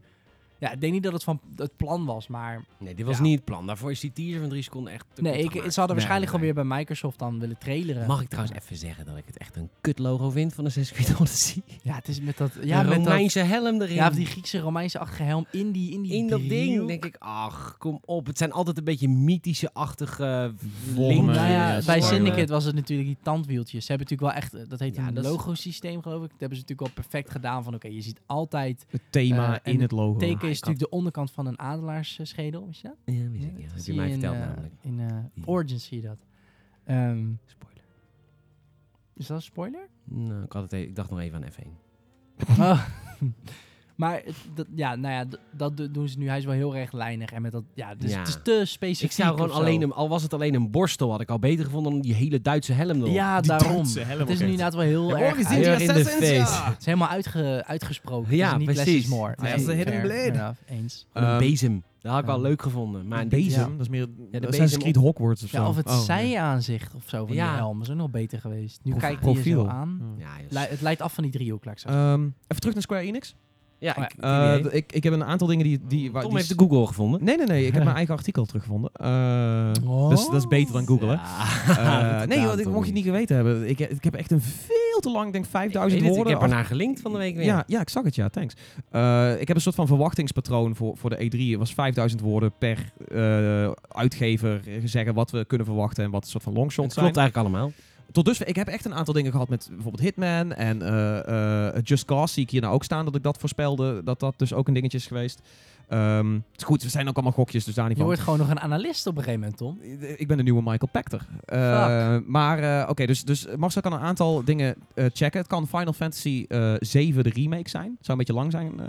Speaker 3: Ja, ik denk niet dat het van het plan was, maar...
Speaker 1: Nee, dit was
Speaker 3: Ja.
Speaker 1: niet het plan. Daarvoor is die teaser van drie seconden echt te
Speaker 3: Nee,
Speaker 1: kort
Speaker 3: ik, ze
Speaker 1: gemaakt.
Speaker 3: hadden waarschijnlijk
Speaker 1: nee.
Speaker 3: gewoon weer bij Microsoft dan willen traileren.
Speaker 1: Mag ik trouwens even zeggen dat ik het echt een kut logo vind van Assassin's Creed Odyssey?
Speaker 3: Ja, het is met dat... Ja,
Speaker 1: Ja,
Speaker 3: met dat,
Speaker 1: Romeinse helm erin.
Speaker 3: ja of die Griekse Romeinse-achtige helm in die in die
Speaker 1: in dat ding
Speaker 3: driehoek.
Speaker 1: denk ik, ach, kom op. Het zijn altijd een beetje mythische-achtige eh,
Speaker 2: Vormen,
Speaker 1: linken.
Speaker 3: Nou ja,
Speaker 2: Ja, dat
Speaker 3: bij
Speaker 2: is waar,
Speaker 3: Syndicate was het natuurlijk die tandwieltjes. Ze hebben natuurlijk wel echt, eh, dat heet
Speaker 1: Ja,
Speaker 3: een
Speaker 1: dat is-
Speaker 3: logosysteem geloof ik. Dat hebben ze natuurlijk wel perfect gedaan van oké, je ziet altijd,
Speaker 2: Het thema
Speaker 3: eh, en
Speaker 2: in het logo.
Speaker 3: teken
Speaker 1: ik
Speaker 3: is
Speaker 1: had-
Speaker 3: natuurlijk de onderkant van een adelaarsschedel, weet je dat?
Speaker 1: Ja, weet ik, ja.
Speaker 3: dat
Speaker 1: Heb je
Speaker 3: zie
Speaker 1: mij
Speaker 3: in,
Speaker 1: verteld
Speaker 3: eh,
Speaker 1: namelijk.
Speaker 3: In eh,
Speaker 1: Die-
Speaker 3: Origins zie je dat. Ehm,
Speaker 1: Spoiler.
Speaker 3: is dat een spoiler?
Speaker 1: Nou, ik, had het e- ik dacht nog even aan F1.
Speaker 3: Oh. maar het- dat, ja, nou ja, d- dat do- doen ze nu. Hij is wel heel rechtlijnig en met dat, ja, dus
Speaker 1: Ja.
Speaker 3: het is te specifiek.
Speaker 1: Ik zou gewoon
Speaker 3: of zo.
Speaker 1: alleen, een, al was het alleen een borstel, had ik al beter gevonden dan die hele Duitse helm erop.
Speaker 3: Ja,
Speaker 2: Die
Speaker 3: daarom.
Speaker 2: Duitse helm
Speaker 3: Het is nu
Speaker 2: ook echt.
Speaker 3: inderdaad wel heel erg.
Speaker 2: we
Speaker 3: uit-
Speaker 2: zien die
Speaker 1: Erg in de
Speaker 2: assassins, ja.
Speaker 1: face.
Speaker 3: Het is helemaal uitge- uitgesproken.
Speaker 1: Ja,
Speaker 3: het is niet less
Speaker 1: precies.
Speaker 3: is more.
Speaker 2: Ja, is de hidden
Speaker 3: fair,
Speaker 2: blade.
Speaker 3: fair enough. Eens.
Speaker 1: Gewoon een
Speaker 2: Ehm,
Speaker 1: bezem. Dat had ik
Speaker 3: ja.
Speaker 1: al leuk gevonden. Maar
Speaker 2: Maar
Speaker 1: dit-
Speaker 2: bezem,
Speaker 3: ja.
Speaker 2: dat is meer
Speaker 1: de
Speaker 2: de
Speaker 1: bezem
Speaker 2: Assassin's Creed Hogwarts of zo.
Speaker 3: Ja, of het
Speaker 2: Oh,
Speaker 3: zijaanzicht of zo van
Speaker 1: Ja.
Speaker 3: die helm is ook nog beter geweest. Nu
Speaker 2: Prof- Mm.
Speaker 3: kijkt hij je zo aan.
Speaker 2: Ja.
Speaker 1: Ja, joh.
Speaker 3: Lei- het leidt af van die driehoek, laat ik zeggen.
Speaker 2: Ehm, even terug naar Square Enix.
Speaker 1: ja,
Speaker 3: oh ja.
Speaker 1: ik, ik-
Speaker 2: Eh,
Speaker 1: idee.
Speaker 2: d- ik, ik heb een aantal dingen die... die waar-
Speaker 1: Tom
Speaker 2: die
Speaker 1: heeft
Speaker 2: s-
Speaker 1: de Google gevonden.
Speaker 2: Nee, nee, nee. Ik heb mijn eigen artikel teruggevonden. Eh,
Speaker 3: Oh.
Speaker 2: dus dat is beter dan Google, hè? Eh,
Speaker 1: Ja,
Speaker 2: nee,
Speaker 1: dat
Speaker 2: joh, dit
Speaker 1: toch
Speaker 2: mocht je niet geweten hebben. Ik, ik heb echt een veel te lang, ik denk
Speaker 1: Ik
Speaker 2: 5000
Speaker 1: weet het,
Speaker 2: woorden.
Speaker 1: Ik heb ernaar gelinkt van de week weer.
Speaker 2: ja, ja, ik zag het, ja, thanks. Eh, ik heb een soort van verwachtingspatroon voor, voor de E3. Het was 5000 woorden per eh, uitgever eh, zeggen wat we kunnen verwachten en wat een soort van
Speaker 1: het
Speaker 2: longshots zijn.
Speaker 1: klopt eigenlijk allemaal.
Speaker 2: Tot dusver, ik heb echt een aantal dingen gehad met bijvoorbeeld Hitman en eh, eh, Just Cause zie ik hier nou ook staan dat ik dat voorspelde. Dat dat dus ook een dingetje is geweest. Eh, Ehm, het is goed, we zijn ook allemaal gokjes, dus daar niet
Speaker 3: Je
Speaker 2: van.
Speaker 3: wordt gewoon nog een analist op een gegeven moment, Tom.
Speaker 2: Ik ben de nieuwe Michael Pachter. Eh, maar eh, oké, dus, dus Marcel kan een aantal dingen eh, checken. Het kan Final Fantasy eh 7 de remake zijn. Het zou een beetje lang zijn. eh,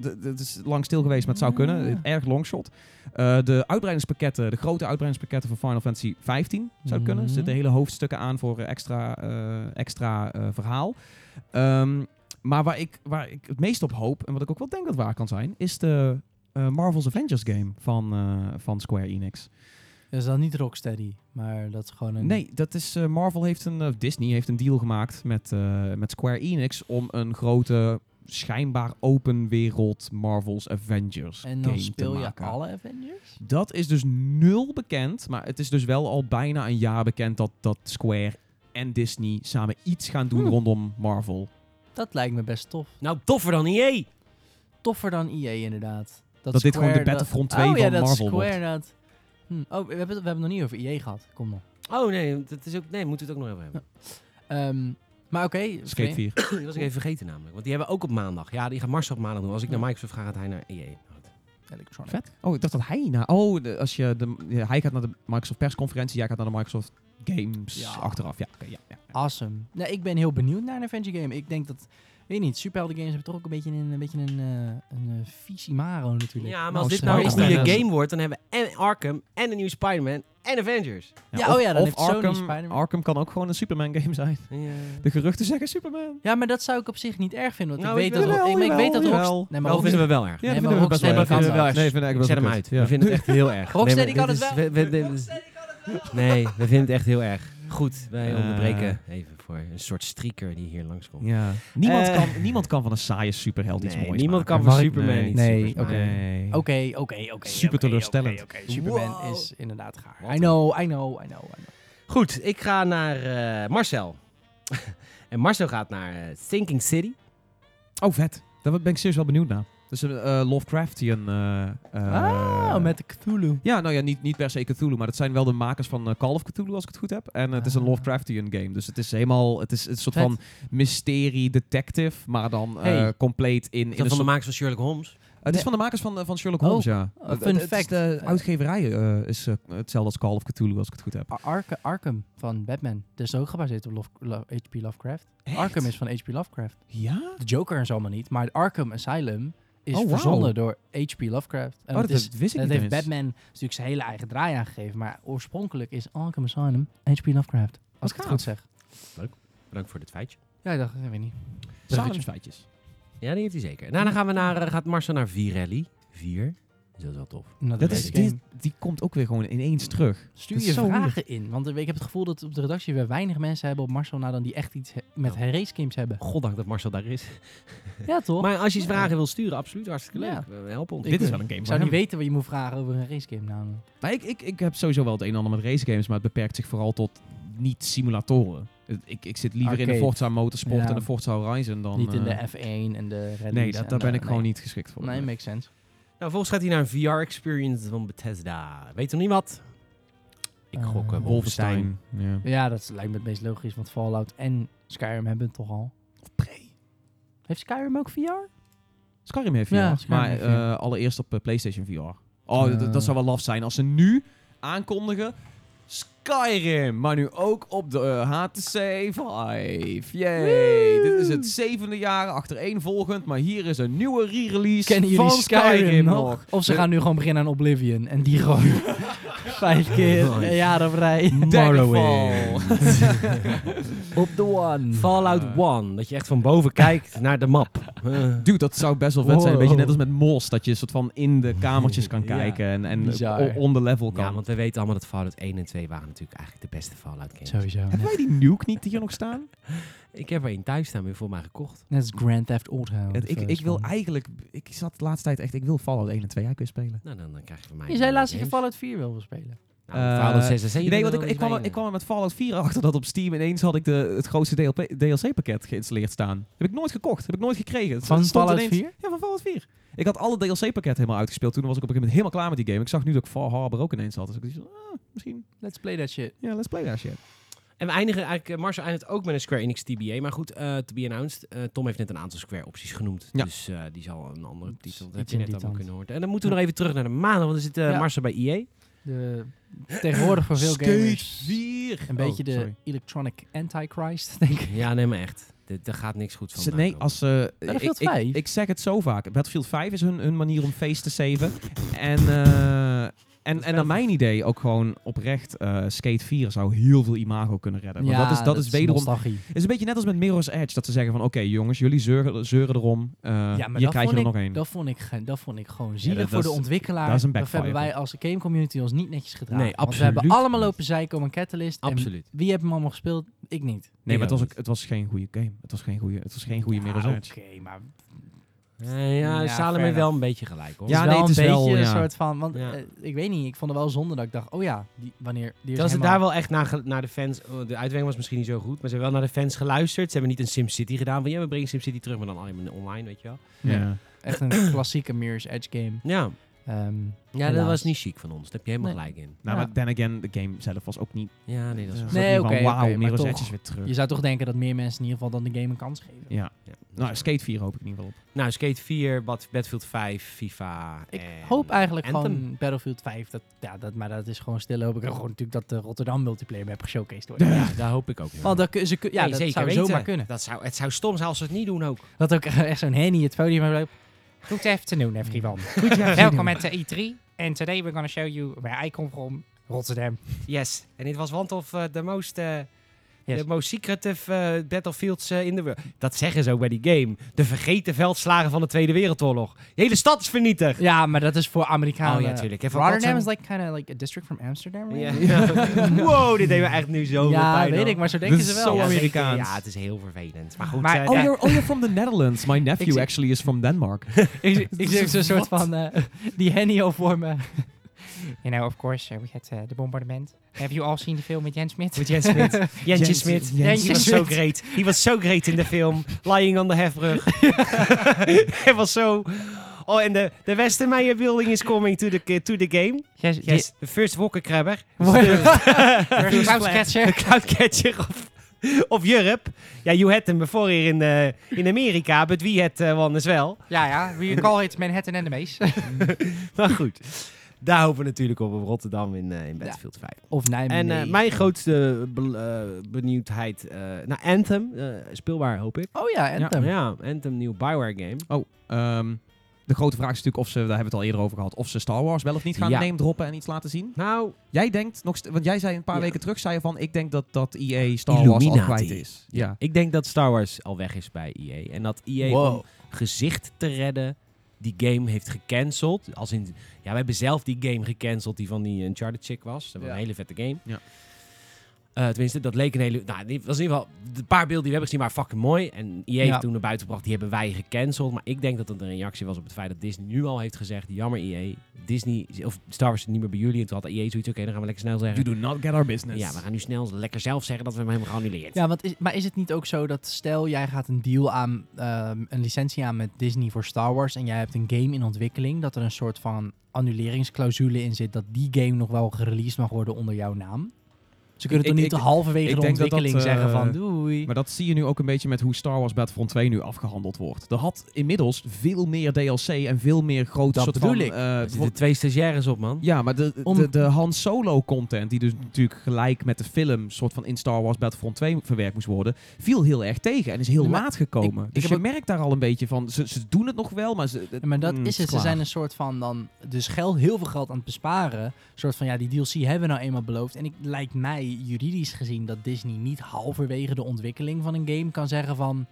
Speaker 2: d- d- Het is lang stil geweest, maar het zou kunnen.
Speaker 3: Ja.
Speaker 2: Erg longshot. Eh de uitbreidingspakketten, de grote uitbreidingspakketten van Final Fantasy 15 zou het kunnen. Er
Speaker 3: Mhm.
Speaker 2: zitten hele hoofdstukken aan voor eh, extra, eh, extra eh, verhaal. Ehm, maar waar ik, waar ik het meest op hoop, en wat ik ook wel denk dat waar kan zijn, is de eh, Marvel's Avengers game van, eh, van Square Enix.
Speaker 3: Dat is dan niet Rocksteady, maar dat is gewoon een...
Speaker 2: Nee, dat is, eh, Marvel heeft een, eh, Disney heeft een deal gemaakt met, eh, met Square Enix om een grote, schijnbaar open wereld Marvel's Avengers
Speaker 3: En
Speaker 2: game
Speaker 3: dan speel
Speaker 2: te
Speaker 3: je
Speaker 2: maken.
Speaker 3: alle Avengers?
Speaker 2: Dat is dus nul bekend, maar het is dus wel al bijna een jaar bekend dat, dat Square en Disney samen iets gaan doen
Speaker 3: Hmm.
Speaker 2: rondom Marvel.
Speaker 3: Dat lijkt me best tof.
Speaker 1: Nou, toffer dan EA.
Speaker 3: Toffer dan EA inderdaad.
Speaker 2: Dat dit gewoon de
Speaker 3: Square
Speaker 2: Battlefront
Speaker 3: dat-
Speaker 2: 2
Speaker 3: oh, ja,
Speaker 2: van
Speaker 3: dat
Speaker 2: Marvel
Speaker 3: Square,
Speaker 2: wordt.
Speaker 3: Dat... Hm. Oh, we hebben, het, we hebben het nog niet over EA gehad. Kom dan.
Speaker 1: Oh nee, dat is ook, nee, moeten we het ook nog even hebben.
Speaker 3: Ehm, maar oké. oké.
Speaker 2: Skate 4.
Speaker 1: Die was ik even vergeten namelijk. Want die hebben ook op maandag. Ja, die gaat Mars op maandag doen. Als ik naar Microsoft ga, gaat hij naar E EA.
Speaker 3: Electronic.
Speaker 2: Vet. Oh, ik dacht dat hij na. Oh, de- als je de, ja, hij gaat naar de Microsoft persconferentie, jij gaat naar de Microsoft Games
Speaker 3: Ja.
Speaker 2: achteraf. Ja, oké, ja, ja.
Speaker 3: Awesome. Nou, ik ben heel benieuwd naar een adventure game. Ik denk dat, weet niet, superhelden games hebben toch ook een beetje een, een, beetje een, eh, een eh, vies imago natuurlijk.
Speaker 1: Ja, maar
Speaker 2: Nou,
Speaker 1: als dit
Speaker 2: Spider-Man
Speaker 1: nou een goede
Speaker 2: is-
Speaker 1: game wordt, dan hebben we en Arkham en een nieuwe Spider-Man en Avengers.
Speaker 3: Ja, oh ja, dan
Speaker 2: of
Speaker 3: heeft Sony
Speaker 2: Arkham,
Speaker 3: Spider-Man.
Speaker 2: Arkham kan ook gewoon een Superman game zijn. De geruchten zeggen Superman.
Speaker 3: Ja, maar dat zou ik op zich niet erg vinden. Want
Speaker 1: Nou,
Speaker 3: ik, weet
Speaker 1: ik-
Speaker 3: dat,
Speaker 2: jawel,
Speaker 3: ik, maar ik weet dat
Speaker 2: jawel,
Speaker 3: Rockst-
Speaker 2: jawel.
Speaker 3: Nee, maar
Speaker 1: Maar dat Nou,
Speaker 3: Rocksteady,
Speaker 1: vinden we wel erg.
Speaker 3: Ja, maar
Speaker 2: dat vinden we
Speaker 3: Rocksteady
Speaker 2: best wel
Speaker 1: kan
Speaker 2: erg.
Speaker 1: het wel.
Speaker 2: Nee, vind ik
Speaker 1: Zet
Speaker 2: best
Speaker 1: hem
Speaker 2: wel
Speaker 1: uit.
Speaker 2: kut. Ja.
Speaker 1: We vinden het echt heel erg.
Speaker 3: Rocksteady
Speaker 1: Nee,
Speaker 3: kan
Speaker 1: dit
Speaker 3: het
Speaker 1: is-
Speaker 3: wel.
Speaker 1: we- we- dit is- Nee, we vinden het echt heel erg. Goed, wij
Speaker 2: Eh.
Speaker 1: onderbreken even voor een soort streaker die hier langskomt.
Speaker 2: Ja. Niemand,
Speaker 1: Eh.
Speaker 2: kan, niemand kan van een saaie superheld iets
Speaker 1: Nee,
Speaker 2: moois
Speaker 1: niemand
Speaker 2: maken.
Speaker 1: kan van
Speaker 2: Mag ik-
Speaker 1: Superman
Speaker 2: nee.
Speaker 1: iets
Speaker 3: Nee,
Speaker 1: supergoeds
Speaker 3: oké.
Speaker 1: maken.
Speaker 2: Nee.
Speaker 3: Oké, oké, oké, oké.
Speaker 2: Super
Speaker 3: oké,
Speaker 2: teleurstellend.
Speaker 3: oké, oké. Superman
Speaker 1: Wow.
Speaker 3: is inderdaad gaar.
Speaker 1: Wat
Speaker 3: I know, I know, I know, I know.
Speaker 1: Goed, ik ga naar eh, Marcel. en Marcel gaat naar eh, Thinking City.
Speaker 2: Oh, vet. Daar ben ik serieus wel benieuwd naar. Dus een eh, Lovecraftian... eh, eh,
Speaker 3: Oh, met de Cthulhu.
Speaker 2: Ja, nou ja, niet, niet per se Cthulhu, maar dat zijn wel de makers van eh, Call of Cthulhu, als ik het goed heb. En eh, het is een
Speaker 3: Ah.
Speaker 2: Lovecraftian game, dus het is helemaal... Het is een soort
Speaker 3: Vet.
Speaker 2: van mysterie-detective, maar dan eh,
Speaker 1: Hey.
Speaker 2: compleet in... in
Speaker 1: Is
Speaker 2: een
Speaker 1: dat van
Speaker 2: soort-
Speaker 1: de makers van Sherlock Holmes?
Speaker 2: Het is
Speaker 3: Nee.
Speaker 2: van de makers van, eh, van Sherlock
Speaker 3: Oh,
Speaker 2: Holmes, ja.
Speaker 3: eh,
Speaker 2: Het-
Speaker 3: fun
Speaker 2: het is
Speaker 3: fact.
Speaker 2: De
Speaker 3: Eh.
Speaker 2: uitgeverij eh, is eh, hetzelfde als Call of Cthulhu, als ik het goed heb.
Speaker 3: Ar- Arke- Arkham van Batman. Dat is ook gebaseerd op Lof- Lo- H.P. Lovecraft. Arkham is van H.P. Lovecraft.
Speaker 2: Ja?
Speaker 3: De Joker is allemaal niet, maar Arkham Asylum is
Speaker 2: Oh, wauw.
Speaker 3: verzonnen door H.P. Lovecraft. En
Speaker 2: Oh, dat,
Speaker 3: is,
Speaker 2: wist ik
Speaker 3: dat
Speaker 2: niet
Speaker 3: heeft
Speaker 2: eens.
Speaker 3: Batman natuurlijk zijn hele eigen draai aangegeven, maar oorspronkelijk is Arkham Asylum H.P. Lovecraft. Als ik het
Speaker 2: Oh, gaaf.
Speaker 3: goed zeg.
Speaker 1: Bedankt voor dit feitje.
Speaker 3: Ja, ik dacht, ik weet niet.
Speaker 2: Salemsfeitjes.
Speaker 1: Ja, die heeft hij zeker. Nou, dan gaan we naar, eh, gaat Marcel naar Virelli. Vier. Dus dat is wel tof.
Speaker 3: Nou,
Speaker 2: Dat
Speaker 3: weet
Speaker 2: is,
Speaker 3: ik niet.
Speaker 2: die, die komt ook weer gewoon ineens terug.
Speaker 3: Mm. Stuur
Speaker 2: dat is
Speaker 3: je
Speaker 2: zo
Speaker 3: vragen in, want eh, ik heb het gevoel dat op de redactie weer weinig mensen hebben op Marcel nou dan die echt iets he- met
Speaker 1: Ja.
Speaker 3: racegames hebben.
Speaker 1: Goddank dat Marcel daar is.
Speaker 3: Ja, toch?
Speaker 1: Maar als je eens
Speaker 3: Ja.
Speaker 1: vragen wil sturen, absoluut hartstikke leuk.
Speaker 3: Ja.
Speaker 1: We helpen ons.
Speaker 3: Ik-
Speaker 2: Dit is wel een game
Speaker 3: ik
Speaker 2: voor
Speaker 3: zou niet
Speaker 2: hem.
Speaker 3: weten wat je moet vragen over een racegame namelijk.
Speaker 2: Maar ik, ik, ik heb sowieso wel het een en ander met racegames, maar het beperkt zich vooral tot niet-simulatoren. Het- Ik, ik zit liever in de
Speaker 3: Arcade.
Speaker 2: Forza Motorsport
Speaker 3: Ja.
Speaker 2: en de Forza Horizon dan...
Speaker 3: niet in
Speaker 2: eh,
Speaker 3: de F1 en de rallies.
Speaker 2: Nee, dat,
Speaker 3: en
Speaker 2: daar
Speaker 3: de-
Speaker 2: ben ik gewoon
Speaker 3: nee.
Speaker 2: niet geschikt voor.
Speaker 3: Nee, makes sense.
Speaker 1: Nou, volgens gaat hij naar een VR-experience van Bethesda. Weet nog niemand? Ik
Speaker 3: Eh,
Speaker 1: gok eh, Wolfenstein.
Speaker 2: Wolfenstein. Ja.
Speaker 3: Ja, dat lijkt me het meest logisch, want Fallout en Skyrim hebben het toch al.
Speaker 2: Of Prey.
Speaker 3: Heeft Skyrim ook VR?
Speaker 2: Skyrim heeft VR,
Speaker 3: Ja, Skyrim
Speaker 2: maar
Speaker 3: heeft VR.
Speaker 2: eh, allereerst op eh, PlayStation VR. Oh,
Speaker 3: Eh.
Speaker 2: dat- dat zou wel laf zijn als ze nu aankondigen Skyrim, maar nu ook op de eh, HTC Vive. Yay! Dit is het zevende jaar achtereenvolgend, maar hier is een nieuwe re-release
Speaker 3: Kennen jullie
Speaker 2: van
Speaker 3: Skyrim, nog?
Speaker 2: nog.
Speaker 3: Of ze
Speaker 2: De-
Speaker 3: gaan nu gewoon beginnen aan Oblivion en die gewoon vijf keer
Speaker 1: Nice.
Speaker 3: een jaar op rij.
Speaker 2: Daggerfall.
Speaker 3: Op de one.
Speaker 1: Fallout 1. Dat je echt van boven kijkt naar de map. Eh.
Speaker 2: Dude, dat zou best wel vet zijn. Een beetje
Speaker 3: Wow.
Speaker 2: net als met Mos, dat je een soort van in de kamertjes kan
Speaker 1: Ja.
Speaker 2: kijken en, en
Speaker 3: Bizar.
Speaker 2: o- on the level kan.
Speaker 1: Ja, want we weten allemaal dat Fallout 1 en 2 waren natuurlijk eigenlijk de beste Fallout games.
Speaker 3: Sowieso.
Speaker 2: Hebben wij die nuke niet hier nog staan?
Speaker 1: Ik heb er één thuis staan, weer voor mij gekocht.
Speaker 3: Net als Grand Theft Auto.
Speaker 2: Het- ik,
Speaker 3: Of, eh,
Speaker 2: ik wil
Speaker 3: zo'n-
Speaker 2: eigenlijk... Ik zat de laatste tijd echt... Ik wil Fallout 1 en 2 uit kunnen spelen.
Speaker 1: Nou, dan, dan krijg je van mij...
Speaker 3: Je zei laatst dat je Fallout 4 wel wil spelen.
Speaker 1: Nou,
Speaker 2: Eh,
Speaker 1: Fallout 6 en 7.
Speaker 2: nee, want ik, ik, kwam, er- ik kwam er met Fallout 4 achter dat op Steam ineens had ik de, het grootste DLC-pakket geïnstalleerd staan. Heb ik nooit gekocht. Heb ik nooit gekregen. Het
Speaker 3: Van
Speaker 2: stond
Speaker 3: Fallout
Speaker 2: ineens-
Speaker 3: 4?
Speaker 2: Ja, van Fallout 4. Ik had alle DLC-pakketten helemaal uitgespeeld. Toen was ik op een gegeven moment helemaal klaar met die game. Ik zag nu dat ik Far Harbor ook ineens had. Dus ik dacht, ah, misschien...
Speaker 3: Let's play that shit.
Speaker 2: Ja, let's play that shit.
Speaker 1: En we eindigen eigenlijk, eh, Marcel eindigt ook met een Square Enix TBA. Maar goed, eh, to be announced. Eh, Tom heeft net een aantal Square opties genoemd.
Speaker 2: Ja.
Speaker 1: Dus eh, die zal een andere
Speaker 3: Iets-
Speaker 1: titel, dat
Speaker 3: iets
Speaker 1: heb je
Speaker 3: in
Speaker 1: net
Speaker 3: die
Speaker 1: allemaal
Speaker 3: tand.
Speaker 1: kunnen horen. En dan moeten we nog even terug naar de maanden, want er zit eh
Speaker 3: Ja.
Speaker 1: Marcel bij EA.
Speaker 3: De, tegenwoordig voor veel gamers.
Speaker 1: 4!
Speaker 3: Een beetje
Speaker 2: Oh,
Speaker 3: de electronic antichrist, denk ik.
Speaker 1: Ja, nee, maar echt. Dit- Daar gaat niks goed van. eh,
Speaker 2: Nee,
Speaker 1: aankomen.
Speaker 2: als ze.
Speaker 3: Battlefield
Speaker 2: ik, ik,
Speaker 3: 5?
Speaker 2: ik zeg het zo vaak. Battlefield 5 is hun, hun manier om feest te saven. En, eh, en, en naar mijn idee ook gewoon oprecht. eh, Skate 4 zou heel veel imago kunnen redden. Want dat is, dat is wederom.
Speaker 3: nostalgie.
Speaker 2: Het is een beetje net als met Mirror's Edge. Dat ze zeggen van oké jongens, jullie zeuren, zeuren erom. eh
Speaker 3: Ja, maar
Speaker 2: hier
Speaker 3: dat
Speaker 2: krijg je
Speaker 3: vond
Speaker 2: er
Speaker 3: ik-
Speaker 2: nog een.
Speaker 3: Dat vond ik, ge- dat vond ik gewoon zielig
Speaker 2: dat-
Speaker 3: voor
Speaker 2: dat
Speaker 3: de
Speaker 2: is-
Speaker 3: ontwikkelaar.
Speaker 2: dat is een
Speaker 3: dat hebben
Speaker 2: backfire.
Speaker 3: wij als game community ons niet netjes gedragen.
Speaker 1: Nee,
Speaker 3: Want we hebben
Speaker 1: absoluut
Speaker 3: allemaal
Speaker 1: niet.
Speaker 3: lopen zeiken om een catalyst. en
Speaker 1: Absoluut.
Speaker 3: wie heeft hem allemaal gespeeld? Ik niet.
Speaker 2: Nee, maar het was,
Speaker 1: ook
Speaker 2: ook, het was geen goede game. Het was geen goede, het was geen goede
Speaker 3: Ja,
Speaker 2: Mirror's
Speaker 3: Oké,
Speaker 2: Edge.
Speaker 3: maar
Speaker 1: Eh, ja,
Speaker 3: Ja,
Speaker 1: Salem
Speaker 3: fair
Speaker 1: heeft wel een beetje gelijk hoor.
Speaker 3: ja,
Speaker 2: Ja, nee, het
Speaker 3: het
Speaker 2: is
Speaker 3: is wel een
Speaker 2: wel,
Speaker 3: beetje
Speaker 2: ja.
Speaker 3: een soort van... Want
Speaker 1: Ja.
Speaker 3: eh, ik weet niet, ik vond het wel zonde dat ik dacht... Oh ja, die, wanneer... Die is
Speaker 1: Dat ze
Speaker 3: helemaal-
Speaker 1: daar wel echt naar, ge- naar de fans. oh, De uitwerking was misschien niet zo goed, maar ze hebben wel naar de fans geluisterd. Ze hebben niet een SimCity gedaan. Van ja, we brengen SimCity terug, maar dan alleen maar online, weet je wel.
Speaker 3: Ja.
Speaker 2: Ja. Nou,
Speaker 3: Echt een klassieke Mirror's Edge game.
Speaker 1: Ja,
Speaker 3: Ehm,
Speaker 1: ja dat
Speaker 3: Helaas.
Speaker 1: was niet chic van ons. Daar heb je helemaal
Speaker 3: Nee.
Speaker 1: gelijk in.
Speaker 2: Nou,
Speaker 3: Ja.
Speaker 2: maar then again, de game zelf was ook niet...
Speaker 1: Ja, nee, dat is
Speaker 2: was
Speaker 1: waar.
Speaker 2: ook
Speaker 3: Nee,
Speaker 2: niet van,
Speaker 3: oké,
Speaker 2: Wauw,
Speaker 3: oké, maar
Speaker 2: Mirror's
Speaker 3: toch.
Speaker 2: Edge is weer terug.
Speaker 3: je zou toch denken dat meer mensen in ieder geval dan de game een kans geven.
Speaker 2: Ja.
Speaker 1: Ja.
Speaker 2: Nou, Skate 4 hoop ik in ieder geval op.
Speaker 1: Nou, Skate 4, Bad- Battlefield 5, FIFA.
Speaker 3: Ik
Speaker 1: en
Speaker 3: hoop eigenlijk
Speaker 1: Anthem.
Speaker 3: gewoon Battlefield 5. Dat, ja, dat, maar dat is gewoon stil. Hoop ik gewoon natuurlijk dat de Rotterdam multiplayer map showcased wordt.
Speaker 1: Ja, daar hoop ik ook. heel
Speaker 3: Want
Speaker 1: erg.
Speaker 3: dat, kun- ze, kun- ja,
Speaker 1: Nee,
Speaker 3: dat
Speaker 1: zeker
Speaker 3: zou
Speaker 1: weten.
Speaker 3: zomaar kunnen.
Speaker 1: Dat zou, het zou stom zijn als ze het niet doen ook.
Speaker 3: Dat ook eh, echt zo'n Henny het podium heeft. Good afternoon, everyone. Welkom eh, at the E3. And today we're gonna show you where I come from, Rotterdam.
Speaker 1: Yes. En dit was want of de most.
Speaker 3: Yes.
Speaker 1: De most secretive eh, battlefields eh, in de wereld. Dat zeggen ze ook bij die game. De vergeten veldslagen van de Tweede Wereldoorlog. De hele stad is vernietigd.
Speaker 3: Ja, maar dat is voor Amerikanen.
Speaker 1: Oh ja, tuurlijk. En van
Speaker 3: Rotterdam
Speaker 1: Rotterdam-
Speaker 3: is like kind of like a district from Amsterdam. right?
Speaker 1: Ja. wow, dit deed me echt nu zo
Speaker 3: Ja,
Speaker 1: pijn.
Speaker 3: weet
Speaker 1: hoor.
Speaker 3: ik, maar zo denken
Speaker 2: Dit
Speaker 3: ze
Speaker 2: is
Speaker 3: wel.
Speaker 2: zo
Speaker 1: Ja,
Speaker 3: Ja,
Speaker 1: zeker.
Speaker 2: Amerikaans.
Speaker 1: Ja, het is heel vervelend. Maar goed,
Speaker 3: Maar-
Speaker 1: eh,
Speaker 2: Oh,
Speaker 1: daar-
Speaker 2: you're, oh, you're from the Netherlands. My nephew
Speaker 3: zie-
Speaker 2: actually is from Denmark.
Speaker 3: Ik, ik zie ook zo'n soort
Speaker 2: Wat?
Speaker 3: van eh, die Henny al voor me. You know, of course, eh, we had the bombardement. Have you all seen the film met Jan Smit?
Speaker 1: Met Jens Smit. Jentje
Speaker 2: Jens-
Speaker 1: Smit.
Speaker 2: Jentje
Speaker 1: Jentje was zo
Speaker 3: Smit.
Speaker 1: great. Hij was zo great in de film. Lying on the hefbrug. Hij was zo... Oh, en de, de Westermeijer building is coming to the, ki- to the game.
Speaker 3: Yes,
Speaker 1: Yes, the first wokkerkrabber.
Speaker 3: First
Speaker 1: Een
Speaker 3: Catcher.
Speaker 1: cloudcatcher of, of Europe. Ja, you had hem before hier in, eh, in Amerika, but we had eh, one as well.
Speaker 3: Ja, ja. We call it Manhattan and the Maze.
Speaker 1: Maar Nou, goed, daar hopen we natuurlijk op, op Rotterdam in, eh, in Battlefield 5.
Speaker 3: Of
Speaker 1: En
Speaker 3: Nijmegen.
Speaker 1: eh, mijn grootste bel- eh, benieuwdheid eh, naar Anthem. eh, speelbaar, hoop ik.
Speaker 3: Oh ja, Anthem.
Speaker 1: Ja, Anthem, nieuw Bioware game.
Speaker 2: Oh, ehm, de grote vraag is natuurlijk of ze, daar hebben we het al eerder over gehad, of ze Star Wars wel of niet gaan
Speaker 1: Ja.
Speaker 2: name droppen en iets laten zien.
Speaker 1: Nou,
Speaker 2: Jij denkt nog, st- want jij zei een paar
Speaker 1: Ja.
Speaker 2: weken terug, zei je van, ik denk dat, dat EA Star Wars al
Speaker 1: Illuminati.
Speaker 2: kwijt is. Ja.
Speaker 1: ik denk dat Star Wars al weg is bij EA. En dat EA om gezicht te redden die game heeft gecanceld. Als in, ja, we hebben zelf die game gecanceld die van die Uncharted chick was. Dat was
Speaker 2: Ja.
Speaker 1: een hele vette game.
Speaker 2: Ja.
Speaker 1: Eh, tenminste, dat leek een hele... Nou, die was in ieder geval... De paar beelden die we hebben gezien waren fucking mooi. En EA heeft
Speaker 3: Ja.
Speaker 1: toen naar buiten gebracht, die hebben wij gecanceld. Maar ik denk dat dat een reactie was op het feit dat Disney nu al heeft gezegd... Jammer EA, Disney... Of Star Wars is niet meer bij jullie. En toen had EA zoiets, oké, dan gaan we lekker snel
Speaker 2: You
Speaker 1: zeggen...
Speaker 2: do not get our business.
Speaker 1: Ja, we gaan nu snel lekker zelf zeggen dat we hem helemaal geannuleerd.
Speaker 3: Ja, want is, maar is het niet ook zo dat stel jij gaat een deal aan, ehm, een licentie aan met Disney voor Star Wars en jij hebt een game in ontwikkeling, dat er een soort van annuleringsclausule in zit dat die game nog wel gereleased mag worden onder jouw naam? Ze kunnen
Speaker 2: Ik-
Speaker 3: toch
Speaker 2: ik-
Speaker 3: niet
Speaker 2: ik-
Speaker 3: halverwege
Speaker 2: ik
Speaker 3: de
Speaker 2: denk dat dat,
Speaker 3: ontwikkeling zeggen
Speaker 2: eh,
Speaker 3: van doei.
Speaker 2: Maar dat zie je nu ook een beetje met hoe Star Wars Battlefront 2 nu afgehandeld wordt. Er had inmiddels veel meer DLC en veel meer grote
Speaker 3: Dat
Speaker 2: soort
Speaker 3: bedoel
Speaker 2: van...
Speaker 3: ik.
Speaker 1: Er
Speaker 2: eh, bijvoorbeeld-
Speaker 1: zitten twee stagiaires op, man.
Speaker 2: Ja, maar de,
Speaker 3: Om-
Speaker 2: de, de Han Solo content, die dus natuurlijk gelijk met de film soort van in Star Wars Battlefront 2 verwerkt moest worden, viel heel erg tegen en is heel
Speaker 3: Nee, maar
Speaker 2: laat gekomen.
Speaker 3: ik
Speaker 2: dus
Speaker 3: heb
Speaker 2: je
Speaker 3: ook-
Speaker 2: merkt daar al een beetje van, ze, ze doen het nog wel, maar ze...
Speaker 3: Ja, maar dat
Speaker 2: mm,
Speaker 3: is het. Ze
Speaker 2: klaar.
Speaker 3: zijn een soort van dan dus geld, heel veel geld aan het besparen. Een soort van ja, die DLC hebben we nou eenmaal beloofd. En ik lijkt mij juridisch gezien dat Disney niet halverwege de ontwikkeling van een game kan zeggen van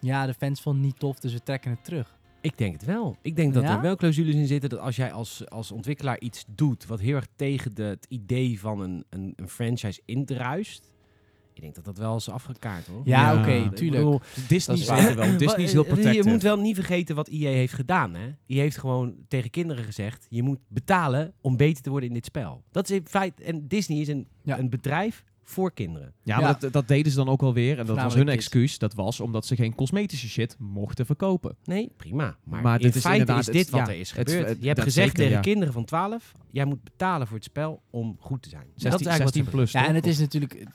Speaker 3: ja, de fans vonden het niet tof, dus we trekken het terug.
Speaker 1: Ik denk het wel. Ik denk dat
Speaker 3: Ja?
Speaker 1: er wel clausules in zitten dat als jij als, als ontwikkelaar iets doet wat heel erg tegen de, het idee van een, een, een franchise indruist. Ik denk dat dat wel is afgekaart hoor.
Speaker 3: Ja,
Speaker 2: Ja,
Speaker 3: oké,
Speaker 2: ik
Speaker 3: tuurlijk.
Speaker 1: bedoel,
Speaker 2: Disney
Speaker 1: dat
Speaker 2: is
Speaker 1: is
Speaker 2: er wel. Disney is heel
Speaker 1: eh, Je
Speaker 2: protective.
Speaker 1: moet wel niet vergeten wat EA heeft gedaan. Hè? Die heeft gewoon tegen kinderen gezegd: je moet betalen om beter te worden in dit spel. Dat is in feite. En Disney is een,
Speaker 3: Ja.
Speaker 1: een bedrijf voor kinderen.
Speaker 2: Ja, maar
Speaker 3: Ja.
Speaker 2: Dat, dat deden ze dan ook alweer en dat was hun
Speaker 3: Voornamelijk kids.
Speaker 2: excuus. Dat was omdat ze geen cosmetische shit mochten verkopen.
Speaker 1: Nee, prima. Maar,
Speaker 2: Maar
Speaker 1: in
Speaker 2: dit is
Speaker 1: feite
Speaker 2: inderdaad-
Speaker 1: is dit
Speaker 2: het-
Speaker 1: wat
Speaker 2: ja,
Speaker 1: er is
Speaker 2: het-
Speaker 1: gebeurd.
Speaker 2: het-
Speaker 1: je hebt
Speaker 2: dat
Speaker 1: gezegd
Speaker 2: zeker,
Speaker 1: tegen
Speaker 2: ja.
Speaker 1: kinderen van 12: jij moet betalen voor het spel om goed te zijn.
Speaker 2: 16,
Speaker 1: dat is eigenlijk wat er
Speaker 2: 16 plus.
Speaker 3: Ja,
Speaker 2: toch?
Speaker 3: en het is natuurlijk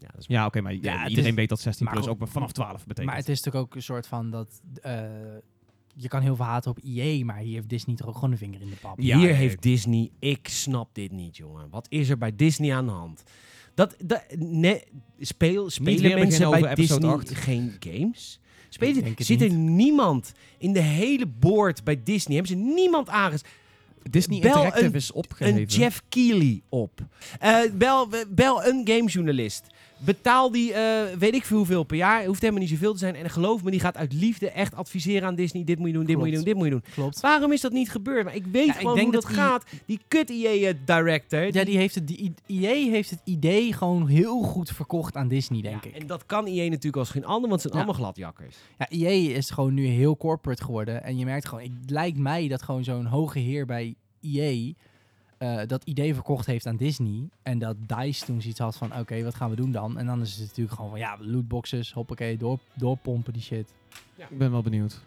Speaker 1: Ja, dat is-
Speaker 2: Ja, oké, maar
Speaker 3: Ja,
Speaker 2: eh,
Speaker 3: het
Speaker 2: iedereen
Speaker 3: is-
Speaker 2: weet dat 16
Speaker 3: maar
Speaker 2: plus
Speaker 3: goed.
Speaker 2: ook maar vanaf 12 betekent.
Speaker 3: Maar het is natuurlijk ook een soort van dat... eh, je kan heel veel haten op EA, maar hier heeft Disney toch ook gewoon een vinger in de pap.
Speaker 2: Ja, eh,
Speaker 1: Hier
Speaker 2: nee.
Speaker 1: heeft Disney, ik snap dit niet, jongen. Wat is er bij Disney aan de hand? Dat, dat, nee, speel,
Speaker 2: weer
Speaker 1: spelen
Speaker 2: beginnen
Speaker 1: mensen
Speaker 2: over
Speaker 1: bij
Speaker 2: episode
Speaker 1: Disney
Speaker 2: 8.
Speaker 1: geen games?
Speaker 3: Ik
Speaker 1: Spelen,
Speaker 3: denk het
Speaker 1: zit er niemand in de hele board bij Disney? Hebben ze niemand aanges?
Speaker 2: Disney
Speaker 1: Bel
Speaker 2: Interactive
Speaker 1: een-
Speaker 2: is opgeheven.
Speaker 1: Een Jeff Keighley op. Eh, bel, bel een gamejournalist. Betaal die, eh, weet ik veel hoeveel per jaar. Hoeft helemaal niet zoveel te zijn. En geloof me, die gaat uit liefde echt adviseren aan Disney. Dit moet je doen, dit moet je
Speaker 3: Klopt.
Speaker 1: doen, dit moet je doen.
Speaker 3: Klopt.
Speaker 1: Waarom is dat niet gebeurd? Maar ik weet
Speaker 3: Ja, ik
Speaker 1: gewoon
Speaker 3: denk
Speaker 1: hoe dat,
Speaker 3: dat die-
Speaker 1: gaat. Die kut eh, EA-director.
Speaker 3: Ja, die heeft het, die EA heeft het idee gewoon heel goed verkocht aan Disney, denk ik.
Speaker 1: En dat kan EA natuurlijk als geen ander, want ze zijn
Speaker 3: Ja.
Speaker 1: allemaal gladjakkers.
Speaker 3: Ja, EA is gewoon nu heel corporate geworden. En je merkt gewoon, het lijkt mij dat gewoon zo'n hoge heer bij EA eh, dat idee verkocht heeft aan Disney. En dat DICE toen zoiets had van, oké, wat gaan we doen dan? En dan is het natuurlijk gewoon van, ja, lootboxes, hoppakee, door, doorpompen die shit.
Speaker 2: Ik ben wel benieuwd.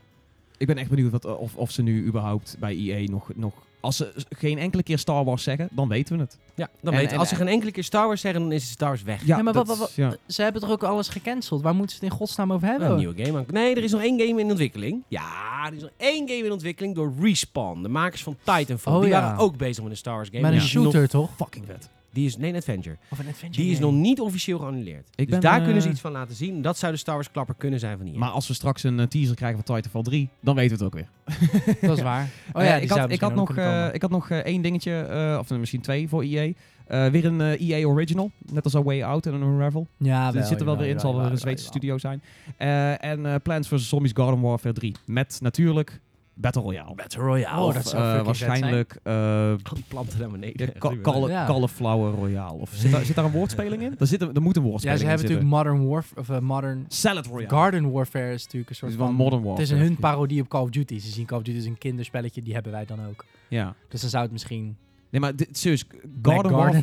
Speaker 2: Ik ben echt benieuwd wat, of, of ze nu überhaupt bij EA nog, nog... Als ze geen enkele keer Star Wars zeggen, dan weten we het.
Speaker 1: Ja, dan
Speaker 2: En-
Speaker 1: weet je.
Speaker 2: en-
Speaker 1: Als ze geen enkele keer Star Wars zeggen, dan is Star Wars weg.
Speaker 2: Ja,
Speaker 3: maar
Speaker 2: dat
Speaker 3: wat- wat-
Speaker 2: is- ja.
Speaker 3: Ze hebben toch ook alles gecanceld? Waar moeten ze het in godsnaam over hebben?
Speaker 1: Een nieuwe game. aan- Nee, er is nog één game in ontwikkeling. Ja, er is nog één game in ontwikkeling door Respawn, de makers van Titanfall.
Speaker 3: Oh,
Speaker 1: die
Speaker 3: ja.
Speaker 1: waren ook bezig met een Star Wars game.
Speaker 3: Met een
Speaker 1: Die is
Speaker 3: shooter,
Speaker 1: nog-
Speaker 3: toch?
Speaker 2: Fucking vet.
Speaker 1: Die is, nee, een adventure.
Speaker 3: Of een adventure
Speaker 1: Die is nog niet officieel geannuleerd. dus
Speaker 2: ben,
Speaker 1: daar
Speaker 2: eh,
Speaker 1: kunnen ze iets van laten zien. Dat zou de Star Wars klapper kunnen zijn van hier.
Speaker 2: Maar als we straks een eh, teaser krijgen van Titanfall 3, dan weten we het ook weer.
Speaker 3: Dat is waar. Oh
Speaker 2: Eh,
Speaker 3: ja,
Speaker 2: ik, had, ik, had nog, eh, ik had nog eh, één dingetje, eh, of misschien twee voor EA. Eh, weer een eh, EA Original, net als A Way Out en een Unravel.
Speaker 3: Ah, ja,
Speaker 2: Die zit er wel weer in, zal wel weer een Zweedse studio zijn. Eh, en eh, Plants vs. Zombies Garden Warfare 3. Met natuurlijk Battle Royale.
Speaker 1: Battle Royale.
Speaker 3: Oh,
Speaker 2: of
Speaker 3: dat zou
Speaker 2: eh,
Speaker 3: fucking vet
Speaker 2: waarschijnlijk eh
Speaker 1: Al die planten naar beneden.
Speaker 2: de ka- Caule-
Speaker 3: Ja.
Speaker 2: Cauliflower Royale. Of zit, daar, zit daar een woordspeling in? Daar, zit een, daar moet een
Speaker 3: Ja,
Speaker 2: woordspeling
Speaker 3: ze
Speaker 2: in
Speaker 3: hebben
Speaker 2: zitten.
Speaker 3: natuurlijk Modern Warfare, of eh, Modern
Speaker 2: Salad Royale.
Speaker 3: Garden Warfare is natuurlijk een soort
Speaker 2: dus
Speaker 3: van...
Speaker 2: van Modern Warfare.
Speaker 3: het is een hun parodie op Call of Duty. Ze zien Call of Duty als een kinderspelletje, die hebben wij dan ook.
Speaker 2: Ja.
Speaker 3: Dus dan zou het misschien...
Speaker 2: Nee, maar dit, serieus,
Speaker 3: Black
Speaker 2: Garden, Warfare,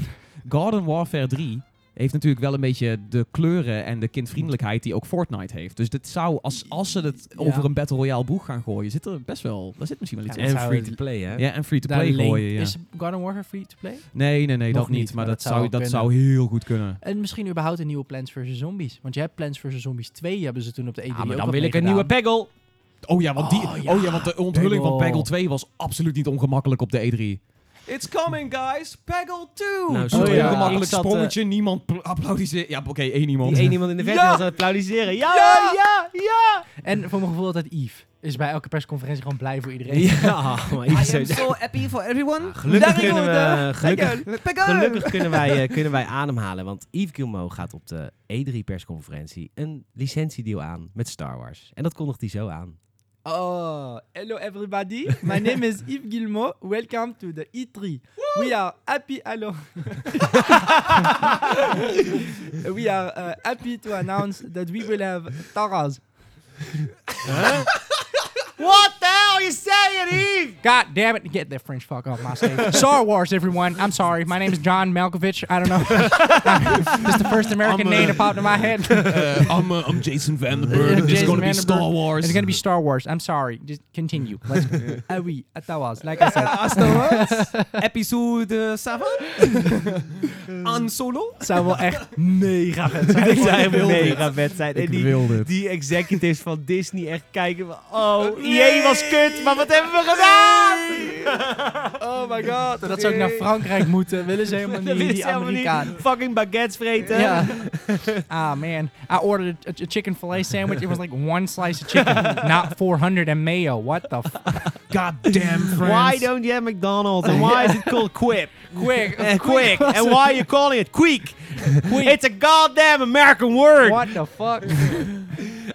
Speaker 2: Garden Warfare 3 heeft natuurlijk wel een beetje de kleuren en de kindvriendelijkheid die ook Fortnite heeft. Dus dit zou, als, als ze het
Speaker 3: Ja.
Speaker 2: over een Battle Royale boeg gaan gooien, zit er best wel, daar zit misschien wel iets
Speaker 3: Ja,
Speaker 2: in.
Speaker 1: En
Speaker 3: zou
Speaker 1: free
Speaker 3: het-
Speaker 1: to play, hè?
Speaker 2: Ja, en free-to-play
Speaker 3: Daar link-
Speaker 2: gooien, ja.
Speaker 3: Is Garden Warfare free to play?
Speaker 2: Nee, nee, nee,
Speaker 3: Nog
Speaker 2: dat niet. Maar, dat, zou,
Speaker 3: wel
Speaker 2: dat
Speaker 3: kunnen.
Speaker 2: zou heel goed kunnen.
Speaker 3: En misschien überhaupt een nieuwe Plants vs. Zombies. Want je hebt Plants vs. Zombies 2, hebben ze toen op de E3
Speaker 1: Ja, maar
Speaker 3: ook
Speaker 1: dan
Speaker 3: wat
Speaker 1: wil ik een
Speaker 3: meegedaan.
Speaker 1: nieuwe Peggle.
Speaker 2: Oh ja, want, die,
Speaker 3: Oh
Speaker 2: oh,
Speaker 3: ja,
Speaker 2: ja. want de onthulling van
Speaker 3: Peggle.
Speaker 2: Peggle 2 was absoluut niet ongemakkelijk op de E E3. It's coming, guys! Peggle 2!
Speaker 1: Nou,
Speaker 2: Zo'n
Speaker 1: sorry, ja.
Speaker 2: ongemakkelijk
Speaker 1: Ik zat, eh,
Speaker 2: sprongetje, niemand pl- applaudisseert. Ja, oké, één iemand.
Speaker 1: Die één iemand in de verte
Speaker 2: Ja!
Speaker 1: was aan het applaudisseren. Ja, ja, ja!
Speaker 3: En voor mijn gevoel dat Yves is bij elke persconferentie gewoon blij voor iedereen.
Speaker 1: maar iets zo-
Speaker 4: happy for everyone.
Speaker 1: Ah, gelukkig,
Speaker 4: Daar eh,
Speaker 1: kunnen
Speaker 4: gaan we.
Speaker 1: we, gelukkig,
Speaker 4: Peggle.
Speaker 1: gelukkig kunnen, wij, eh, kunnen wij ademhalen. Want Yves Guillemot gaat op de E3-persconferentie een licentiedeal aan met Star Wars. En dat kondigt hij zo aan.
Speaker 4: Oh, hello everybody. My name is Yves Guillemot. Welcome to the
Speaker 3: E
Speaker 4: E3. We are happy. Hello. we are uh, happy to announce that we will have Taras.
Speaker 1: What the hell you saying, Yves?
Speaker 3: God damn it, get that French fuck off my stage. Star Wars, everyone. I'm sorry. My name is John Malkovich. I don't know. Just the first American
Speaker 2: I'm, uh,
Speaker 3: name that popped in my head.
Speaker 2: I'm, uh, I'm Jason
Speaker 3: Uh,
Speaker 2: Vandenberg. It's
Speaker 3: Jason
Speaker 2: gonna be
Speaker 3: Vandenberg.
Speaker 2: Star Wars.
Speaker 3: It's gonna be Star Wars. I'm sorry. Just continue. Let's
Speaker 4: Ah oui, à Taras, like I said.
Speaker 2: Episode 7? An Solo?
Speaker 3: zou wel echt.
Speaker 1: Mega vet zijn. Dit zou
Speaker 2: wil dit.
Speaker 1: mega vet zijn. En
Speaker 2: Ik
Speaker 1: die,
Speaker 2: wil dit.
Speaker 1: die executives van Disney echt kijken. van, Oh, jee, was kut, maar wat hebben we gedaan?
Speaker 4: Oh my god.
Speaker 3: Dat ze ook naar Frankrijk moeten. Willen ze helemaal
Speaker 1: Dat
Speaker 3: niet.
Speaker 1: willen ze
Speaker 3: Die
Speaker 1: helemaal niet.
Speaker 3: Amerikaan.
Speaker 1: Fucking baguettes vreten.
Speaker 3: Ja. Ah man, I ordered a, a chicken fillet sandwich. It was like one slice of chicken, not 400 and mayo. What the? F-
Speaker 2: Goddamn France.
Speaker 1: Why don't you have McDonald's? And why is it called Quip?
Speaker 3: quick,
Speaker 1: Eh, quick. And why are you calling it Queek? It's a goddamn American word.
Speaker 3: What the fuck?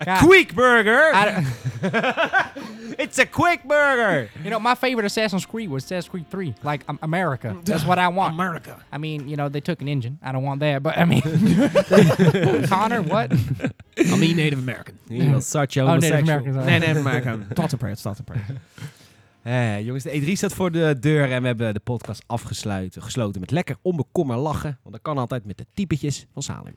Speaker 3: God,
Speaker 1: Quick burger.
Speaker 3: I don't-
Speaker 1: It's a quick burger.
Speaker 3: You know, my favorite Assassin's Creed was Assassin's Creed 3. Like, um, America. That's what I want.
Speaker 2: America.
Speaker 3: I mean, you know, they took an engine. I don't want that, but I mean. Connor, what?
Speaker 2: I mean Native American.
Speaker 1: He was such a
Speaker 3: Oh, Native Americans.
Speaker 2: Nee, Native American. Tot prayer, tot prayer.
Speaker 1: Eh, jongens, de E3 staat voor de deur en we hebben de podcast afgesluiten gesloten met lekker onbekommer lachen. Want dat kan altijd met de typetjes van Salim.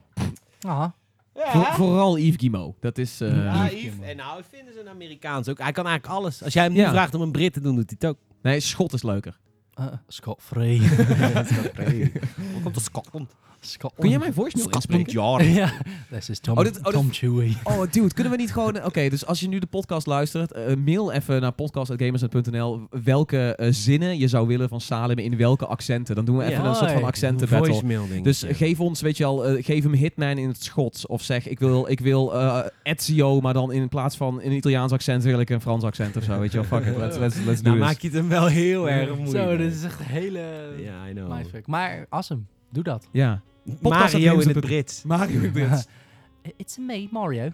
Speaker 3: Uh-huh.
Speaker 2: Voor- vooral Yves Guillemot. Dat is... eh,
Speaker 1: Ja, Yves. En nou, ik vind ze een Amerikaans ook. Hij kan eigenlijk alles. Als jij hem nu
Speaker 2: Ja.
Speaker 1: vraagt om een Brit te doen, doet hij het ook.
Speaker 3: Uh-uh.
Speaker 2: Nee, Schot is leuker.
Speaker 3: Uh, Scott Free.
Speaker 1: Welkom tot Scotland.
Speaker 3: Skull-
Speaker 2: Kun jij mijn voice mail inspreken?
Speaker 1: jaar.
Speaker 3: ja, dat is Tom,
Speaker 2: Oh, dit- oh, dit-
Speaker 3: Tom Chewy.
Speaker 2: Oh, dude, kunnen we niet gewoon... Oké, dus als je nu de podcast luistert, eh, mail even naar podcast.gamersnet.nl welke eh, zinnen je zou willen van Salem in welke accenten. Dan doen we even
Speaker 1: Ja.
Speaker 2: een soort van
Speaker 3: Oh,
Speaker 2: accentenbattle.
Speaker 1: Voicemail
Speaker 2: Dus geef ons, weet je al, geef hem Hitman in het Schots. Of zeg, ik wil, ik wil eh, Ezio, maar dan in plaats van een Italiaans accent wil ik een Frans accent of zo. Weet je wel, fuck it, let's, let's, let's do
Speaker 1: Nou
Speaker 2: this.
Speaker 1: maak je het hem wel
Speaker 2: Oh,
Speaker 1: heel erg moeilijk.
Speaker 3: Zo, dit is echt een hele...
Speaker 1: Ja, I know.
Speaker 3: mindfuck. Maar awesome, doe dat.
Speaker 2: Ja. Podcast at
Speaker 1: Mario in het
Speaker 2: games.nl.
Speaker 1: Brits.
Speaker 2: Mario in het Brits.
Speaker 3: It's me, Mario.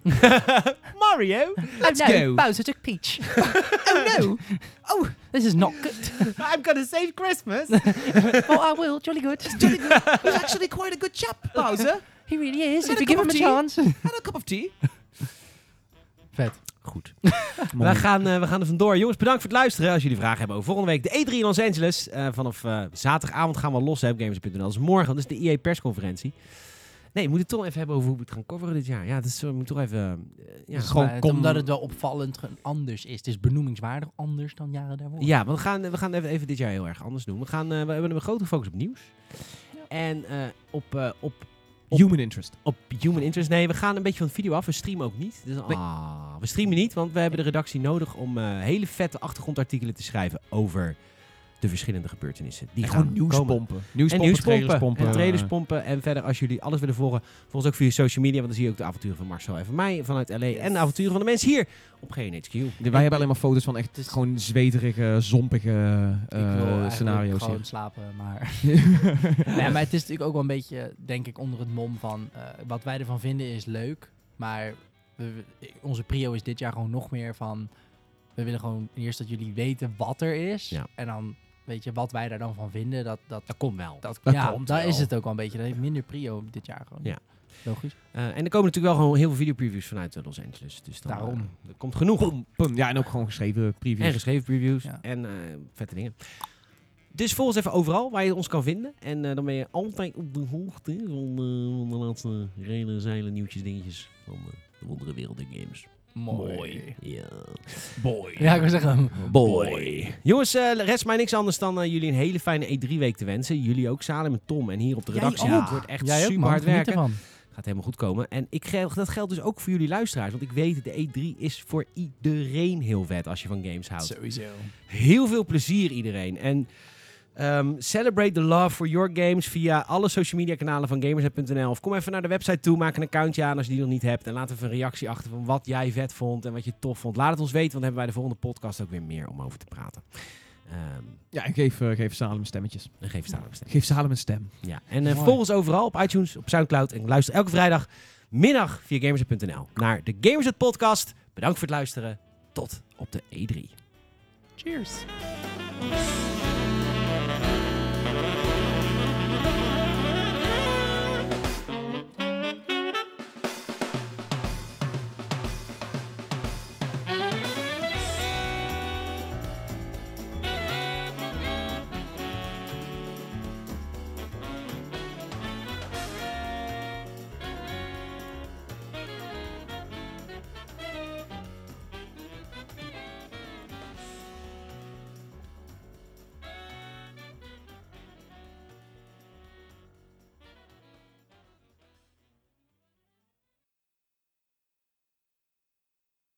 Speaker 1: Mario?
Speaker 3: Let's
Speaker 2: no, go.
Speaker 3: Bowser took Peach. oh no! Oh, this is not good.
Speaker 4: I'm gonna save Christmas.
Speaker 3: oh, I will. Jolly good.
Speaker 2: He's actually quite a good chap, Bowser.
Speaker 3: He really is.
Speaker 2: Had
Speaker 3: If
Speaker 2: a
Speaker 3: you give
Speaker 2: cup
Speaker 3: him a
Speaker 2: of
Speaker 3: chance.
Speaker 2: Had a cup of tea.
Speaker 3: Vet.
Speaker 1: Goed. We gaan, eh, we gaan er vandoor. Jongens, bedankt voor het luisteren. Als jullie vragen hebben over volgende week de E3 in Los Angeles. eh, vanaf eh, zaterdagavond gaan we los hè, op gamers.nl. Dat is morgen, dat is de EA-persconferentie. Nee, we moeten het toch even hebben over hoe we het gaan coveren dit jaar. Ja, dat is, we moeten toch even... eh, ja.
Speaker 2: Dus Gewoon
Speaker 3: Maar het-
Speaker 2: kom-
Speaker 3: Omdat het wel opvallend ge- anders is. Het is benoemingswaardig anders dan jaren daarvoor.
Speaker 1: Ja, want we gaan, we gaan even, even dit jaar heel erg anders doen. We, gaan, eh, we hebben een grote focus op nieuws. En eh, op, eh, op,
Speaker 2: Human interest.
Speaker 1: op human interest. Nee, we gaan een beetje van het video af. We streamen ook niet. Dus, ah, we streamen niet, want we hebben de redactie nodig om eh, hele vette achtergrondartikelen te schrijven over de verschillende gebeurtenissen. Die
Speaker 2: En
Speaker 1: gaan
Speaker 2: gewoon nieuws
Speaker 1: komen.
Speaker 2: pompen. Nieuws
Speaker 1: En
Speaker 2: pompen,
Speaker 1: nieuwspompen.
Speaker 2: trailers pompen.
Speaker 1: En trailers pompen. En verder, als jullie alles willen volgen, volg ons ook via social media. Want dan zie je ook de avonturen van Marcel en van mij vanuit LA. En de avonturen van de mensen hier op GNHQ.
Speaker 2: Eh, Wij hebben alleen maar foto's van echt
Speaker 3: Het is-
Speaker 2: gewoon zweterige, zompige eh,
Speaker 3: ik wil eigenlijk
Speaker 2: scenario's
Speaker 3: gewoon
Speaker 2: hier.
Speaker 3: slapen, maar... nee, maar het is natuurlijk ook wel een beetje, denk ik, onder het mom van... eh, wat wij ervan vinden is leuk, maar we- we- onze prio is dit jaar gewoon nog meer van... We willen gewoon eerst dat jullie weten wat er is.
Speaker 1: Ja.
Speaker 3: En dan, weet je, wat wij daar dan van vinden, dat... dat,
Speaker 1: Dat komt wel.
Speaker 3: dat,
Speaker 2: dat
Speaker 3: ja,
Speaker 2: komt
Speaker 3: daar
Speaker 2: wel.
Speaker 3: is het ook wel een beetje. Dat heeft minder prio dit jaar gewoon.
Speaker 1: Ja.
Speaker 3: Logisch.
Speaker 1: Eh, en er komen natuurlijk wel gewoon heel veel videopreviews vanuit eh, Los Angeles. Dus dan,
Speaker 3: Daarom.
Speaker 1: eh, er komt genoeg.
Speaker 2: Pum, ja, en ook gewoon geschreven previews.
Speaker 1: En geschreven previews.
Speaker 3: Ja.
Speaker 1: En eh, vette dingen. Dus volg ons even overal waar je ons kan vinden. En eh, dan ben je altijd op de hoogte van, eh, van de laatste reden, zeilen, nieuwtjes, dingetjes van eh, de wondere wereld der games.
Speaker 3: Mooi.
Speaker 1: Ja.
Speaker 2: Boy.
Speaker 3: Ja, ik wil zeggen...
Speaker 1: Boy. Jongens, eh, rest mij niks anders dan eh, jullie een hele fijne E3-week te wensen. Jullie ook, Salem en Tom. En hier op de
Speaker 3: Jij
Speaker 1: redactie.
Speaker 3: ook.
Speaker 1: Het wordt echt
Speaker 3: Jij ook,
Speaker 1: super
Speaker 3: man.
Speaker 1: hard
Speaker 3: Geniet
Speaker 1: werken.
Speaker 3: ervan.
Speaker 1: Gaat helemaal goed komen. En ik, ge- dat geldt dus ook voor jullie luisteraars. Want ik weet, de E3 is voor iedereen heel vet als je van games houdt.
Speaker 3: Sowieso.
Speaker 1: Heel veel plezier iedereen. En ehm, celebrate the love for your games via alle social media kanalen van gamers.nl. Of kom even naar de website toe, maak een accountje aan als je die nog niet hebt. En laat even een reactie achter van wat jij vet vond en wat je tof vond. Laat het ons weten, want dan hebben wij de volgende podcast ook weer meer om over te praten. Ehm,
Speaker 2: Ja, en geef, eh, geef Salem stemmetjes.
Speaker 1: dan geef staan een stem.
Speaker 2: Geef Salem een stem.
Speaker 1: Ja. En eh
Speaker 3: Mooi.
Speaker 1: volg ons overal op iTunes, op Soundcloud. En luister elke vrijdag middag via gamers.nl naar de Gamers podcast. E Bedankt voor het luisteren. Tot op de E3.
Speaker 3: Cheers.